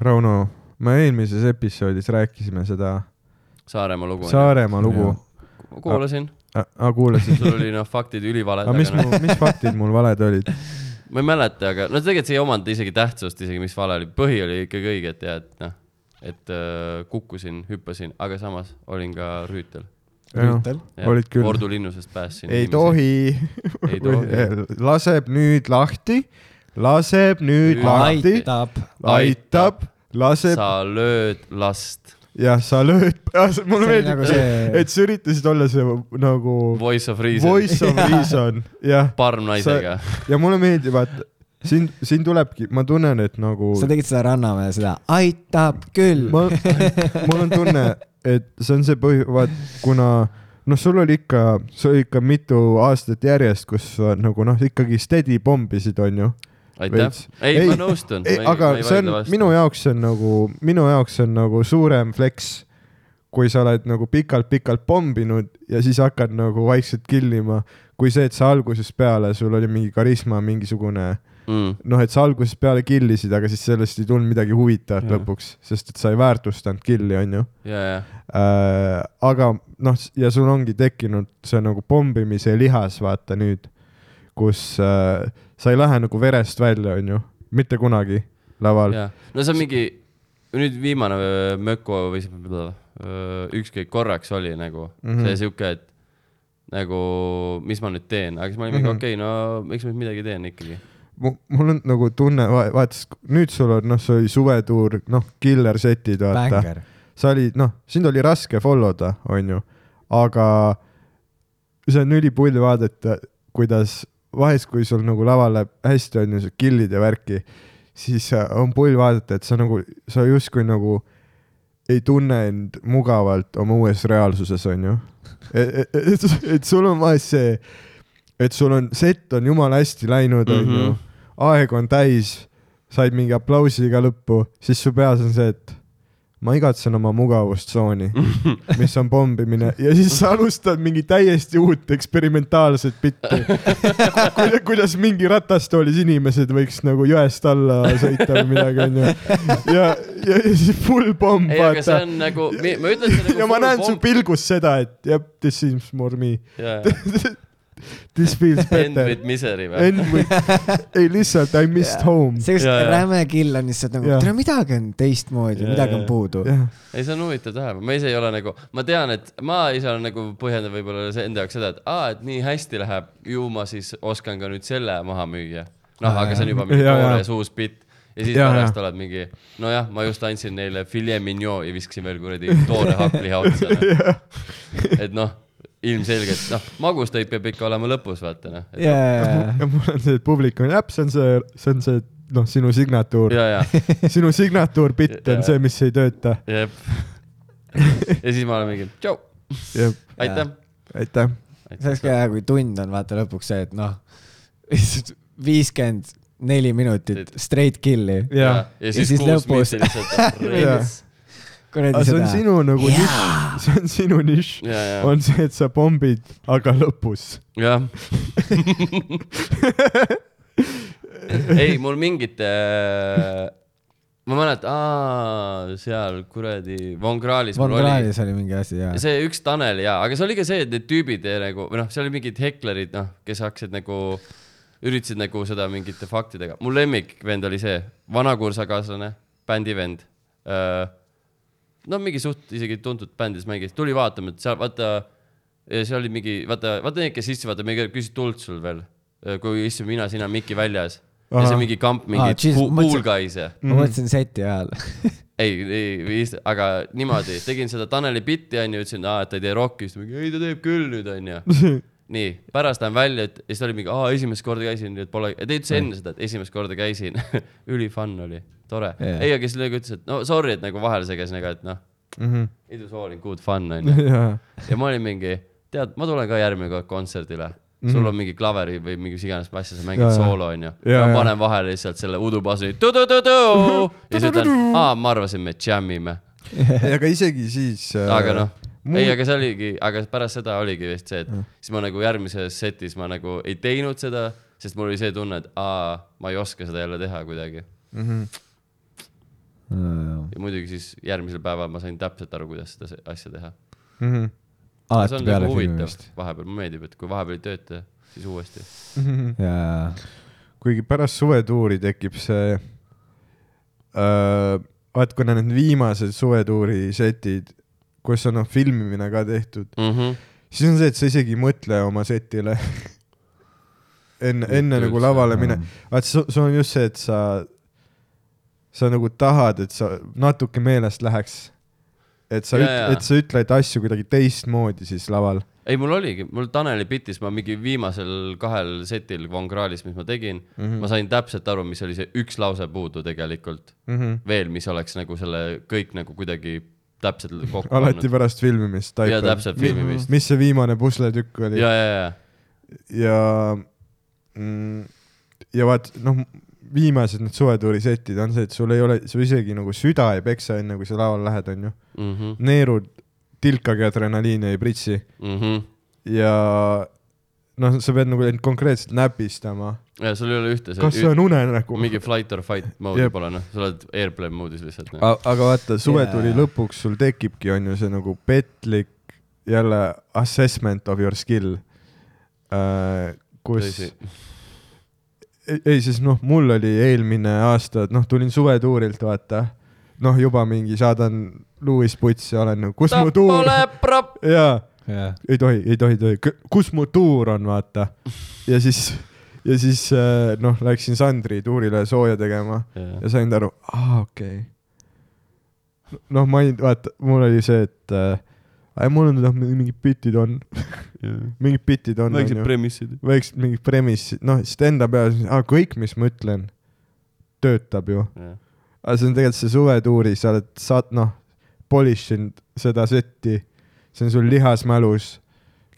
Speaker 1: Rauno , me eelmises episoodis rääkisime seda
Speaker 2: Saaremaa lugu .
Speaker 1: Saaremaa lugu . Ah,
Speaker 2: kuulasin ,
Speaker 1: aga kuulasid ?
Speaker 2: sul oli noh , faktid ülivaled ,
Speaker 1: aga Ah, mis
Speaker 2: aga noh ,
Speaker 1: mu , mis faktid mul valed olid ?
Speaker 2: ma ei mäleta , aga no tegelikult see ei omanud isegi tähtsust isegi , mis vale oli , põhi oli ikkagi õige , et jah , et noh , et öö, kukkusin , hüüpasin , aga samas olin ka rüütel .
Speaker 5: Rüütel .
Speaker 1: olid küll .
Speaker 2: Ordu linnusest päästsin .
Speaker 1: ei . tohi Eh,
Speaker 2: Ei tohi. .
Speaker 1: laseb nüüd lahti , laseb nüüd
Speaker 2: Nüüd
Speaker 1: lahti ,
Speaker 5: aitab .
Speaker 1: aitab , laseb ,
Speaker 2: sa lööd last .
Speaker 1: jah , sa lööd , mulle
Speaker 5: See on nagu
Speaker 1: meeldib see ,
Speaker 5: see-
Speaker 1: et sa üritasid olla see nagu
Speaker 2: Voice of reason Voice... .
Speaker 1: voice of reason , jah ,
Speaker 2: parm naisega sa... .
Speaker 1: ja mulle meeldib , et siin , siin tulebki , ma tunnen , et nagu
Speaker 5: sa tegid seda Rannamäe seda , aitab küll .
Speaker 1: ma , mul on tunne , et see on see põhi- , vaat kuna noh , sul oli ikka , sul oli ikka mitu aastat järjest , kus sa nagu noh , ikkagi steady pommisid , onju .
Speaker 2: aitäh
Speaker 1: veits. .
Speaker 2: ei ,
Speaker 1: Ei,
Speaker 2: ma nõustun .
Speaker 1: ei , aga see on , minu . jaoks see on nagu , minu jaoks see on nagu suurem flex , kui sa oled nagu pikalt-pikalt pomminud ja siis hakkad nagu vaikselt killima , kui see , et sa algusest peale , sul oli mingi karisma , mingisugune
Speaker 2: Mm.
Speaker 1: noh , et sa algusest peale killisid , aga siis sellest ei tulnud midagi huvitavat
Speaker 2: Jaa.
Speaker 1: lõpuks , sest et sa ei väärtustanud killi , onju
Speaker 2: ja , ja ,
Speaker 1: äh, . aga noh , ja sul ongi tekkinud see nagu pommimise lihas , vaata nüüd , kus äh, sa ei lähe nagu verest välja , onju , mitte kunagi laval .
Speaker 2: ja . no see on mingi , nüüd viimane äh, öö, Äh,
Speaker 1: Mhm.
Speaker 2: möku või see- öö, ükskõik korraks oli nagu mm -hmm. see sihuke , et nagu , mis ma nüüd teen , aga siis ma olin
Speaker 1: Mhm.
Speaker 2: mingi okei , no miks ma nüüd midagi teen ikkagi .
Speaker 1: mul on nagu tunne , vaata , nüüd sul on , noh , see oli suvetuur , noh , killer setid , vaata .
Speaker 5: bängar .
Speaker 1: sa olid , noh , sind oli raske follow da , onju , aga see on ülipull vaadata , kuidas vahest , kui sul nagu laval läheb hästi , onju , sa kill'id ja värki , siis äh, on pull vaadata , et sa nagu , sa justkui nagu ei tunne end mugavalt oma uues reaalsuses , onju . et , et, et sul on vahest see , et sul on , set on jumala hästi läinud , onju ,
Speaker 2: Mhm.
Speaker 1: aeg on täis , said mingi aplausi iga lõppu , siis su peas on see , et ma igatsen oma mugavustsooni , mis on pommimine ja siis sa alustad mingi täiesti uut eksperimentaalset bitti . kuidas mingi ratastoolis inimesed võiks nagu jõest alla sõita või midagi onju . ja , ja siis full pomm
Speaker 2: ei , aga see
Speaker 1: vaata .
Speaker 2: on nagu , ma ütlen , see on nagu
Speaker 1: ja ma näen su pilgus seda , et jah , this seems more me ,
Speaker 2: pilti .
Speaker 1: this feels
Speaker 2: End
Speaker 1: better
Speaker 2: with . misery või ?
Speaker 1: End with , ei lihtsalt I missed
Speaker 5: Jaa.
Speaker 1: home .
Speaker 5: see just
Speaker 2: Jaa, jaa.
Speaker 5: räme kill on lihtsalt nagu
Speaker 1: Jah. ,
Speaker 5: tere , midagi on teistmoodi ,
Speaker 2: Jaa,
Speaker 5: midagi
Speaker 2: jaa.
Speaker 5: on puudu .
Speaker 2: ei , see on huvitav tähelepanu , ma ise ei ole nagu , ma tean , et ma ise olen nagu põhjendan võib-olla see- enda jaoks seda , et aa , et nii hästi läheb , ju ma siis oskan ka nüüd selle maha müüa . noh , aga see on juba mingi
Speaker 1: Ja, ja.
Speaker 2: toores uus bitt ja siis
Speaker 1: Ja,
Speaker 2: pärast
Speaker 1: ja.
Speaker 2: oled mingi , nojah , ma just andsin neile filet mignon ja viskasin veel kuradi toore hakkliha otsa . et noh , ilmselgelt noh , magustoit peab ikka olema lõpus , vaata noh . ja ,
Speaker 5: jaa ,
Speaker 1: ja mul on see , et publik on jah , see on see , see on see , noh , sinu signatuur .
Speaker 2: ja ,
Speaker 1: sinu signatuur bitt on see , mis ei tööta .
Speaker 2: jep . ja siis ma olen mingi tšau , aitäh .
Speaker 1: aitäh .
Speaker 5: see oleks ka hea , kui tund on vaata lõpuks see , et noh , lihtsalt viiskümmend neli minutit straight kill'i .
Speaker 1: ja ,
Speaker 2: ja siis,
Speaker 5: siis
Speaker 2: siis kuus
Speaker 5: lõpus-
Speaker 2: minutit lihtsalt
Speaker 1: Jaa.
Speaker 2: reis
Speaker 5: kuradi
Speaker 1: aga see on
Speaker 5: seda .
Speaker 1: sinu nagu nišš , see on sinu nišš ,
Speaker 2: ja , ja ,
Speaker 1: on see , et sa pommid , aga lõpus .
Speaker 2: jah . ei , mul mingit äh, , ma mäletan , seal kuradi Von Krahlis
Speaker 5: Von
Speaker 2: mul oli
Speaker 5: Krahlis oli mingi asi jaa .
Speaker 2: see üks Tanel ja , aga see oli ka see , et need tüübid eh, nagu või noh , seal oli mingid heklerid , noh , kes hakkasid nagu , üritasid nagu seda mingite faktidega . mu lemmikvend oli see vana kursakaaslane , bändivend uh, . no mingi suht isegi tuntud bändis mängis , tuli vaatama , et seal vaata , seal oli mingi , vaata , vaata need , kes istusid , vaata , me küsisime tuld sul veel , kui istusime mina , sina , Miki väljas . ja
Speaker 1: Ahah.
Speaker 2: see mingi kamp
Speaker 5: Aa,
Speaker 2: mingeid
Speaker 5: jeez,
Speaker 2: cool
Speaker 5: ma
Speaker 2: cool
Speaker 5: mõtlesin-
Speaker 2: guys'e
Speaker 5: ma
Speaker 1: Mhm.
Speaker 5: mõtlesin seti ajal .
Speaker 2: ei , ei , viis , aga niimoodi , tegin seda Taneli bitti onju , ütlesin , et ta ei tee rokki , siis ta mingi , ei ta teeb küll nüüd onju . nii , pärast lähen välja , et ja siis ta oli mingi , aa esimest korda käisin , nii et pole , ta ütles enne seda , et esimest korda käisin . üli fun oli , tore
Speaker 5: Jaa.
Speaker 2: yeah. . ei , aga siis nagu ütles , et no sorry , et nagu vahele segasin , aga et noh ,
Speaker 1: Mhm.
Speaker 2: it was all in good fun onju . ja ma olin mingi , tead , ma tulen ka järgmine kord kontserdile . sul on mingi klaveri või mingi mis iganes asja , sa mängid
Speaker 1: Mhm. Jaa, jaa.
Speaker 2: soolo onju .
Speaker 1: Jaa,
Speaker 2: ma
Speaker 1: jaa.
Speaker 2: panen vahele lihtsalt selle udupassi . ja siis ütlen , aa , ma arvasin , me džämmime
Speaker 1: aga isegi siis . äh,
Speaker 2: aga noh ,
Speaker 1: mul-
Speaker 2: ei , aga see oligi , aga pärast seda oligi vist see , et siis ma nagu järgmises setis ma nagu ei teinud seda , sest mul oli see tunne , et aa , ma ei oska seda jälle teha kuidagi .
Speaker 1: Mhm.
Speaker 2: ja muidugi siis järgmisel päeval ma sain täpselt aru , kuidas seda se- asja teha . see
Speaker 1: Mhm.
Speaker 5: alati
Speaker 2: on
Speaker 5: peale
Speaker 2: nagu
Speaker 5: filmi
Speaker 2: huvitav
Speaker 5: vist .
Speaker 2: vahepeal , mulle meeldib , et kui vahepeal ei tööta , siis uuesti .
Speaker 1: Mhm.
Speaker 5: jaa ,
Speaker 1: kuigi pärast suvetuuri tekib see äh, , vaat kuna need viimased suvetuuri setid , kus on noh filmimine ka tehtud ,
Speaker 5: Mhm.
Speaker 1: siis on see , et sa isegi ei mõtle oma setile enne , enne
Speaker 2: Mitte
Speaker 1: nagu
Speaker 2: üldse,
Speaker 1: lavale
Speaker 5: jaa.
Speaker 1: mine . vaat see , see on just see , et sa , sa nagu tahad , et sa natuke meelest läheks . et sa
Speaker 2: Jaa, , jaa.
Speaker 1: et sa ütled asju kuidagi teistmoodi siis laval .
Speaker 2: ei , mul oligi , mul Taneli bitis ma mingi viimasel kahel setil Von Krahlis , mis ma tegin
Speaker 5: Mhm.
Speaker 2: mm , -hmm.
Speaker 1: Mhm.
Speaker 2: ma sain täpselt aru , mis oli see üks lause puudu tegelikult
Speaker 1: Mm -hmm.
Speaker 2: veel , mis oleks nagu selle kõik nagu kuidagi täpselt kokku
Speaker 1: alati . pärast filmimist .
Speaker 2: ja täpselt filmimist .
Speaker 1: mis see viimane pusletükk oli ?
Speaker 2: ja , ja , ja ,
Speaker 1: ja mm, , ja vaat noh , viimased need suvetuuri setid on see , et sul ei ole , su isegi nagu süda ei peksa , enne kui sa laval lähed , onju .
Speaker 2: Mhm.
Speaker 1: neerud tilkagi adrenaliini ei pritsi
Speaker 2: Mhm.
Speaker 1: ja noh , sa pead nagu end konkreetselt näpistama .
Speaker 2: ja sul ei ole ühte
Speaker 1: kas see
Speaker 2: see ,
Speaker 1: on unenägu ?
Speaker 2: mingi flight or fight mode'i
Speaker 1: Jep.
Speaker 2: pole noh , sa oled airplane mode'is lihtsalt . noh.
Speaker 1: aga vaata , suvetuuri
Speaker 5: Jaa.
Speaker 1: yeah. lõpuks sul tekibki , onju , see nagu petlik jälle assessment of your skill äh, , kus
Speaker 2: Tõsi.
Speaker 1: ei , ei siis noh , mul oli eelmine aasta , et noh , tulin suvetuurilt , vaata , noh , juba mingi saadan Louis Putsi , olen nagu , kus mu tuur
Speaker 2: tapole propp ,
Speaker 1: ja
Speaker 5: jaa .
Speaker 1: ei tohi , ei tohi , tohi , kus mu tuur on , vaata . ja siis , ja siis äh, noh , läksin Sandri tuurile sooja tegema ja sain aru , aa , okei okay. . noh , ma ei , vaata , mul oli see , et äh, ai, mul on noh , mingid bitid on , mingid bitid on .
Speaker 2: väiksed premissid .
Speaker 1: võiks mingi premise , noh , sest enda peas , kõik , mis ma ütlen , töötab ju . aga see on tegelikult see suvetuuri , sa oled , saad , noh , polish inud seda setti , see on sul lihas mälus ,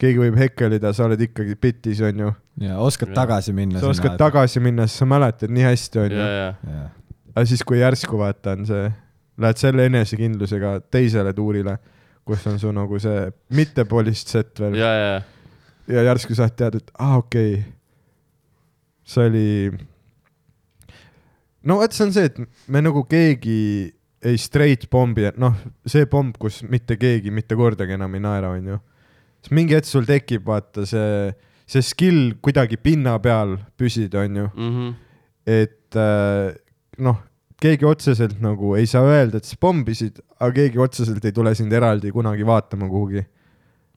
Speaker 1: keegi võib hekkelida , sa oled ikkagi bitis , onju .
Speaker 5: jaa , oskad
Speaker 2: Jaa.
Speaker 5: tagasi minna .
Speaker 1: sa oskad . tagasi minna , sest sa mäletad nii hästi , onju .
Speaker 5: jaa ,
Speaker 1: aga siis , kui järsku vaata on see , lähed selle enesekindlusega teisele tuurile , kus on su nagu see mitte polished set veel
Speaker 2: ja , ja ,
Speaker 1: ja järsku saad teada , et aa , okei okay. . see oli . no vot , see on see , et me nagu keegi ei straight pommi , et noh , see pomp , kus mitte keegi mitte kordagi enam ei naera , onju . siis mingi hetk sul tekib , vaata see , see skill kuidagi pinna peal püsida , onju ,
Speaker 2: ja .
Speaker 1: et äh, noh , keegi otseselt nagu ei saa öelda , et sa pommisid , aga keegi otseselt ei tule sind eraldi kunagi vaatama kuhugi .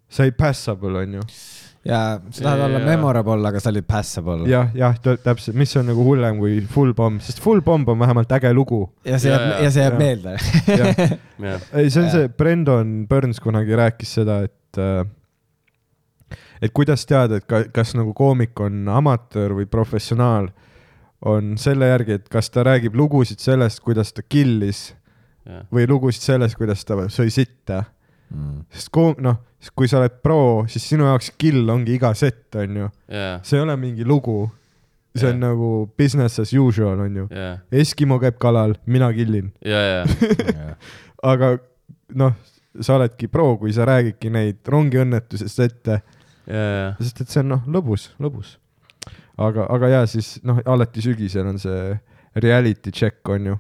Speaker 1: sa ei passable , onju .
Speaker 5: sa tahad olla
Speaker 2: Jaa.
Speaker 5: memorable , aga sa olid passable .
Speaker 1: jah , jah , täpselt , mis on nagu hullem kui full pomm , sest full pomm on vähemalt äge lugu .
Speaker 5: ja see
Speaker 2: Jaa,
Speaker 5: jääb , ja see jääb
Speaker 1: jaa.
Speaker 5: meelde .
Speaker 1: ei , see on
Speaker 5: Jaa.
Speaker 1: see , Brendan Burns kunagi rääkis seda , et äh, et kuidas teada , et ka, kas nagu koomik on amatöör või professionaal , on selle järgi , et kas ta räägib lugusid sellest , kuidas ta killis või lugusid sellest , kuidas ta sõi sitta .
Speaker 5: Mm.
Speaker 1: sest koom- , noh , kui sa oled pro , siis sinu jaoks kill ongi iga sett , onju .
Speaker 2: ja ,
Speaker 1: see ei ole mingi lugu . see on
Speaker 2: Jaa.
Speaker 1: nagu business as usual , onju .
Speaker 2: ja ,
Speaker 1: Eskimo käib kalal , mina killin ,
Speaker 2: ja , ja ,
Speaker 1: aga noh , sa oledki pro , kui sa räägidki neid rongiõnnetusest ette ,
Speaker 2: ja ,
Speaker 1: sest et see on noh , lõbus , lõbus . aga , aga ja siis noh , alati sügisel on see reality check onju ,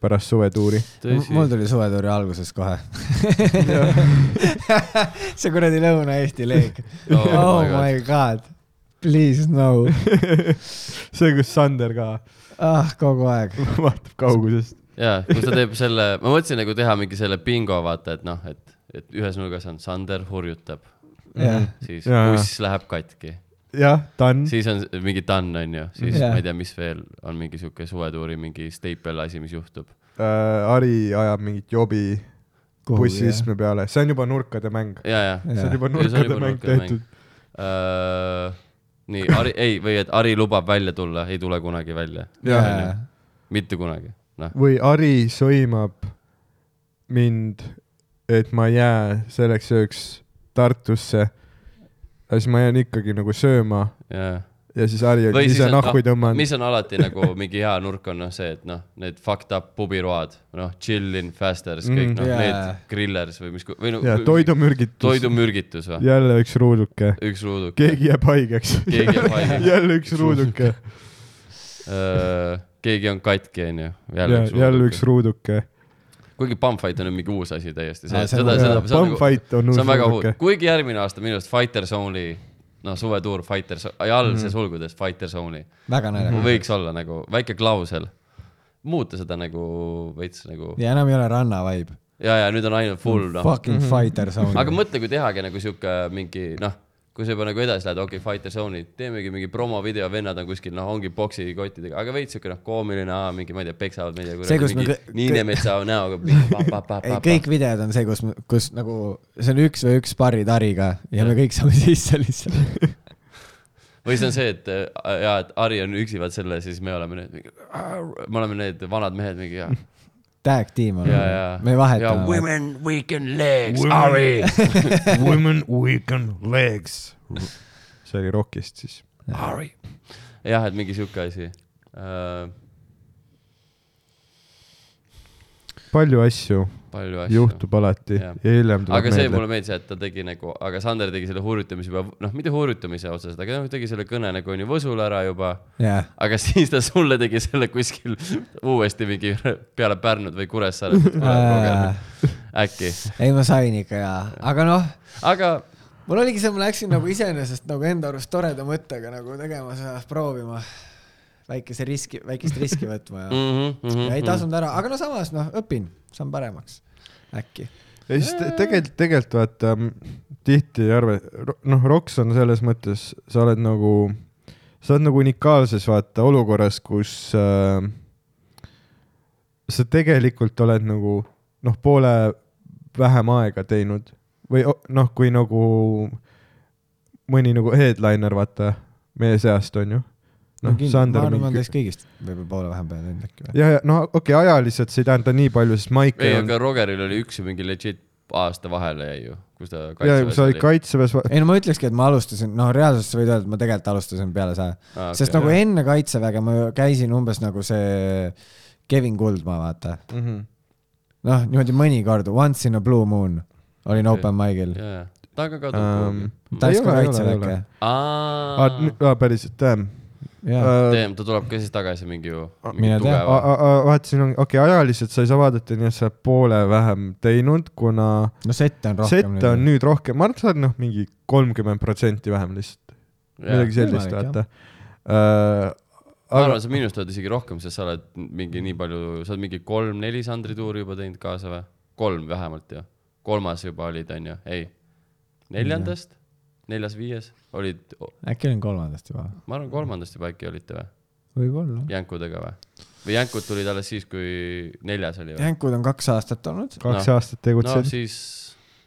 Speaker 1: pärast suvetuuri .
Speaker 2: tõsi .
Speaker 5: mul tuli suvetuuri alguses kohe see kuradi Lõuna-Eesti leeg .
Speaker 2: Oh my
Speaker 5: oh my god , please no ,
Speaker 1: see , kus Sander ka
Speaker 5: ah kogu aeg .
Speaker 1: vaatab kaugusest .
Speaker 2: ja , kus ta teeb selle , ma mõtlesin nagu teha mingi selle bingo , vaata , et noh , et , et ühes nurgas on Sander hurjutab ,
Speaker 1: Mm-hmm.
Speaker 5: jah ,
Speaker 2: siis
Speaker 1: Jaa, jaa.
Speaker 2: buss läheb katki ,
Speaker 1: jah , Dan ,
Speaker 2: siis on s- mingi tann , onju , siis
Speaker 5: Jaa.
Speaker 2: ma ei tea , mis veel on mingi sihuke suvetuuri mingi steipel asi , mis juhtub .
Speaker 1: äh, Ari ajab mingit jobi
Speaker 5: Kuhugi,
Speaker 1: bussiistme peale , see on juba nurkade mäng .
Speaker 2: ja , ja .
Speaker 1: see on
Speaker 5: Jaa.
Speaker 1: juba
Speaker 2: Ei, see on
Speaker 1: nurkade
Speaker 2: juba
Speaker 1: mäng
Speaker 2: nurkade mäng.
Speaker 1: tehtud .
Speaker 2: Äh, nii , Ari , ei , või et Ari lubab välja tulla , ei tule kunagi välja ,
Speaker 1: Jaa.
Speaker 5: jaa ,
Speaker 2: mitte kunagi , noh .
Speaker 1: või Ari sõimab mind , et ma ei jää selleks ööks Tartusse . ja siis ma jään ikkagi nagu sööma
Speaker 2: jaa .
Speaker 1: ja siis Ari on
Speaker 2: Või siis
Speaker 1: ise
Speaker 2: on-
Speaker 1: nahku tõmmanud
Speaker 2: mis on alati nagu mingi hea nurk on noh see , et noh , need fucked up pubiroad , noh , chillin , fasters , kõik
Speaker 1: Mm.
Speaker 2: noh
Speaker 5: Jaa.
Speaker 2: yeah. , need grillers või mis , või noh
Speaker 1: ja , toidumürgitus ,
Speaker 2: toidumürgitus või ?
Speaker 1: jälle üks ruuduke ,
Speaker 2: üks ruuduk .
Speaker 1: keegi jääb haigeks ,
Speaker 2: keegi on haige ,
Speaker 1: jälle üks ruuduke ,
Speaker 2: Äh, keegi on katki , onju .
Speaker 1: jälle üks . ruuduke .
Speaker 2: kuigi Pumpfight on ju mingi uus asi täiesti ,
Speaker 5: Aa,
Speaker 2: seda ,
Speaker 5: see on-
Speaker 2: seda , seda , see on nagu ,
Speaker 1: Pumpfight on
Speaker 2: see
Speaker 1: uus
Speaker 2: on väga hull
Speaker 1: ruuduke .,
Speaker 2: kuigi järgmine aasta minu arust Fighters Only , noh , suvetuur Fighters ,
Speaker 5: Mhm.
Speaker 2: jalgse sulgudes Fighters Only .
Speaker 5: väga naljakas .
Speaker 2: võiks olla nagu väike klausel , muuta seda nagu veits nagu
Speaker 5: ja enam ei ole ranna vibe .
Speaker 2: ja , ja nüüd on ainult full , noh .
Speaker 5: Fucking
Speaker 1: Mm-hmm.
Speaker 5: fighter sound .
Speaker 2: aga mõtle , kui tehagi nagu sihuke mingi , noh , kui sa juba nagu edasi lähed , okei okay, , Fighter Zone'i , teemegi mingi promovideo , vennad on kuskil , noh , ongi boksikottidega , aga veits sihuke , noh , koomiline , mingi , ma ei tea , peksavad , ma ei tea ,
Speaker 5: See, kus
Speaker 2: kuradi
Speaker 5: me
Speaker 2: mingi
Speaker 5: kõ-
Speaker 2: Niinemetsa näoga .
Speaker 5: ei , kõik videod on see , kus , kus nagu see on üks või üks paarid Ariga ja me kõik saame sisse lihtsalt .
Speaker 2: või see on see , et äh, jaa , et Ari on üksi , vaat selle , siis me oleme need , me oleme need vanad mehed mingi ja ,
Speaker 5: Tag tiim on
Speaker 2: ja , ja .
Speaker 5: me vahetame .
Speaker 2: Women weekend legs , Ari .
Speaker 1: Women weaken legs . see oli Rockist siis .
Speaker 2: Harry . jah , et mingi sihuke asi uh, .
Speaker 1: palju asju
Speaker 2: palju asju .
Speaker 1: juhtub alati ja
Speaker 2: Jah.
Speaker 1: hiljem
Speaker 2: aga
Speaker 1: tuleb
Speaker 2: see
Speaker 1: meelde
Speaker 2: mulle . meeldis , et ta tegi nagu , aga Sander tegi selle hurjutamise juba , noh , mitte hurjutamise otseselt , aga noh , tegi selle kõne nagu onju Võsul ära juba .
Speaker 5: jah ,
Speaker 2: aga siis ta sulle tegi selle kuskil uuesti mingi peale Pärnut või Kuressaaret . äkki ,
Speaker 5: ei ma sain ikka ja , aga noh
Speaker 2: aga
Speaker 5: mul oligi see , ma läksin nagu iseenesest nagu enda arust toreda mõttega nagu tegema seda , proovima väikese riski , väikest riski võtma ja,
Speaker 2: mm . -hmm, mm
Speaker 5: ja ei
Speaker 2: -hmm,
Speaker 5: tasunud ära , aga no samas noh , õpin , saan paremaks äkki .
Speaker 1: ja siis te- tegelikult , tegelikult vaata m, tihti ei arva , noh , ROKS on selles mõttes , sa oled nagu , sa oled nagu unikaalses vaata olukorras , kus äh, sa tegelikult oled nagu noh , poole vähem aega teinud või o- noh , kui nagu mõni nagu headliner , vaata , meie seast on ju . noh ,
Speaker 5: ma
Speaker 1: Sander
Speaker 5: arvan , ma
Speaker 1: mingi
Speaker 5: teeks . kõigist võib-olla poole vähem peale teinud äkki või ?
Speaker 1: ja , ja no okei okay, , ajaliselt see ei tähenda nii palju , sest Maik
Speaker 2: ei , aga Rogeril oli üks ju mingi legit aasta vahele jäi ju , kus ta
Speaker 1: ja kui sa olid kaitseväes ,
Speaker 5: ei no ma ütlekski , et ma alustasin , noh , reaalsuses sa võid öelda , et ma tegelikult alustasin peale saja
Speaker 2: Aa,
Speaker 5: okay, , sest
Speaker 2: okei.
Speaker 5: nagu enne kaitseväge ma ju käisin umbes nagu see Kevin Kuldma , vaata .
Speaker 1: mm . -hmm.
Speaker 5: noh , niimoodi mõnikord , once in a blue moon olin
Speaker 2: Okei.
Speaker 5: open mic'il .
Speaker 2: jaa , ta ka kadub
Speaker 1: Ähm,
Speaker 2: kuhugi .
Speaker 5: nagu- ta
Speaker 1: ei
Speaker 5: läks ka
Speaker 1: ole, ei ole, ei
Speaker 5: kaitseväkke
Speaker 1: ole. .
Speaker 2: aa
Speaker 1: aa , nüüd , aa päriselt , damn .
Speaker 5: jaa ,
Speaker 1: Äh,
Speaker 2: teem , ta tuleb ka siis tagasi mingi ju .
Speaker 5: mine tea.
Speaker 1: vaatasin , okei , ajaliselt sa ei saa vaadata , nii et sa oled poole vähem teinud , kuna
Speaker 5: no sette on rohkem .
Speaker 1: sette on . nüüd rohkem , ma arvan , et sa oled noh , mingi kolmkümmend protsenti vähem lihtsalt , midagi sellist ,
Speaker 5: Võimalik,
Speaker 1: vaata . aga
Speaker 2: ma arvan , sa minust oled isegi rohkem , sest sa oled mingi nii palju , sa oled mingi kolm-neli Sandri tuuri juba teinud kaasa või ? kolm vähemalt ju . kolmas juba olid , onju , ei . neljandast , neljas-viies olid ,
Speaker 5: äkki olin kolmandast juba ,
Speaker 2: ma arvan , kolmandast juba äkki olite või ?
Speaker 5: võib-olla .
Speaker 2: jänkudega või ? või jänkud tulid alles siis , kui neljas oli või ?
Speaker 5: jänkud on kaks aastat olnud ,
Speaker 1: kaks
Speaker 2: noh.
Speaker 1: aastat
Speaker 2: no
Speaker 1: tegutsenud ,
Speaker 2: siis ,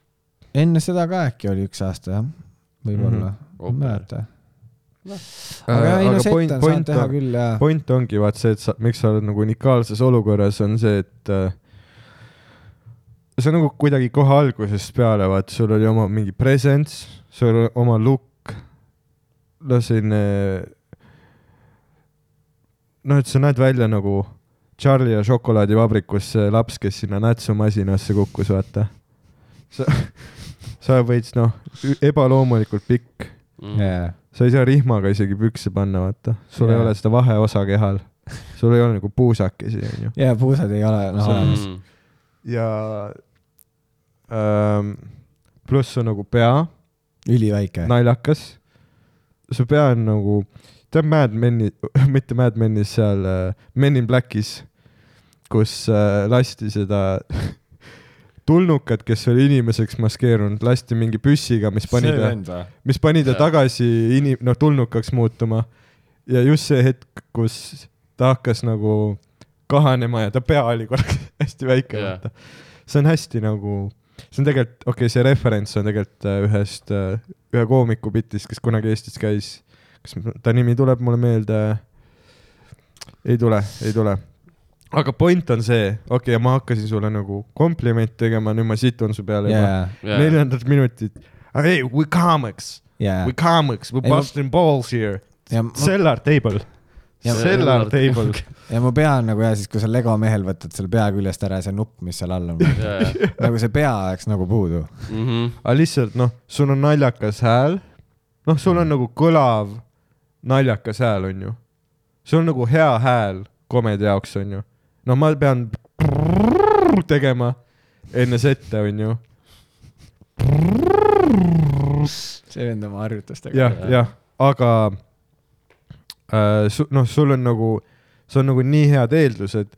Speaker 5: enne seda ka äkki oli üks aasta jah , võib-olla mm , -hmm.
Speaker 2: Open.
Speaker 5: ma ei mäleta . aga ei no
Speaker 1: Mhm. Äh, aga
Speaker 5: sette
Speaker 1: point ,
Speaker 5: on saanud
Speaker 1: point
Speaker 5: teha
Speaker 1: on ,
Speaker 5: küll ja .
Speaker 1: point ongi vaat see , et sa , miks sa oled nagu unikaalses olukorras , on see , et äh, see on nagu kuidagi kohe algusest peale , vaat sul oli oma mingi presence , sul oli oma look , no selline noh , et sa näed välja nagu Charlie ja šokolaadivabrikus see laps , kes sinna nätsumasinasse kukkus , vaata . sa , sa võid noh , ebaloomulikult pikk ,
Speaker 2: mm.
Speaker 5: jaa ,
Speaker 1: sa ei saa rihmaga isegi pükse panna , vaata , sul yeah.
Speaker 5: Jaa.
Speaker 1: ei ole seda vaheosa kehal , sul ei ole nagu puusakesi , onju .
Speaker 5: jaa , puusad ei ole , noh
Speaker 1: See on-
Speaker 2: Mm.
Speaker 5: olemas .
Speaker 1: ja ähm, pluss on nagu pea
Speaker 5: üliväike .
Speaker 1: naljakas . su pea on nagu , tead Mad Meni , mitte Mad Menis , seal äh, Men in Blackis , kus äh, lasti seda tulnukat , kes oli inimeseks maskeerunud , lasti mingi püssiga , mis pani ta ,
Speaker 5: või ?
Speaker 1: mis pani ta
Speaker 2: Jaa.
Speaker 1: tagasi inim- , noh , tulnukaks muutuma . ja just see hetk , kus ta hakkas nagu kahanema ja ta pea oli korraks hästi väike
Speaker 2: Jaa.
Speaker 1: vaata . see on hästi nagu , see on tegelikult , okei okay, , see referents on tegelikult äh, ühest , ühe koomiku bitist , kes kunagi Eestis käis . kas m- ta nimi tuleb mulle meelde ? ei tule , ei tule . aga point on see , okei okay, , ma hakkasin sulle nagu komplimente tegema , nüüd ma situn su peale yeah.
Speaker 5: jaa ,
Speaker 1: juba neljandat minutit . Hey , we comics ,
Speaker 5: jaa
Speaker 1: we . comics , we
Speaker 5: Ei, ma-
Speaker 1: busting balls here .
Speaker 5: ja mu ,
Speaker 1: Cellar table ,
Speaker 5: Ja-
Speaker 1: cellar table .
Speaker 5: ja mu pea on nagu jah , siis kui sa Lego mehel võtad selle pea küljest ära ja see nupp , mis seal all on ,
Speaker 2: jaa ,
Speaker 5: nagu see pea oleks nagu puudu .
Speaker 2: jaa .
Speaker 1: aga lihtsalt noh , sul on naljakas hääl , noh , sul
Speaker 5: Mm.
Speaker 1: on nagu kõlav naljakas hääl , onju . sul on nagu hea hääl komedi jaoks , onju . no ma pean tegema enne sette , onju .
Speaker 5: see vend oma harjutustega .
Speaker 1: jah , jah , aga äh, su- noh , sul on nagu , sul on nagu nii head eeldused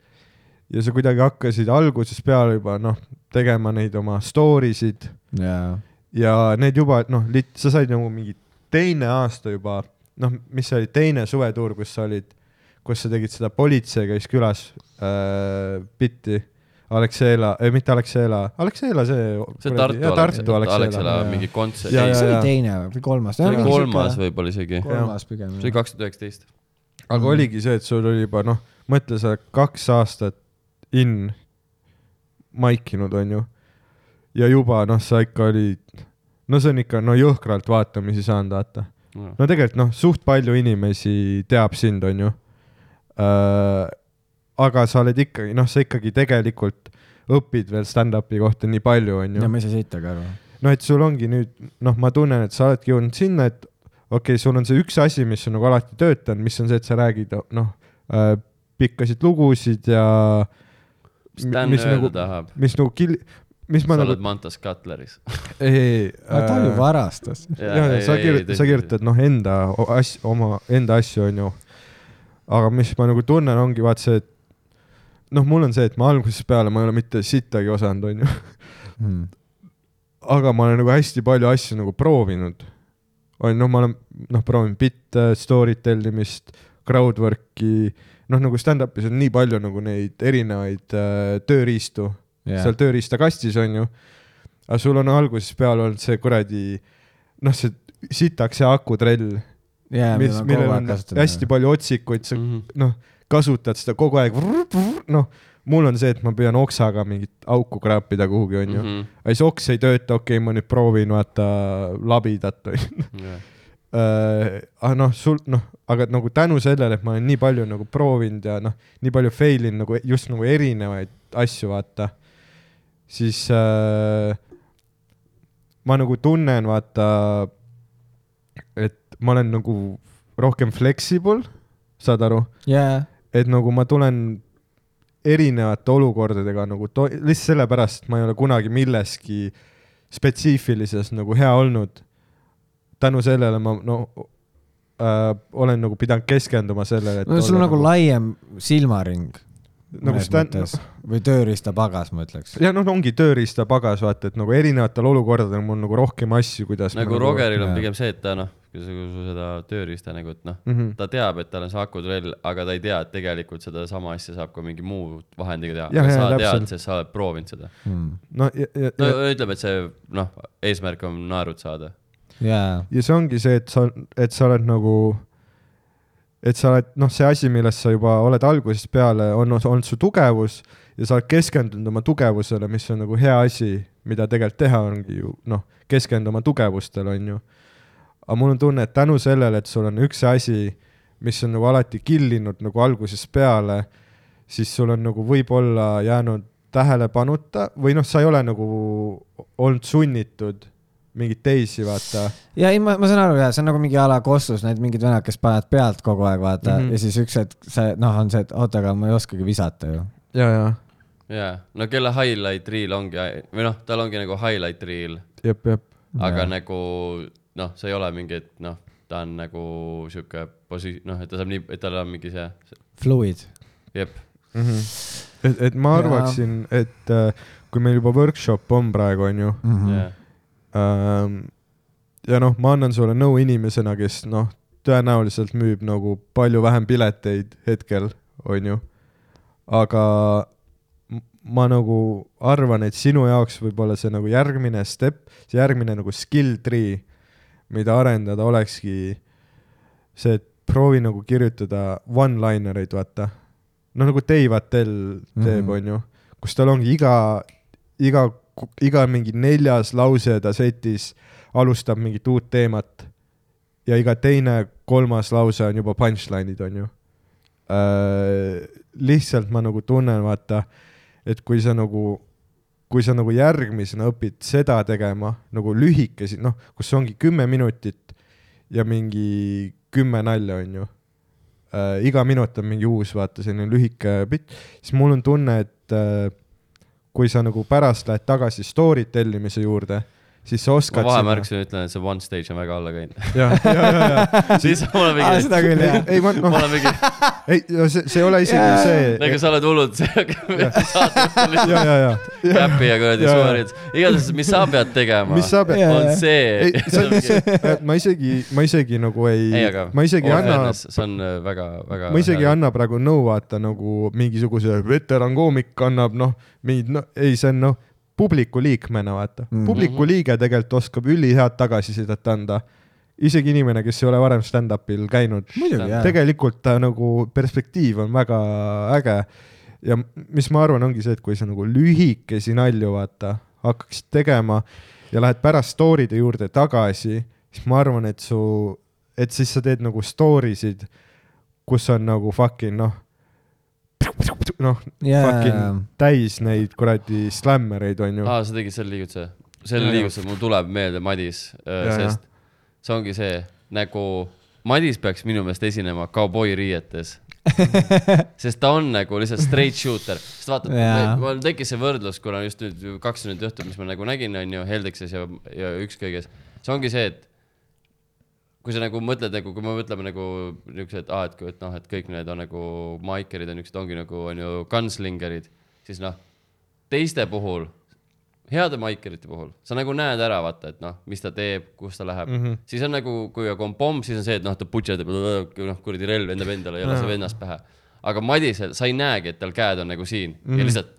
Speaker 1: ja sa kuidagi hakkasid algusest peale juba noh , tegema neid oma story sid
Speaker 5: jaa ,
Speaker 1: ja need juba noh , sa said nagu mingi teine aasta juba , noh , mis see oli , teine suvetuur , kus sa olid , kus sa tegid seda politsei käis külas äh, bitti . Alexela äh, , mitte Alexela , Alexela see .
Speaker 2: see Tartu
Speaker 1: Tartu Alexela .
Speaker 5: jaa.
Speaker 2: mingi kontsert ,
Speaker 1: Jaa,
Speaker 2: ei
Speaker 1: jaa,
Speaker 5: see
Speaker 2: see
Speaker 5: oli
Speaker 1: jaa.
Speaker 5: teine või kolmas ?
Speaker 2: oli kolmas võib-olla isegi , see
Speaker 5: kolmas pigem .
Speaker 2: oli kaks tuhat üheksateist .
Speaker 1: aga oligi see , et sul oli juba noh , mõtle , sa oled kaks aastat in maikinud , onju . ja juba noh , sa ikka olid , no see on ikka no jõhkralt vaatamisi saanud , vaata . no tegelikult noh , suht palju inimesi teab sind , onju . aga sa oled ikkagi , noh , sa ikkagi tegelikult õpid veel stand-up'i kohta nii palju , onju
Speaker 5: ja . ma ise ei saa siit aga aru .
Speaker 1: noh , et sul ongi nüüd , noh , ma tunnen , et sa oledki jõudnud sinna , et okei okay, , sul on see üks asi , mis on nagu alati töötanud , mis on see , et sa räägid , noh , pikkasid lugusid ja .
Speaker 2: Sten
Speaker 1: mis
Speaker 2: öelda
Speaker 1: nagu ,
Speaker 2: tahab ,
Speaker 1: mis nagu kil- , mis
Speaker 2: sa
Speaker 1: ma nagu
Speaker 2: oled , Mantas Cutleris .
Speaker 1: ei , ei ,
Speaker 5: aga ta ju
Speaker 1: ei .
Speaker 5: varastas .
Speaker 1: ja , ja sa kirjutad , sa kirjutad , noh , enda o- asju , oma enda asju , onju . aga mis ma nagu tunnen , ongi vaat see , et noh , mul on see , et ma algusest peale ma ei ole mitte sittagi osanud , onju .
Speaker 5: mm. .
Speaker 1: aga ma olen nagu hästi palju asju nagu proovinud . on , noh , ma olen , noh , proovinud bitte , story tellimist , crowdwork'i , noh , nagu stand-up'is on nii palju nagu neid erinevaid äh, tööriistu yeah. seal tööriistakastis , on ju . aga sul on algusest peale olnud see kuradi , noh , see sitaks see akutrell ,
Speaker 5: yeah,
Speaker 1: mis , millel on hästi . palju otsikuid , sa
Speaker 2: -hmm.
Speaker 1: noh , kasutad seda kogu aeg , noh , mul on see , et ma püüan oksaga mingit auku kraapida kuhugi ,
Speaker 2: Mhm.
Speaker 1: onju . aga siis oks ei tööta , okei okay, , ma nüüd proovin vaata labidat või
Speaker 2: jah ,
Speaker 1: aga noh , sul noh , aga nagu tänu sellele , et ma olen nii palju nagu proovinud ja noh , nii palju fail inud nagu just nagu erinevaid asju , vaata , siis äh, ma nagu tunnen , vaata , et ma olen nagu rohkem flexible , saad aru ,
Speaker 5: jaa ,
Speaker 1: et nagu ma tulen erinevate olukordadega nagu to- , lihtsalt sellepärast , et ma ei ole kunagi milleski spetsiifilises nagu hea olnud . tänu sellele ma no äh, olen nagu pidanud keskenduma sellele .
Speaker 5: no sul on nagu laiem silmaring .
Speaker 1: nagu stand- ,
Speaker 5: või tööriistapagas , ma ütleks .
Speaker 1: ja noh , ongi tööriistapagas , vaata , et nagu erinevatel olukordadel mul on nagu rohkem asju , kuidas .
Speaker 2: nagu Rogeril on
Speaker 5: jaa.
Speaker 2: pigem see , et ta noh , kui sa- kui sa seda tööriista nagu , et noh ,
Speaker 1: mm . -hmm.
Speaker 2: ta teab , et tal on see akutrell , aga ta ei tea , et tegelikult sedasama asja saab ka mingi muu vahendiga
Speaker 1: Jah,
Speaker 2: teha .
Speaker 1: jah,
Speaker 2: sa tead
Speaker 1: täpselt. ,
Speaker 2: sest sa oled proovinud seda .
Speaker 5: Hmm.
Speaker 1: no ja , ja,
Speaker 2: no
Speaker 1: ja,
Speaker 2: ütleme , et see noh , eesmärk on naerud saada .
Speaker 5: jaa ,
Speaker 1: ja see ongi see , et sa , et sa oled nagu , et sa oled noh , see asi , millest sa juba oled algusest peale , on os- olnud su tugevus ja sa oled keskendunud oma tugevusele , mis on nagu hea asi , mida tegelikult teha ongi ju noh , keskenduda oma tugevustele , on ju . aga mul on tunne , et tänu sellele , et sul on üks asi , mis on nagu alati killinud nagu algusest peale , siis sul on nagu võib-olla jäänud tähelepanuta või noh , sa ei ole nagu olnud sunnitud mingeid teisi vaata
Speaker 5: ja ei , ma , ma saan aru , jaa , see on nagu mingi a la kossus , need mingid venad , kes panevad pealt kogu aeg , vaata mm ,
Speaker 1: Mhm.
Speaker 5: -hmm. ja siis üks hetk see , noh , on see , et oota , aga ma ei oskagi visata ju .
Speaker 1: ja , ja
Speaker 2: jaa , no kelle highlight reel ongi , või noh , tal ongi nagu highlight reel ,
Speaker 1: jep , jep .
Speaker 2: aga
Speaker 5: Jaa.
Speaker 2: nagu noh , see ei ole mingi , et noh , ta on nagu sihuke posi- , noh , et ta saab nii , et tal on mingi see ,
Speaker 5: Fluid .
Speaker 2: jep ,
Speaker 1: et , et ma
Speaker 5: Jaa.
Speaker 1: arvaksin , et äh, kui meil juba workshop on praegu , onju ,
Speaker 2: jaa .
Speaker 1: ja noh , ma annan sulle nõu inimesena , kes noh , tõenäoliselt müüb nagu palju vähem pileteid hetkel , onju . aga m- ma nagu arvan , et sinu jaoks võib-olla see nagu järgmine step , see järgmine nagu skill tree , mida arendada , olekski see , et proovi nagu kirjutada one-liner eid , vaata . no nagu Dave Attell teeb mm ,
Speaker 5: Mhm.
Speaker 1: -hmm. onju , kus tal ongi iga , iga , iga mingi neljas lause ta setis alustab mingit uut teemat ja iga teine , kolmas lause on juba punchline'id , onju . Äh, lihtsalt ma nagu tunnen , vaata , et kui sa nagu , kui sa nagu järgmisena õpid seda tegema nagu lühikesi , noh , kus ongi kümme minutit ja mingi kümme nalja , onju . iga minut on mingi uus , vaata , selline lühike pitt , siis mul on tunne , et äh, kui sa nagu pärast lähed tagasi story tellimise juurde , siis sa
Speaker 2: ma
Speaker 1: oskad .
Speaker 2: vahemärkusena ütlen , et see one stage on väga alla käinud .
Speaker 1: ja , ja , ja , ja ,
Speaker 2: siis ma olen
Speaker 5: aa ,
Speaker 2: mingi ,
Speaker 5: Ah, seda küll , jah .
Speaker 1: ei ma
Speaker 2: ma
Speaker 1: noh ,
Speaker 2: olen mingi ,
Speaker 1: ei no see , see ei ole isegi
Speaker 5: Jaa.
Speaker 2: nagu
Speaker 1: see .
Speaker 2: sa oled hullult
Speaker 1: ja , ja , ja , ja ,
Speaker 2: käpi ja kuradi
Speaker 1: Jaa.
Speaker 2: suverid , igatahes , mis sa pead tegema ,
Speaker 1: mis sa pead ,
Speaker 5: Jaa.
Speaker 2: on see
Speaker 1: ei , see , see , ma isegi , ma isegi nagu
Speaker 2: ei
Speaker 1: ei
Speaker 2: aga ,
Speaker 1: ma isegi ei anna ,
Speaker 2: see on äh, väga , väga .
Speaker 1: ma isegi ei . anna praegu nõu vaata nagu mingisuguse veterankoomik annab noh , mingid no ei , see on noh , publiku liikmena vaata mm.
Speaker 5: Mhm. .
Speaker 1: publiku liige tegelikult oskab ülihead tagasisidet anda . isegi inimene , kes ei ole varem stand-up'il käinud .
Speaker 5: muidugi , jaa .
Speaker 1: tegelikult ta nagu perspektiiv on väga äge ja m- mis ma arvan , ongi see , et kui sa nagu lühikesi nalju vaata hakkaksid tegema ja lähed pärast story de juurde tagasi , siis ma arvan , et su , et siis sa teed nagu story sid , kus on nagu fucking noh , noh
Speaker 5: Jaa.
Speaker 1: fucking täis neid kuradi slämmereid onju .
Speaker 2: aa , sa tegid selle liigutuse , selle
Speaker 1: Jaa.
Speaker 2: liigutuse , mul tuleb meelde Madis ,
Speaker 1: Jaa, jah.
Speaker 2: sest see ongi see nagu Madis peaks minu meelest esinema kauboiriietes . sest ta on nagu lihtsalt straight shooter , sest vaata
Speaker 5: Jaa. ,
Speaker 2: mul tekkis see võrdlus , kuna just nüüd ju kaks tundi õhtul , mis ma nagu nägin , on ju , Heldekses ja , ja Ükskõiges , see ongi see , et kui sa nagu mõtled nagu , kui me mõtleme nagu niuksed , aa , et kui , et noh , et kõik need on nagu maikerid ja niuksed ongi nagu onju gunslingerid , siis noh , teiste puhul heade maikerite puhul sa nagu näed ära , vaata , et noh , mis ta teeb , kus ta läheb mm , -hmm. siis on nagu , kui on pomm , siis on see , et noh , ta putšerdab , noh kuradi relv lendab endale ja laseb ennast pähe . aga Madisel , sa ei näegi , et tal käed on nagu siin mm -hmm. ja lihtsalt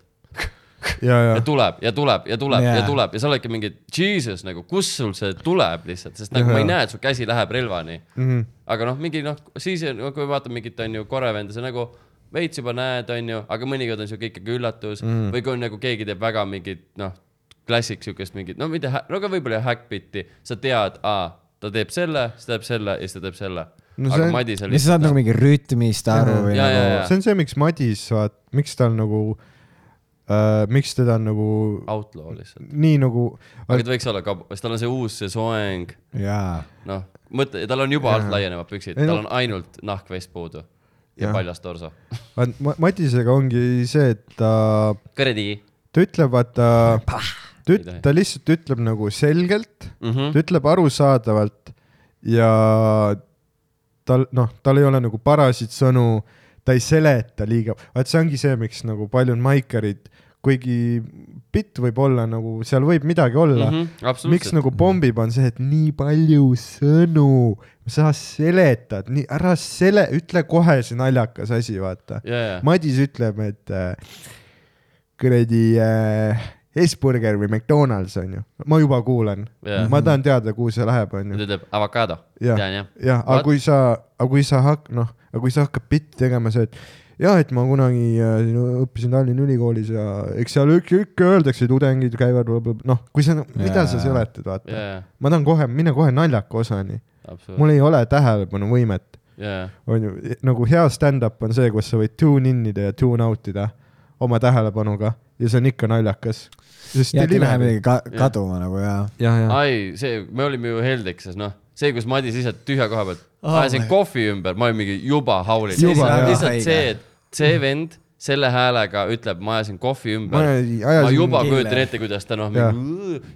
Speaker 1: ja , ja
Speaker 2: ja tuleb ja tuleb ja tuleb yeah. ja
Speaker 5: Jaa.
Speaker 2: tuleb ja sa oledki mingi jesus nagu , kus sul see tuleb lihtsalt , sest nagu ma ei näe , et su käsi läheb relvani mm . -hmm. aga noh , mingi noh , siis no, kui vaatad mingit onju korevenda , sa nagu veits juba näed , onju , aga mõnikord on siuke ikkagi üllatus mm -hmm. või kui on nagu keegi teeb väga mingit noh , klassik siukest mingit , no mitte , no aga võib-olla häkkpitti , sa tead , aa , ta teeb selle , siis ta teeb selle ja siis ta teeb selle
Speaker 1: No
Speaker 2: no, .
Speaker 1: see
Speaker 2: aga
Speaker 1: on-
Speaker 2: Madis oli
Speaker 5: ja sa saad nagu mingi rütmist aru või
Speaker 2: Jaa, jaa,
Speaker 5: nagu
Speaker 2: jaa.
Speaker 1: see on see , miks Madis , vaat , miks tal nagu äh, , miks teda on nagu
Speaker 2: outlaw lihtsalt .
Speaker 1: nii nagu ,
Speaker 2: aga ta võiks olla ka , sest tal on see uus see soeng
Speaker 5: jaa .
Speaker 2: noh , mõtle , tal on juba alt laienevad püksid ,
Speaker 1: Ei
Speaker 2: tal
Speaker 1: noh.
Speaker 2: on ainult nahkvest puudu ja
Speaker 1: Jah.
Speaker 2: paljas torso .
Speaker 1: vaat Ma- Madisega ongi see , et ta ,
Speaker 2: kuradi .
Speaker 1: ta ütleb , vaata , ta
Speaker 2: Ei
Speaker 1: üt-
Speaker 2: tohi. , Mhm.
Speaker 1: ta lihtsalt ütleb nagu selgelt , ta ütleb arusaadavalt ja tal , noh , tal ei ole nagu parasid sõnu , ta ei seleta liiga , vaat see ongi see , miks nagu paljud maikarid , kuigi bitt võib olla nagu , seal võib midagi olla mm , -hmm miks
Speaker 2: Mhm, absoluutselt .
Speaker 1: nagu pommib , on see , et nii palju sõnu , sa seletad , nii ära sele- , ütle kohe see naljakas asi , vaata .
Speaker 2: ja , ja ,
Speaker 1: Madis ütleb , et äh, kuradi äh, Hesburger või McDonalds on ju , ma juba kuulan
Speaker 2: Jaa.
Speaker 1: yeah. , ma tahan teada , kuhu see läheb , on
Speaker 2: ta
Speaker 1: ju .
Speaker 2: ütleb avokado .
Speaker 1: jah ,
Speaker 2: tean jah .
Speaker 1: jah , aga kui sa , aga kui sa hak- , noh , aga kui sa hakkad bitti tegema see , et jah , et ma kunagi äh, no, õppisin Tallinna Ülikoolis ja eks seal ikka, ikka öeldakse , tudengid käivad , noh , kui sa , mida sa
Speaker 5: Jaa.
Speaker 1: seletad , vaata
Speaker 2: ja , ja ,
Speaker 1: ma tahan kohe , mine kohe naljaka osani ,
Speaker 2: absoluutselt .
Speaker 1: mul ei ole tähelepanuvõimet ,
Speaker 2: ja , ja ,
Speaker 1: on ju , nagu hea stand-up on see , kus sa võid tune in ida ja tune out ida oma tähelepanuga ja see on ikka naljakas . sest
Speaker 5: jäeti
Speaker 1: ja ,
Speaker 5: läheb midagi ka- kaduma nagu jaa .
Speaker 1: ja ,
Speaker 2: ai , see , me olime ju Heldekses , noh , see , kus Madis lihtsalt tühja koha pealt
Speaker 5: Oh
Speaker 2: ajasin
Speaker 5: my-
Speaker 2: kohvi ümber , ma olin mingi juba haulil . siis
Speaker 5: Juba,
Speaker 2: läheb
Speaker 5: jah.
Speaker 2: lihtsalt
Speaker 5: Haige.
Speaker 2: see , et see vend selle häälega ütleb , ma ajasin kohvi
Speaker 1: ma
Speaker 2: ümber ma
Speaker 1: ajasin
Speaker 2: juba
Speaker 5: kille.
Speaker 2: kujutan ette , kuidas ta noh ,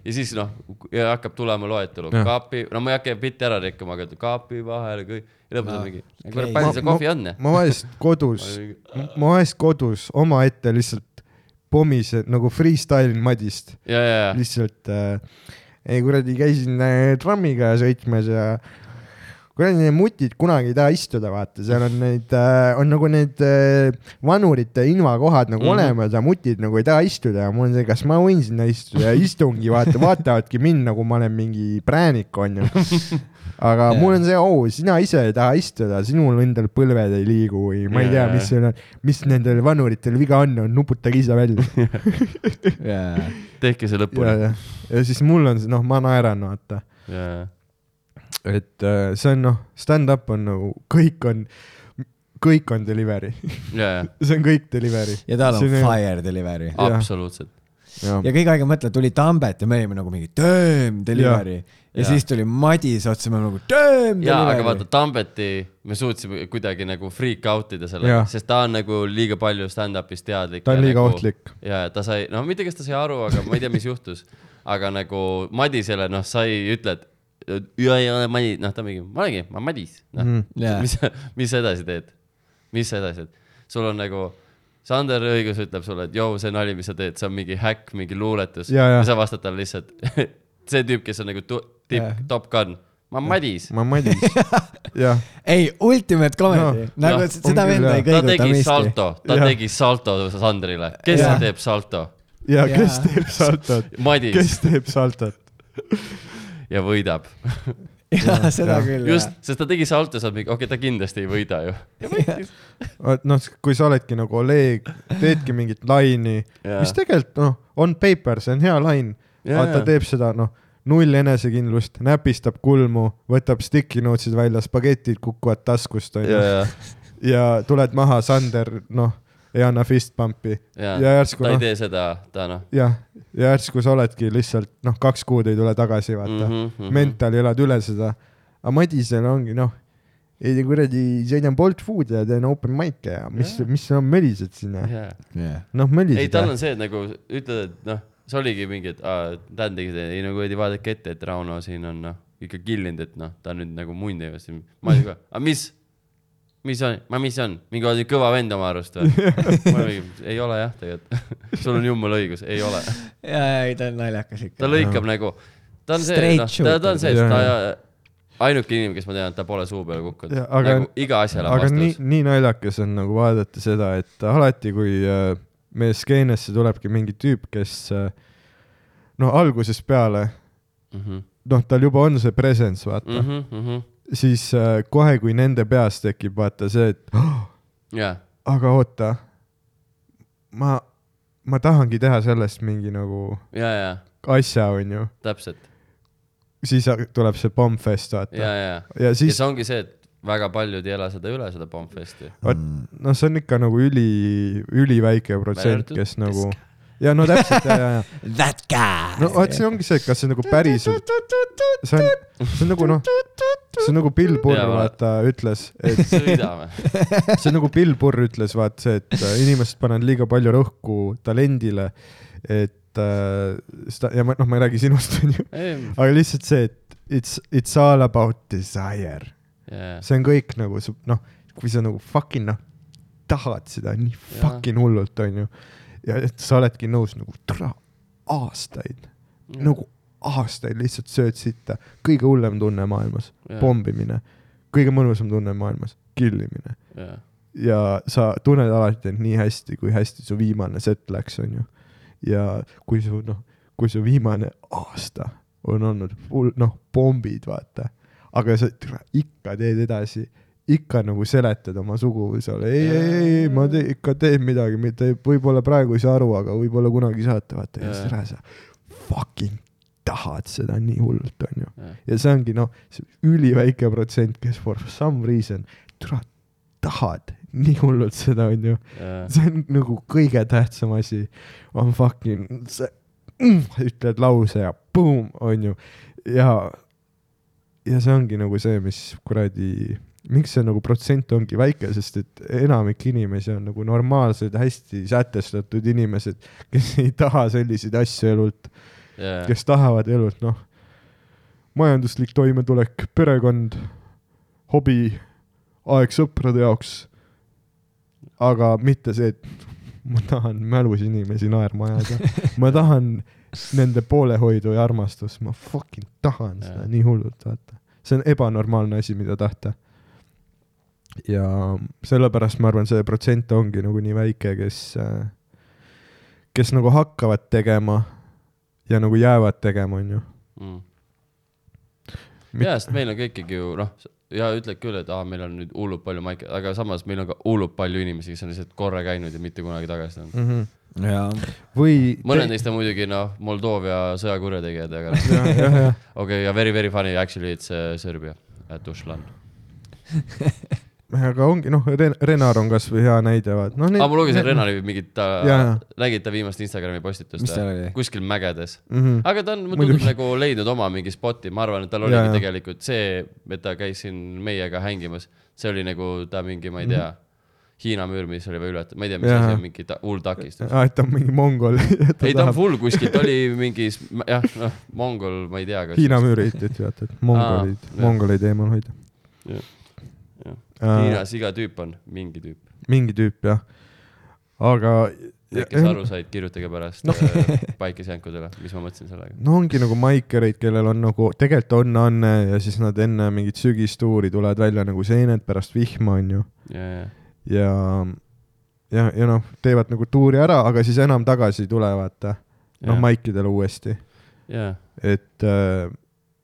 Speaker 2: ja siis noh , ja hakkab tulema loetelu ,
Speaker 1: Jah.
Speaker 2: kaapi , no ma ei hakka bitti ära rikkuma , aga ütleb kaapi vahele kõik , ja lõpuks on
Speaker 5: Aa,
Speaker 2: mingi ,
Speaker 5: Ah, okei.
Speaker 2: kurat , palju
Speaker 1: Ma-
Speaker 2: seal
Speaker 1: ma-
Speaker 2: kohvi on ?
Speaker 1: ma vahest kodus , ma vahest kodus omaette lihtsalt pommise nagu freestyle Madist ,
Speaker 2: ja , ja ,
Speaker 1: lihtsalt äh, ei kuradi , käisin äh, trammiga sõitmas ja kuradi need mutid kunagi ei taha istuda , vaata , seal on neid äh, , on nagu need äh, vanurite invakohad nagu mm
Speaker 2: Mhm.
Speaker 1: -hmm. olemas ja mutid nagu ei taha istuda ja mul on see , kas ma võin sinna istuda ja istungi vaata , vaatavadki mind nagu ma olen mingi präänik , onju . aga yeah. mul on see au , sina ise ei taha istuda , sinul endal põlved ei liigu või ma ei tea ,
Speaker 2: Jajah.
Speaker 1: mis seal on , mis nendel vanuritel viga on , nuputage ise välja .
Speaker 5: jaa .
Speaker 2: ja , tehke see
Speaker 1: ja ,
Speaker 2: lõpuni .
Speaker 1: ja , ja siis mul on see , noh , ma naeran , vaata ,
Speaker 2: ja ,
Speaker 1: et äh, see on noh , stand-up on nagu kõik on , kõik on delivery ,
Speaker 2: ja , ja ,
Speaker 1: see on kõik delivery .
Speaker 5: ja tal on
Speaker 1: See on-
Speaker 5: fire delivery .
Speaker 1: Jah.
Speaker 2: absoluutselt .
Speaker 5: ja kõik aeg mõtle , tuli Tambet ja me olime nagu mingi damn delivery ja, ja,
Speaker 2: Jaa.
Speaker 5: ja siis tuli Madis otsa , me olime nagu damn
Speaker 2: ja , aga vaata
Speaker 5: delivery .
Speaker 2: Tambeti me suutsime kuidagi nagu freak out ida
Speaker 1: Jah.
Speaker 2: sellega , sest ta on nagu liiga palju stand-up'is teadlik .
Speaker 1: ta on liiga
Speaker 2: nagu,
Speaker 1: ohtlik .
Speaker 2: ja ta sai , no mitte , kas ta sai aru , aga ma ei tea , mis juhtus . aga nagu Madisele , noh , sa ei ütle , et ja ei ole Madis , noh , ta mingi , ma olengi , ma olen Madis , noh
Speaker 1: Mhm.
Speaker 5: Jaa.
Speaker 2: mis , mis sa edasi teed ? mis sa edasi teed ? sul on nagu , Sander Õigus ütleb sulle , et jõu , see nali , mis sa teed , see on mingi häkk , mingi luuletus
Speaker 1: Jaa, jaa.
Speaker 2: ja sa vastad talle lihtsalt , see tüüp , kes on nagu tu- tipp
Speaker 1: Jaa.
Speaker 2: yeah. , top gun , ma olen Madis .
Speaker 1: ma olen Madis , jah ,
Speaker 5: ei , ultimate comedy
Speaker 1: Noh,
Speaker 5: no, , nagu
Speaker 2: noh,
Speaker 5: no, seda
Speaker 1: on küll,
Speaker 5: venda
Speaker 1: jah.
Speaker 5: ei
Speaker 2: ta
Speaker 5: kõiguta
Speaker 2: tegi
Speaker 5: miski .
Speaker 2: salto , ta
Speaker 1: Jah.
Speaker 2: yeah. tegi salto Sandrile , kes
Speaker 5: Jah.
Speaker 2: yeah. teeb salto ?
Speaker 1: ja kes
Speaker 5: Jaa.
Speaker 1: teeb saltot ,
Speaker 2: Madis kes?
Speaker 1: kes teeb saltot ,
Speaker 2: ja võidab .
Speaker 5: jaa , seda küll .
Speaker 2: just , sest ta tegi salto , sa oled mingi , okei okay, , ta kindlasti ei võida ju .
Speaker 1: vot noh , kui sa oledki nagu Oleg , teedki mingit laini , mis tegelikult noh , on paper , see on hea lain ,
Speaker 2: Jaa,
Speaker 1: aga ta
Speaker 2: jaa.
Speaker 1: teeb seda noh , null enesekindlust , näpistab kulmu , võtab sticky notes'id välja , spagetid kukuvad taskust onju
Speaker 2: ja ,
Speaker 1: ja tuled maha , Sander noh , ei anna fist pump'i
Speaker 2: ja ,
Speaker 1: ja
Speaker 2: ja
Speaker 1: järsku
Speaker 2: ta ei
Speaker 1: noh ,
Speaker 2: tee seda , ta noh .
Speaker 1: jah , ja järsku sa oledki lihtsalt noh , kaks kuud ei tule tagasi , vaata
Speaker 2: Mhm,
Speaker 1: mm . -hmm. . mental elad üle seda . aga Madisel ongi noh , ei tea kuradi , sõidan Bolt Foodi ja teen open mic'e ja mis
Speaker 2: Jaa.
Speaker 1: yeah. , mis on , mölised sinna .
Speaker 5: Yeah.
Speaker 1: noh , mölised .
Speaker 2: ei , tal on see , et nagu ütled , et noh , see oligi mingi , et aa, Dan tegi seda , ei nagu ei vaadake ette , et Rauno siin on noh , ikka killinud , et noh , ta nüüd nagu mundi ei võta , ma ei tea , aga mis ? mis on , ma , mis on , mingi kuradi kõva vend oma arust või ? ei ole jah , tegelikult . sul on jumala õigus , ei ole .
Speaker 5: ja , ja ei ta on naljakas ikka
Speaker 2: ta . lõikab nagu , ta on see ,
Speaker 5: Straight
Speaker 2: noh , ta , ta on see ,
Speaker 1: shooter.
Speaker 2: ta ainuke inimene , kes ma tean , et ta pole suu peale kukkunud
Speaker 1: Jaa, . aga-
Speaker 2: nagu iga asjale
Speaker 1: aga nii ,
Speaker 2: vastus .
Speaker 1: nii naljakas on nagu vaadata seda , et alati , kui äh, meie skeenesse tulebki mingi tüüp , kes äh, noh , algusest peale ,
Speaker 2: Mhm,
Speaker 1: noh , tal juba on see presence , vaata mm , -hmm. siis äh, kohe , kui nende peas tekib , vaata see , et oh,
Speaker 2: jaa ,
Speaker 1: aga oota , ma , ma tahangi teha sellest mingi nagu
Speaker 2: jaa , jaa ,
Speaker 1: asja , onju ,
Speaker 2: täpselt ,
Speaker 1: siis ha- tuleb see pommfest , vaata
Speaker 2: jaa , jaa .
Speaker 1: ja
Speaker 2: ja
Speaker 1: siis
Speaker 2: see ongi see , et väga paljud ei ela seda üle , seda Bombfesti .
Speaker 1: vot , noh , see on ikka nagu üli , üliväike protsent ,
Speaker 2: arvatud
Speaker 1: kes nagu ja no täpselt ja , ja , ja
Speaker 5: That guy
Speaker 1: no vot , see ongi see , et kas see nagu päriselt , see on , see on nagu noh , see on nagu Bill Burr
Speaker 2: Jaa, , vaata.
Speaker 1: vaata , ütles , et
Speaker 2: sõidame .
Speaker 1: see on nagu Bill Burr ütles , vaat see , et äh, inimesed panevad liiga palju rõhku talendile , et äh, seda ja ma noh , ma ei räägi sinust , onju ,
Speaker 2: jaa ,
Speaker 1: aga lihtsalt see , et it's , it's all about desire , see on kõik nagu su- noh , kui sa nagu fucking noh , tahad seda nii
Speaker 2: Jah.
Speaker 1: fucking hullult , onju . ja et sa oledki nõus nagu tra- , aastaid , nagu aastaid lihtsalt sööd sitta , kõige hullem tunne maailmas ,
Speaker 2: Jah.
Speaker 1: pommimine , kõige mõnusam tunne maailmas , killimine
Speaker 2: jaa ,
Speaker 1: ja sa tunned alati end nii hästi , kui hästi su viimane set läks , onju . ja kui su noh , kui su viimane aasta on olnud full noh , pommid , vaata , aga sa tra- ikka teed edasi , ikka nagu seletad oma suguvõsale , ei , ei , ei , ei , ma te, ikka teen midagi , mitte võib-olla praegu ei saa aru , aga võib-olla kunagi saate , vaata , ja
Speaker 2: Jaa.
Speaker 1: siis ära sa fucking tahad seda nii hullult , onju
Speaker 2: jaa .
Speaker 1: ja see ongi noh , see üliväike protsent , kes for some reason tra- tahad nii hullult seda , onju .
Speaker 2: Jaa.
Speaker 1: see on nagu kõige tähtsam asi on fucking see mm, , ütled lause ja boom , onju . ja , ja see ongi nagu see , mis kuradi , miks see nagu protsent ongi väike , sest et enamik inimesi on nagu normaalsed , hästi sätestatud inimesed , kes ei taha selliseid asju elult .
Speaker 2: jaa ,
Speaker 1: kes tahavad elult , noh , majanduslik toimetulek , perekond , hobi , aeg sõprade jaoks . aga mitte see , et ma tahan mälus inimesi naerma ajada , ma tahan nende poolehoidu ja armastust , ma fucking tahan seda
Speaker 2: Jaa.
Speaker 1: nii hullult , vaata . see on ebanormaalne asi , mida tahta . ja sellepärast ma arvan , see protsent ongi nagu nii väike , kes , kes nagu hakkavad tegema ja nagu jäävad tegema , onju .
Speaker 2: mm. .
Speaker 1: Mit-
Speaker 2: jaa , sest meil on kõik ikkagi ju noh , ja ütled küll , et aa , meil on nüüd hullult palju maike , aga samas meil on ka hullult palju inimesi , kes on lihtsalt korra käinud ja mitte kunagi tagasi tulnud .
Speaker 5: jaa ,
Speaker 1: või .
Speaker 2: Mhm. mõned neist on muidugi noh , Moldoovia sõjakurjategijad , aga noh.
Speaker 1: jah , jah , jah .
Speaker 2: okei , ja very , very funny actually it's uh, Serbia uh, , Tuzlan .
Speaker 1: aga ongi noh , Renar on kasvõi hea näide , vaat noh .
Speaker 2: aa , Ah, ma lugesin . Renari mingit ,
Speaker 1: Jaa, jaa.
Speaker 2: nägid ta viimast Instagrami postitust äh,
Speaker 5: Mis seal oli? ?
Speaker 2: kuskil mägedes .
Speaker 1: Mhm.
Speaker 2: aga ta on , mulle
Speaker 1: Muidugi.
Speaker 2: tundub nagu leidnud oma mingi spoti , ma arvan , et tal
Speaker 1: Jaa, jaa.
Speaker 2: oligi tegelikult see , et ta käis siin meiega hängimas , see oli nagu ta mingi , ma ei tea , Hiina müür , mis oli või ületatud , ma ei tea , mis
Speaker 1: Mhm. Jaa.
Speaker 2: asi on , mingi ta- hull takistus .
Speaker 1: aa , Ah, et ta on mingi mongol .
Speaker 2: ei , ta on full kuskilt , oli mingi s- m- jah , noh , mongol , ma ei tea .
Speaker 1: Hiina müüri ütled , vaata , et mongolid
Speaker 2: Aa, , Ah, jah.
Speaker 1: mongoleid eemal hoida .
Speaker 2: Jah, jah. Hiinas iga tüüp on mingi tüüp .
Speaker 1: mingi tüüp jah , aga .
Speaker 2: kes aru said , kirjutage pärast no. päikesejänkudele , mis ma mõtlesin sellega .
Speaker 1: no ongi nagu maikereid , kellel on nagu tegelikult on anne ja siis nad enne mingit sügistuuri tulevad välja nagu seened pärast vihma , onju .
Speaker 2: ja , ja ,
Speaker 1: ja , ja , ja noh , teevad nagu tuuri ära , aga siis enam tagasi ei tule , vaata . noh ,
Speaker 2: Jah.
Speaker 1: maikidele uuesti
Speaker 2: ja ,
Speaker 1: et äh,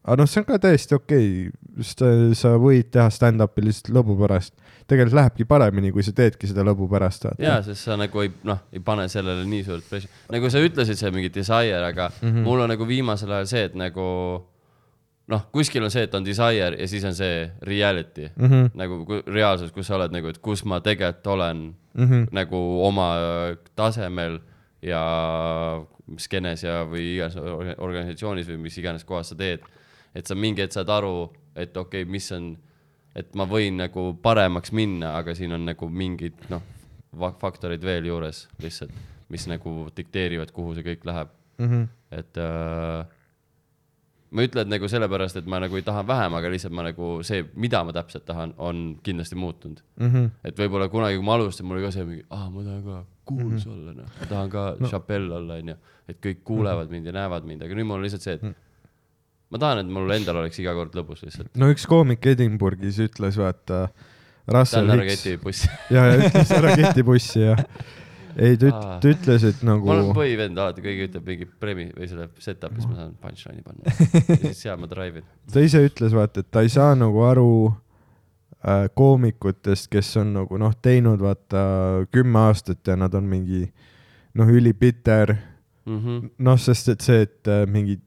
Speaker 1: aga noh , see on ka täiesti okei okay. , sa võid teha stand-up'i lihtsalt lõbu pärast . tegelikult lähebki paremini , kui sa teedki seda lõbu pärast ,
Speaker 2: ja
Speaker 1: vaata . ,
Speaker 2: sest sa nagu ei , noh , ei pane sellele nii suurt pressi- , nagu sa ütlesid , see on mingi desire , aga mm -hmm. mul on nagu viimasel ajal see , et nagu noh , kuskil on see , et on desire ja siis on see reality mm , -hmm. nagu ku- reaalsus , kus sa oled nagu , et kus ma tegelikult olen mm -hmm. nagu oma äh, tasemel ja skeenes ja , või igas orga- organisatsioonis või mis iganes kohas sa teed . et sa mingi hetk saad aru , et okei okay, , mis on , et ma võin nagu paremaks minna , aga siin on nagu mingid noh , faktorid veel juures lihtsalt ,
Speaker 1: Mhm,
Speaker 2: mis nagu dikteerivad , kuhu see kõik läheb mm . -hmm. et äh, ma ei ütle , et nagu sellepärast , et ma nagu ei taha vähem , aga lihtsalt ma nagu see , mida ma täpselt tahan , on kindlasti muutunud mm .
Speaker 1: mhm.
Speaker 2: -hmm. et võib-olla kunagi , kui ma alustasin , mul oli ka see mingi , aa , ma tahan ka kuulus mm -hmm. olla , noh , ma tahan ka no. Chappelle olla , onju . et kõik kuulevad mind ja näevad mind , aga nüüd mul on lihtsalt see , et ma tahan , et mul endal oleks iga kord lõbus lihtsalt .
Speaker 1: no üks koomik Edinburghis ütles , vaata , Russell
Speaker 2: Tanel
Speaker 1: Hicks
Speaker 2: Raketi buss .
Speaker 1: ja , ja ütles ära ketibussi ja ei , ta üt-
Speaker 2: Aa.
Speaker 1: ta ütles , et
Speaker 2: ma olen
Speaker 1: nagu ,
Speaker 2: põhivend alati , keegi ütleb mingi premi või selle setup'is ma saan punchline'i panna . ja siis seal ma drive in .
Speaker 1: ta ise ütles , vaata , et ta ei saa nagu aru äh, koomikutest , kes on nagu noh , teinud vaata kümme aastat ja nad on mingi noh , ülipiter ,
Speaker 2: Mhm.
Speaker 1: noh , sest et see , et äh, mingi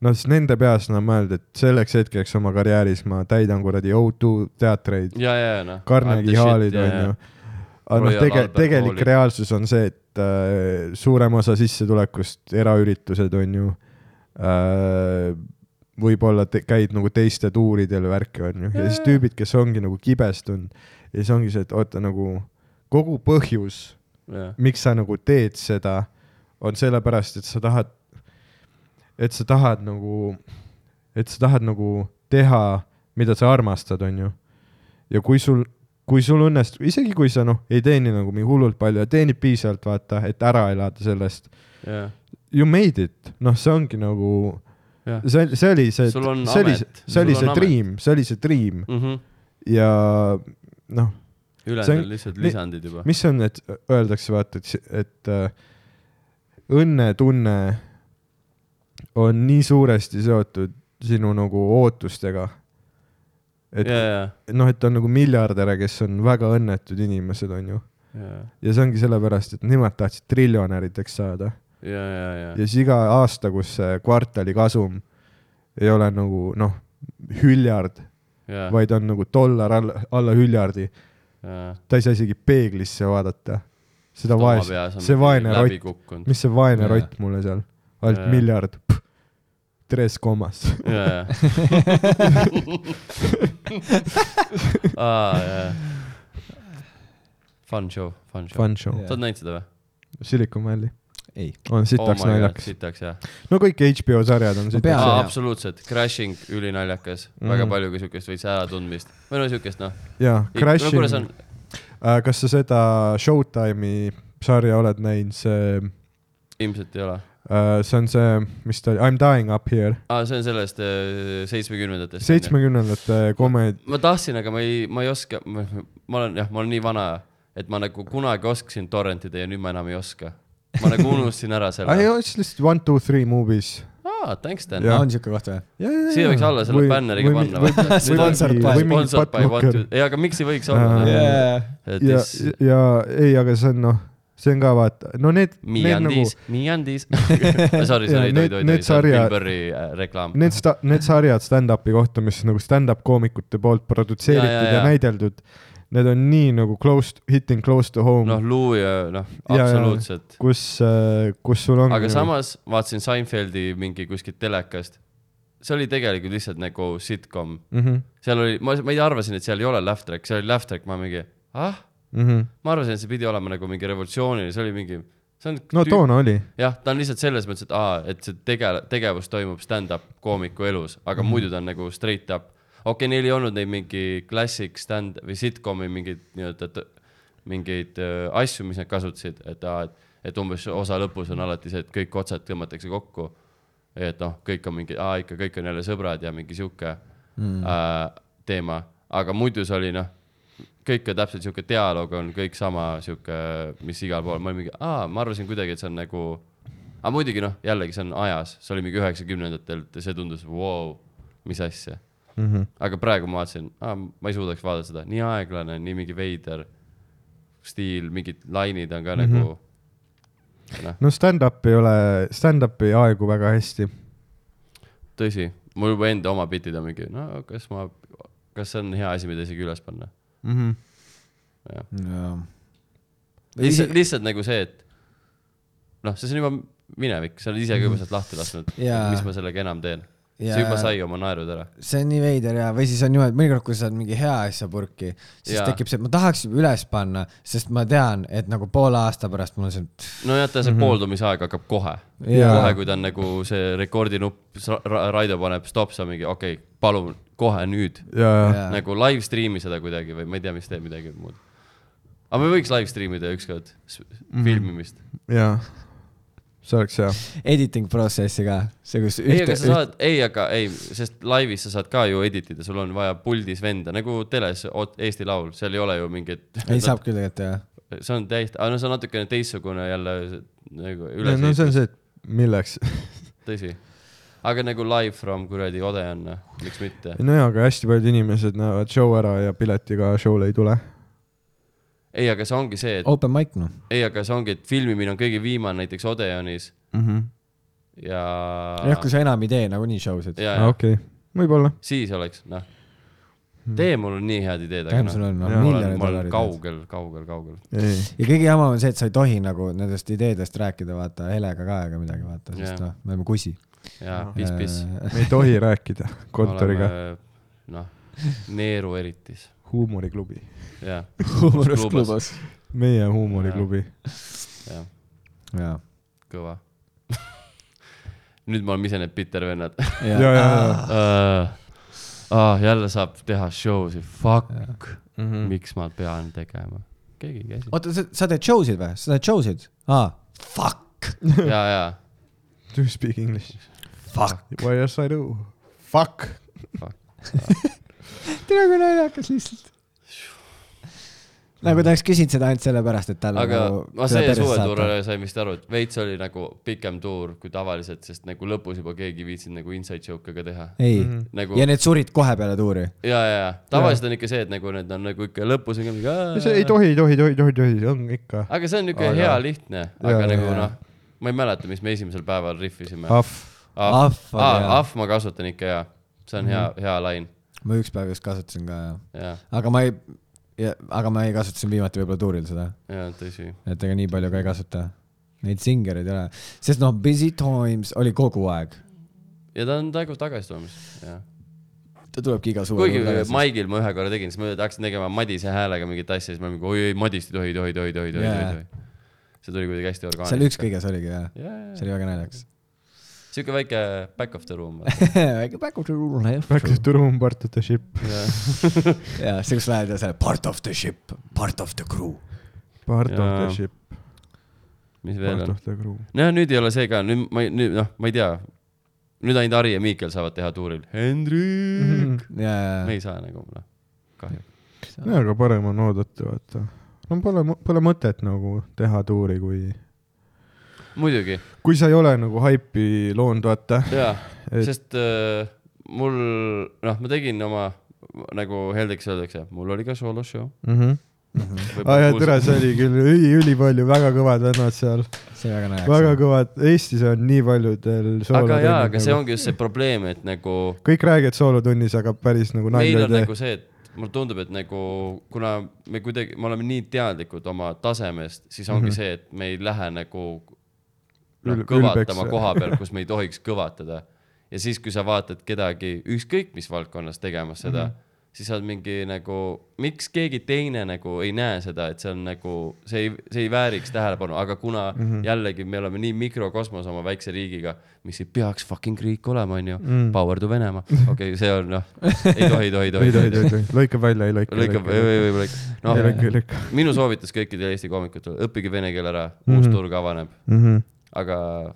Speaker 1: noh , siis nende peas nad mõelnud , et selleks hetkeks oma karjääris ma täidan kuradi O2 teatreid ,
Speaker 2: ja , ja , ja noh .
Speaker 1: Carnegie Hallid onju . aga noh ,
Speaker 2: Royal
Speaker 1: tege- ,
Speaker 2: Albert
Speaker 1: tegelik
Speaker 2: Hallid.
Speaker 1: reaalsus on see , et äh, suurem osa sissetulekust eraüritused on ju äh, , võib-olla te, käid nagu teiste tuuridel värki on ju , ja siis tüübid , kes ongi nagu kibestunud ja siis ongi see , et oota nagu kogu põhjus ,
Speaker 2: jah ,
Speaker 1: miks sa nagu teed seda , on sellepärast , et sa tahad , et sa tahad nagu , et sa tahad nagu teha , mida sa armastad , on ju . ja kui sul , kui sul õnnestub , isegi kui sa noh , ei teeni nagu mingi hullult palju ja teenid piisavalt , vaata , et ära elada sellest ,
Speaker 2: jah ,
Speaker 1: you made it , noh , see ongi nagu ,
Speaker 2: jah .
Speaker 1: see , see oli see , see
Speaker 2: Sul
Speaker 1: oli
Speaker 2: on amet. ,
Speaker 1: see oli
Speaker 2: Sul on
Speaker 1: see
Speaker 2: amet.
Speaker 1: dream , see oli see dream ja noh , See
Speaker 2: ülejäänud
Speaker 1: on-
Speaker 2: Mhm. on lihtsalt
Speaker 1: mi-
Speaker 2: lisandid juba .
Speaker 1: mis on need , öeldakse vaata , et , et äh, õnnetunne on nii suuresti seotud sinu nagu ootustega . et
Speaker 2: ja ,
Speaker 1: yeah.
Speaker 2: ja ,
Speaker 1: noh , et on nagu miljardäre , kes on väga õnnetud inimesed , onju .
Speaker 2: ja ,
Speaker 1: ja see ongi sellepärast , et nemad tahtsid triljonärideks saada
Speaker 2: ja , ja ,
Speaker 1: ja
Speaker 2: ja ,
Speaker 1: siis iga aasta , kus see kvartali kasum ei ole nagu noh , hüljard ,
Speaker 2: ja ,
Speaker 1: vaid on nagu dollar alla , alla hüljardi ,
Speaker 2: ja .
Speaker 1: ta ei saa isegi peeglisse vaadata . seda vaest , see vaene rott
Speaker 2: läbi , kukkunud .
Speaker 1: mis see vaene
Speaker 5: Jaa.
Speaker 1: rott mulle seal , ainult
Speaker 2: Jaa.
Speaker 1: miljard , tres komas .
Speaker 2: ja , ja . aa , ja . Fun show , fun show .
Speaker 1: Fun show
Speaker 5: Jaa.
Speaker 1: yeah. ,
Speaker 2: sa oled näinud seda või ?
Speaker 1: Silicon Valley ,
Speaker 5: ei ,
Speaker 1: on sitaks oh naljakas .
Speaker 2: sitaks jah .
Speaker 1: no kõik HBO sarjad on
Speaker 5: pean-
Speaker 1: sitaks
Speaker 5: Jaa,
Speaker 2: aa ,
Speaker 5: jaa.
Speaker 2: absoluutselt , Crashing ülinaljakas mm , -hmm.
Speaker 1: Mhm.
Speaker 2: väga palju ka siukest veits äratundmist või no siukest noh .
Speaker 1: ja
Speaker 2: no kuule , see
Speaker 1: Crashing
Speaker 2: on ,
Speaker 1: Äh, kas sa seda Showtime'i sarja oled näinud , see ,
Speaker 2: ilmselt ei ole .
Speaker 1: see on see , mis ta oli , I m dying up here ,
Speaker 2: aa , see on sellest äh, seitsmekümnendatest .
Speaker 1: seitsmekümnendate komed- ,
Speaker 2: ma tahtsin , aga ma ei , ma ei oska , ma ma olen jah , ma olen nii vana , et ma nagu kunagi oskasin torrentida ja nüüd ma enam ei oska . ma nagu unustasin ära
Speaker 1: aa ei
Speaker 2: selle .,
Speaker 1: see on lihtsalt One , Two , Three movies .
Speaker 2: aa , thanks Dan .
Speaker 1: Jah.
Speaker 5: on siuke koht või ?
Speaker 2: Siia võiks alla selle bänneriga panna, vaata.
Speaker 5: Sponsored by-
Speaker 2: Sponsored by What You , ei , aga miks ei võiks olla
Speaker 1: Aa.
Speaker 2: yeah. ?
Speaker 5: jaa ,
Speaker 2: et
Speaker 1: ja
Speaker 2: siis ,,
Speaker 1: ja ei , aga see on noh , see on ka vaata , no need ,
Speaker 2: Mi
Speaker 1: need nagu
Speaker 2: andis , Mi andis . Sorry ,
Speaker 1: Jaa,
Speaker 2: sorry , ei
Speaker 1: need-
Speaker 2: tohi ,
Speaker 1: need
Speaker 2: tohi , see on
Speaker 1: sarjad-
Speaker 2: Tim Burry äh, reklaam .
Speaker 1: need sta- , need sarjad stand-up'i kohta , mis nagu stand-up koomikute poolt produtseeritud ja,
Speaker 2: Ja,
Speaker 1: ja,
Speaker 2: ja,
Speaker 1: ja.
Speaker 2: ja.
Speaker 1: ja näideldud , need on nii nagu close , hitting close to home no, ,
Speaker 2: noh , Lou ja noh ,
Speaker 1: Jaa, jaa.
Speaker 2: absoluutselt .
Speaker 1: kus äh, , kus sul on
Speaker 2: aga . samas vaatasin Seinfeldi mingi kuskilt telekast . see oli tegelikult lihtsalt nagu sitcom
Speaker 1: Mm -hmm,
Speaker 2: seal oli , ma , ma ei arvasin , et seal ei ole laugh track , seal oli laugh track , ma mingi , ah ,
Speaker 1: mm -hmm.
Speaker 2: ma arvasin , et see pidi olema nagu mingi revolutsiooniline , see oli mingi , see on .
Speaker 1: no . toona oli ,
Speaker 2: jah , ta on lihtsalt selles mõttes , et aa , et see tege- , tegevus toimub stand-up koomiku elus , aga muidu ta on nagu straight up . okei okay, , neil ei olnud neid mingi classic stand- või sitcom'i mingeid nii-öelda , mingeid äh, asju , mis nad kasutasid , et aa , et , et umbes osa lõpus on alati see , et kõik otsad tõmmatakse kokku . et noh , kõik on mingi , aa ikka kõik on jälle sõbrad ja mingi sihuke mm. äh, teema , aga muidu see oli noh , kõik on täpselt sihuke dialoog on kõik sama sihuke , mis igal pool , ma olin mingi , aa , ma arvasin kuidagi , et see on nagu . aga muidugi noh , jällegi see on ajas , see oli mingi üheksakümnendatel , see tundus , vau , mis asja mm .
Speaker 1: Mhm.
Speaker 2: -hmm. aga praegu ma vaatasin , aa , ma ei suudaks vaadata seda , nii aeglane , nii mingi veider stiil , mingid lainid on ka noh, mm -hmm.
Speaker 1: no stand-up ei ole , stand-up ei aegu väga hästi .
Speaker 2: nagu tõsi , mul juba enda oma bitid on mingi , no kas ma , kas see on hea asi , mida isegi üles panna
Speaker 1: Mm -hmm.
Speaker 2: jah .
Speaker 5: jaa .
Speaker 2: lihtsalt , lihtsalt nagu see , et noh , see on juba minevik , sa oled ise ka juba sealt lahti lasknud ,
Speaker 5: Jaa.
Speaker 2: mis ma sellega enam teen . see juba sai oma naerud ära .
Speaker 5: see on nii veider ja , või siis on niimoodi , mõnikord , kui sa saad mingi hea asja purki , siis
Speaker 2: Jaa.
Speaker 5: tekib see , et ma tahaks juba üles panna , sest ma tean , et nagu poole aasta pärast mul on see .
Speaker 2: no jäta see pooldumisaeg hakkab kohe .
Speaker 5: Mhm. Jaa.
Speaker 2: kohe , kui ta on nagu see rekordinupp , Raido paneb stopp , sa mingi okei okay, , palun kohe nüüd
Speaker 1: ja , ja
Speaker 5: Jaa.
Speaker 2: nagu live stream'i seda kuidagi või ma ei tea , mis teeb midagi muud . aga me võiks live stream ida ükskord s-
Speaker 5: Mhm.
Speaker 2: filmimist .
Speaker 1: ja see oleks hea .
Speaker 5: Editing protsessi ka , see kus
Speaker 2: ei , aga
Speaker 5: ühte
Speaker 2: sa , saad , ei , aga ei , sest laivis sa saad ka ju edit ida , sul on vaja puldis venda nagu teles Oot- Eesti Laul , seal ei ole ju mingit .
Speaker 5: ei saab küll tegelikult jah .
Speaker 2: see on täiesti , aga no see on natukene teistsugune jälle see- nagu üles
Speaker 1: no see on see , et milleks .
Speaker 2: tõsi . aga nagu live from kuradi Odeon , miks mitte .
Speaker 1: nojaa , aga hästi paljud inimesed näevad show ära ja piletiga show'le ei tule .
Speaker 2: ei , aga see ongi see , et
Speaker 5: Open mic noh .
Speaker 2: ei , aga see ongi , et filmimine on kõige viimane näiteks Odeonis ja .
Speaker 5: jah , kui sa enam ei tee nagu nagunii show sid .
Speaker 2: ja , ja
Speaker 1: Ah, okei , võib-olla .
Speaker 2: siis oleks , noh . tee , mul on nii head ideed , aga
Speaker 5: Hmm. tähendab , sul on noh
Speaker 1: Jaa.
Speaker 2: ma olen ,
Speaker 5: miljonid
Speaker 2: ma olen
Speaker 5: dollarid .
Speaker 2: kaugel , kaugel , kaugel .
Speaker 1: ei ,
Speaker 5: ja kõige jamam on see , et sa ei tohi nagu nendest ideedest rääkida , vaata , helega ka ega midagi , vaata ,
Speaker 2: Jaa.
Speaker 5: sest noh , me oleme kusi .
Speaker 2: ja piss , piss .
Speaker 1: me ei tohi rääkida kontoriga ..
Speaker 2: noh , Neeru eritis ,
Speaker 1: huumoriklubi .
Speaker 2: jah ,
Speaker 5: huumorist
Speaker 2: klubas.
Speaker 5: klubas .
Speaker 1: meie huumoriklubi .
Speaker 2: jah ,
Speaker 5: jaa .
Speaker 2: kõva . nüüd me oleme ise need bittervennad .
Speaker 1: ja , ja , ja .
Speaker 2: ah, jälle saab teha show si , fuck ,
Speaker 1: Mm
Speaker 2: miks ma pean tegema , keegi ei käsi .
Speaker 5: oota , sa , sa teed show sid või ? sa teed show sid ? aa , fuck ,
Speaker 2: ja , ja ,
Speaker 1: -hmm. Do you speak english ?
Speaker 5: fuck .
Speaker 1: Why yes I do . Fuck .
Speaker 5: tere , kui naljakas lihtsalt . nagu ta oleks küsinud seda ainult sellepärast , et tal
Speaker 2: aga
Speaker 5: nagu
Speaker 2: ma see suvetuurele sain vist aru , et veits oli nagu pikem tuur kui tavaliselt , sest nagu lõpus juba keegi ei viitsinud nagu inside joke'e ka teha .
Speaker 5: ei mm ,
Speaker 1: Mhm.
Speaker 5: -hmm.
Speaker 2: nagu
Speaker 5: ja need surid kohe peale tuuri .
Speaker 2: ja , ja , ja tavaliselt on ikka see , et nagu need on nagu ikka lõpus on ka mingi .
Speaker 1: see ei . tohi , ei tohi , tohi , tohi , tohi , on ikka .
Speaker 2: aga see on niuke
Speaker 1: Aga-
Speaker 2: hea lihtne , aga
Speaker 1: Jaa,
Speaker 2: nagu
Speaker 5: jaa. Ah,
Speaker 2: noh , ma ei mäleta , mis me esimesel päeval rihvisime .
Speaker 1: Ahv .
Speaker 2: Ah.
Speaker 5: Ahv oli hea. Mhm.
Speaker 2: ahv ma kasutan ikka ja , see on hea , hea lain ,
Speaker 5: ma üks päev just kasutasin ka ,
Speaker 2: ja ,
Speaker 5: aga ma ei , aga ma ei kasutasin viimati võib-olla tuuril seda ,
Speaker 2: ja tõsi .
Speaker 5: et ega nii palju ka ei kasuta . Neid singereid ei ole , sest noh , Busy Times oli kogu aeg ,
Speaker 2: ja ta on praegu tagasi toomas , jah .
Speaker 5: ta tulebki iga suve .
Speaker 2: kuigi Maigil ma ühe korra tegin , siis ma hakkasin tegema Madise häälega mingit asja , siis ma mingi oi , ei Madist ei tohi , ei tohi , ei tohi , ei tohi , ei tohi ,
Speaker 5: Jaa.
Speaker 2: ei tohi . see tuli kuidagi hästi
Speaker 5: seal
Speaker 2: orgaaniliselt .
Speaker 5: ükskõiges oligi jah , see
Speaker 2: Yeah.
Speaker 5: oli väga naljakas .
Speaker 2: siuke väike back of the room .
Speaker 5: väike back of the room ,
Speaker 1: Back to the room , part of the ship .
Speaker 5: ja see , kus lähed ja see part of the ship , part of the crew .
Speaker 1: Part of
Speaker 2: Jaa.
Speaker 1: the ship ,
Speaker 2: mis veel
Speaker 1: part
Speaker 2: on
Speaker 1: of ? the crew .
Speaker 2: no nüüd ei ole see ka , nüüd ma , nüüd noh , ma ei tea . nüüd ainult Ari ja Miikel saavad teha tuuril .
Speaker 1: Mhm.
Speaker 2: Hendrik .
Speaker 5: ja , ja ,
Speaker 2: me ei
Speaker 5: ja ,
Speaker 2: saa nagu , noh , kahju .
Speaker 1: no aga parem on oodata , vaata . no pole , pole mõtet nagu teha tuuri , kui ,
Speaker 2: muidugi ,
Speaker 1: kui sa ei ole nagu haipi loonud , vaata .
Speaker 2: jaa ,
Speaker 1: Et-
Speaker 2: sest äh, mul , noh , ma tegin oma , nagu Heldiks öeldakse , mul oli ka sooloshow .
Speaker 1: aa jaa , tere , see oli küll üli , ülipalju , väga kõvad vennad seal ,
Speaker 5: see oli väga naljakas .
Speaker 1: väga kõvad , Eestis on nii paljudel
Speaker 2: aga jaa , aga see
Speaker 1: soolotunnil .
Speaker 2: ongi just see probleem , et nagu
Speaker 1: kõik räägivad soolotunnis , aga päris nagu
Speaker 2: meil
Speaker 1: nalja
Speaker 2: on
Speaker 1: ei
Speaker 2: nagu
Speaker 1: tee .
Speaker 2: see , et mulle tundub , et nagu kuna me kuidagi , me oleme nii teadlikud oma tasemest , siis ongi mm -hmm. see , et me ei lähe nagu noh
Speaker 1: Mhm. Ül- ,
Speaker 2: kõvatama
Speaker 1: ülbeks.
Speaker 2: koha peal , kus me ei tohiks kõvatada . ja siis , kui sa vaatad kedagi ükskõik mis valdkonnas tegemas seda mm ,
Speaker 1: Mhm.
Speaker 2: -hmm. siis sa oled mingi nagu , miks keegi teine nagu ei näe seda , et see on nagu , see ei , see ei vääriks tähelepanu , aga kuna mm
Speaker 1: Mhm.
Speaker 2: -hmm. jällegi me oleme nii mikrokosmos oma väikse riigiga , mis ei peaks fucking riik olema , onju ,
Speaker 1: Mhm.
Speaker 2: power to Venemaa , okei , see on noh , ei tohi , ei tohi ,
Speaker 1: Mm. ei tohi , ei tohi , lõikab välja , ei lõika .
Speaker 2: lõikab , võib-olla ,
Speaker 1: ei
Speaker 2: noh ,
Speaker 1: lõika , ei lõika .
Speaker 2: minu soovitus kõikidele Eesti koomikutele , õppige vene keel ära ,
Speaker 1: Mm.
Speaker 2: uus turg avaneb ,
Speaker 1: Mhm.
Speaker 2: aga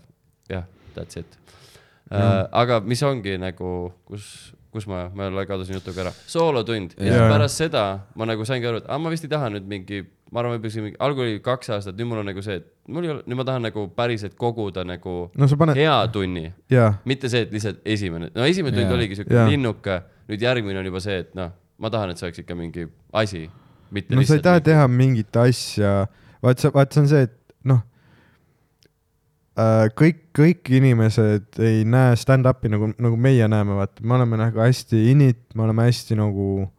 Speaker 2: jah , that's it . aga mis ongi nagu , kus , kus ma , ma jälle kadusin jutuga ära , soolotund ja
Speaker 1: Jaa.
Speaker 2: siis pärast seda ma nagu saingi aru , et aa , ma vist ei taha nüüd mingi , ma arvan , võib-olla isegi mingi , algul oli kaks aastat , nüüd mul on nagu see , et mul ei ole , nüüd ma tahan nagu päriselt koguda nagu
Speaker 1: no sa paned ,
Speaker 2: hea tunni
Speaker 1: jaa ,
Speaker 2: mitte see , et lihtsalt esimene , no esimene tund
Speaker 5: Jaa.
Speaker 2: oligi siuke
Speaker 1: Jaa.
Speaker 2: linnuke , nüüd järgmine on juba see , et noh , ma tahan , et see oleks ikka mingi asi , mitte
Speaker 1: no sa ei
Speaker 2: lihtsalt . nagu-
Speaker 1: taha teha mingit asja , vaat sa , vaat see on see , et noh , kõik , kõik inimesed ei näe stand-up'i nagu , nagu meie näeme , vaata , me oleme nagu hästi init , me oleme hästi nagu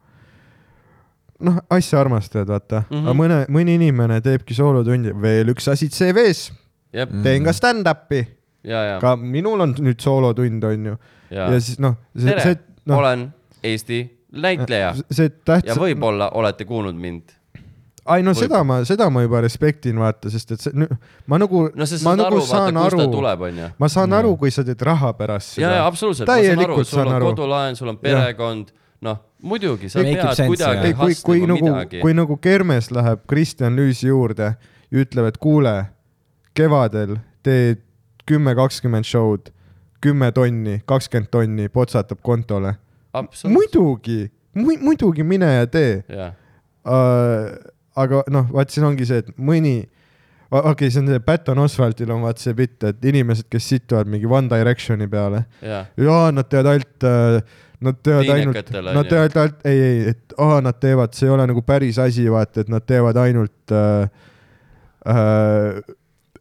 Speaker 1: noh , asja armastajad , vaata mm ,
Speaker 2: Mhm.
Speaker 1: -hmm. aga mõne , mõni inimene teebki soolotundi , veel üks asi CV-s ,
Speaker 2: jah ,
Speaker 1: teen ka stand-up'i
Speaker 2: ja , Mhm. ja ,
Speaker 1: ka minul on nüüd soolotund , onju .
Speaker 2: ja,
Speaker 1: ja
Speaker 2: ja. .
Speaker 1: siis noh , see ,
Speaker 2: tere
Speaker 1: see ,
Speaker 2: no. ,
Speaker 1: noh ,
Speaker 2: olen Eesti näitleja
Speaker 1: see
Speaker 2: ja
Speaker 1: tähtsa ,
Speaker 2: võib-olla olete kuulnud mind .
Speaker 1: ei no
Speaker 2: võib-
Speaker 1: seda ma , seda ma juba respektin , vaata , sest et see , ma nagu ,
Speaker 2: no sa
Speaker 1: ma
Speaker 2: saad
Speaker 1: nagu
Speaker 2: aru ,
Speaker 1: saan
Speaker 2: vaata , kust ta
Speaker 1: aru ,
Speaker 2: tuleb , onju .
Speaker 1: ma saan aru , kui sa teed raha pärast
Speaker 2: ja , ja
Speaker 1: seda .
Speaker 2: absoluutselt , ma saan aru ,
Speaker 1: Täielikult
Speaker 2: sul
Speaker 1: saan
Speaker 2: on
Speaker 1: aru.
Speaker 2: kodulaen , sul on
Speaker 1: Jah.
Speaker 2: perekond , noh , muidugi sa
Speaker 5: Make it
Speaker 2: pead
Speaker 5: sense,
Speaker 2: kuidagi
Speaker 1: ei , kui , kui
Speaker 2: hustlema
Speaker 1: nagu ,
Speaker 2: midagi .
Speaker 1: kui nagu Kermes läheb Kristjan Lüüsi juurde ja ütleb , et kuule , kevadel teed kümme , kakskümmend show'd , kümme tonni , kakskümmend tonni potsatab kontole .
Speaker 2: absoluutselt ,
Speaker 1: muidugi , muidugi mine ja tee
Speaker 2: jah ,
Speaker 1: Äh, aga noh , vaat siin ongi see , et mõni , okei okay, , see on see Patton Oswaldil on vaat see bitt , et inimesed , kes situvad mingi One Directioni peale ,
Speaker 2: jah ,
Speaker 1: jaa , nad teevad ainult äh, , nad teevad ainult ,
Speaker 2: Tiinekatele,
Speaker 1: nad
Speaker 2: onju.
Speaker 1: teevad ainult , ei , ei , et aa , nad teevad , see ei ole nagu päris asi , vaata , et nad teevad ainult äh, äh,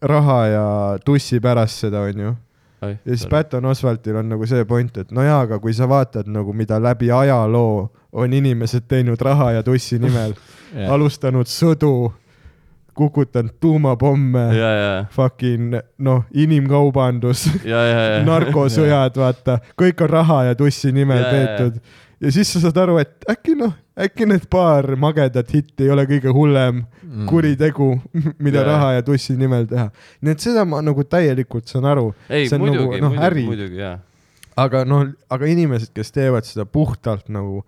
Speaker 1: raha ja tussi pärast seda , onju . ja siis Patton Oswaldil on nagu see point , et no jaa , aga kui sa vaatad nagu , mida läbi ajaloo on inimesed teinud raha ja tussi nimel ,
Speaker 5: jah ,
Speaker 1: alustanud sõdu , kukutanud
Speaker 2: ja ,
Speaker 1: tuumapomme ,
Speaker 2: ja , ja ,
Speaker 1: fucking noh , inimkaubandus ,
Speaker 2: ja , ja , ja ,
Speaker 1: narkosõjad , vaata , kõik on raha ja tussi nimel
Speaker 2: Jaa, jaa, jaa.
Speaker 1: peetud . ja siis sa saad aru , et äkki noh , äkki need paar magedat hitti ei ole kõige hullem
Speaker 2: Mm.
Speaker 1: kuritegu , mida
Speaker 2: Jaa, jaa.
Speaker 1: raha ja tussi nimel teha . nii et seda ma nagu täielikult saan aru .
Speaker 2: ei
Speaker 1: see on nagu,
Speaker 2: muidugi ,
Speaker 1: noh,
Speaker 2: muidugi ,
Speaker 1: äri.
Speaker 2: muidugi , jah ,
Speaker 1: aga noh , aga inimesed , kes teevad seda puhtalt nagu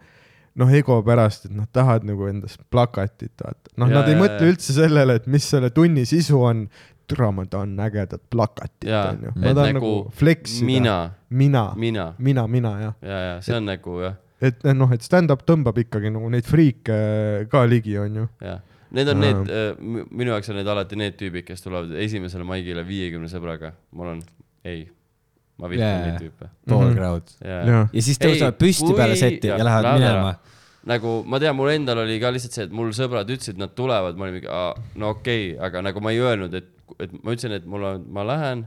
Speaker 1: noh , ego pärast , et nad tahavad nagu endas plakatit vaata , noh ,
Speaker 2: Jaa,
Speaker 1: nad ei
Speaker 2: jaa,
Speaker 1: mõtle
Speaker 2: jaa.
Speaker 1: üldse sellele , et mis selle tunni sisu on . türa , ma tahan ägedat plakatit ,
Speaker 2: Jaa,
Speaker 1: onju .
Speaker 2: et
Speaker 1: ma tahan
Speaker 2: nagu
Speaker 1: nagu flexida .
Speaker 2: mina ,
Speaker 1: mina ,
Speaker 2: mina ,
Speaker 1: mina , mina jah .
Speaker 2: ja , ja see on nagu jah ,
Speaker 1: et noh , et stand-up tõmbab ikkagi nagu neid friike ka ligi , onju .
Speaker 2: jah . Need on
Speaker 1: Jaa.
Speaker 2: need , minu jaoks on need alati need tüübid , kes tulevad esimesele maigile viiekümne sõbraga , ma olen , ei , ma vihkan
Speaker 5: Jaa,
Speaker 2: yeah. neid
Speaker 5: jaa.
Speaker 2: tüüpe .
Speaker 5: pool
Speaker 1: Mhm.
Speaker 5: crowd .
Speaker 1: jah ,
Speaker 5: ja siis
Speaker 2: Ei,
Speaker 5: tõusevad püsti
Speaker 2: kui-
Speaker 5: peale seti
Speaker 2: jah,
Speaker 5: ja lähevad
Speaker 2: lähevad ära.
Speaker 5: minema .
Speaker 2: nagu ma tean , mul endal oli ka lihtsalt see , et mul sõbrad ütlesid , nad tulevad , ma olin mingi , no okei okay. , aga nagu ma ei öelnud , et , et ma ütlesin , et mul on , ma lähen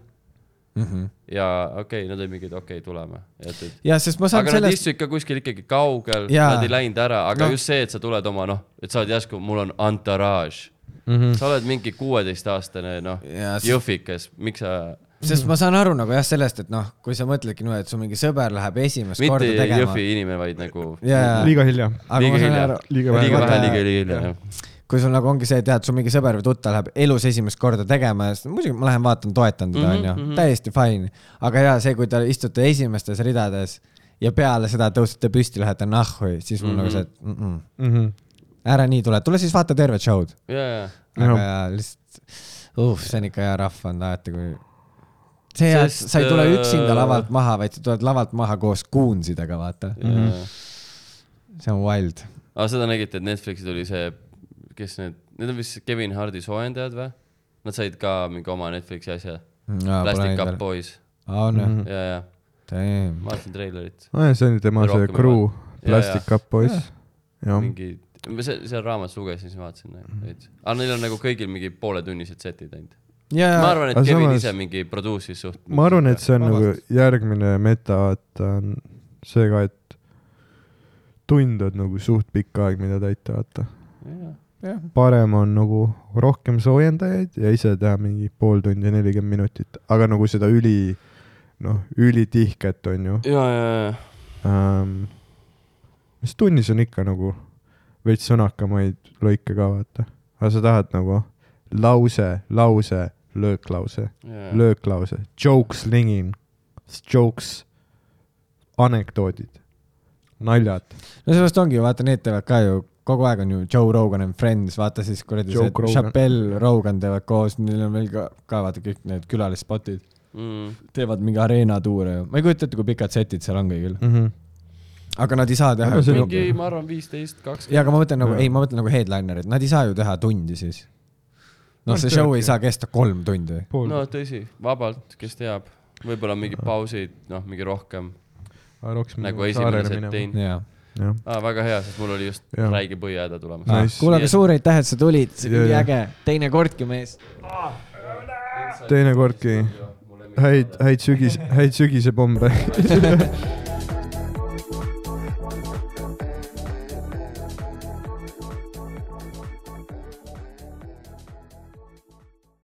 Speaker 5: Mhm.
Speaker 2: ja okei okay, , nad olid mingid , okei okay, , tuleme . aga
Speaker 5: ja , sest ma saan
Speaker 2: sellest... nad
Speaker 5: sellest ,
Speaker 2: istusid ka kuskil ikkagi kaugel ,
Speaker 5: Jaa.
Speaker 2: nad ei läinud ära , aga
Speaker 5: No.
Speaker 2: no. just see , et sa tuled oma noh , et sa oled järsku , mul on entourage mm .
Speaker 1: Mhm.
Speaker 2: -hmm. sa oled mingi kuueteistaastane noh ,
Speaker 5: Jaa, s-
Speaker 2: jõhvikas , miks sa ,
Speaker 5: sest ma saan aru nagu jah , sellest , et noh , kui sa mõtledki niimoodi , et su mingi sõber läheb esimest korda
Speaker 2: mitte
Speaker 5: tegema .
Speaker 2: jõhvi inimene , vaid nagu
Speaker 5: jaa ,
Speaker 1: liiga hilja .
Speaker 5: aga
Speaker 2: liiga
Speaker 5: ma saan
Speaker 2: hilja.
Speaker 5: aru ,
Speaker 1: liiga
Speaker 2: liiga vähe ,
Speaker 5: Vaata-
Speaker 2: liiga hilja , jah .
Speaker 5: kui sul nagu ongi see , et tead , su mingi sõber või tuttav läheb elus esimest korda tegema ja siis muidugi ma lähen vaatan , toetan
Speaker 2: Mhm,
Speaker 5: teda , onju , täiesti fine . aga jaa , see , kui te istute esimestes ridades ja peale seda tõusete püsti , lähete nahhu , siis mul mm -hmm.
Speaker 2: Mhm.
Speaker 5: nagu see , et mm -mm.
Speaker 1: vähe .
Speaker 5: ära nii tule , tule siis vaata tervet show'd .
Speaker 2: ja , ja
Speaker 5: aga
Speaker 1: Jah.
Speaker 5: jaa , lihtsalt uh, , see on ikka hea rahva on alati , kui see hea , et
Speaker 2: Sest,
Speaker 5: sa ei tule
Speaker 2: äh,
Speaker 5: üksinda lavalt maha , vaid sa tuled lavalt maha koos kuunsidega , vaata .
Speaker 2: ja.
Speaker 5: Mhm. see on wild .
Speaker 2: aga seda nägite , et Netflixi tuli see , kes need , need on vist Kevin Hardi soojendajad või ? Nad said ka mingi oma Netflixi asja , Plastic Cup Boys
Speaker 5: on jah ,
Speaker 1: Mhm.
Speaker 2: ja , ja
Speaker 5: damn .
Speaker 2: ma vaatasin treilerit ,
Speaker 1: see oli tema see
Speaker 2: Rohkem ei
Speaker 1: crew ,
Speaker 2: Jaa,
Speaker 1: Plastic Cup Boys . jah , Mhm.
Speaker 2: mingi , see , seal raamatus lugesin , siis vaatasin nagu, veits . aga neil on nagu kõigil mingi pooletunnised setid ainult . ma
Speaker 5: jaa ,
Speaker 2: arvan , et
Speaker 1: Aga
Speaker 2: Kevin
Speaker 1: samas-
Speaker 2: samas... ise mingi produce'is suht .
Speaker 1: ma arvan , et see on nagu
Speaker 5: Vabandust.
Speaker 1: järgmine meta , vaata on see ka , et tund on nagu suht pikk aeg , mida täita , vaata .
Speaker 5: jah .
Speaker 1: parem on nagu rohkem soojendajaid ja ise teha mingi pool tundi , nelikümmend minutit , aga nagu seda üli , noh , ülitihket on ju
Speaker 2: ja , ja , ja ,
Speaker 1: ähm, . mis tunnis on ikka nagu veits sõnakamaid lõike ka , vaata . aga sa tahad nagu lause , lause , lööklause
Speaker 2: ja , ja ,
Speaker 1: lööklause , joke slinging , jokes , anekdoodid , naljad .
Speaker 5: no sellest ongi ju , vaata , need teevad ka ju , kogu aeg on ju Joe Rogan and Friends , vaata siis kuradi
Speaker 1: Joe
Speaker 5: see
Speaker 1: Rogan.
Speaker 5: Chappelle , Rogan teevad koos , neil on veel ka , ka vaata kõik need külalisspotid ,
Speaker 2: Mm.
Speaker 5: teevad mingi areenatuure ja ma ei kujuta ette , kui pikad setid seal on kõigil , aga nad ei saa teha
Speaker 1: Aga . see on-
Speaker 2: mingi , ma arvan , viisteist , kakskümmend .
Speaker 5: ja , aga ma mõtlen nagu ,
Speaker 1: Jaa.
Speaker 5: ei , ma mõtlen nagu headlinerid , nad ei saa ju teha tundi siis . noh ,
Speaker 1: Nad
Speaker 5: see show ei
Speaker 1: teevadki.
Speaker 5: saa kesta kolm tundi .
Speaker 2: no tõsi , vabalt , kes teab , võib-olla mingi pausid , noh , mingi rohkem nagu esimene set , teine .
Speaker 5: jaa .
Speaker 2: ah, . väga hea , sest mul oli just
Speaker 1: Jah.
Speaker 2: räige põhjahäda tulemas
Speaker 1: Ah, Nice.
Speaker 5: kuule , aga suur aitäh , et sa tulid , see oli
Speaker 1: Jaa, jaa.
Speaker 5: üliäge , teine kordki mees .
Speaker 1: teinekordki häid , häid sügis , häid sügisepombe .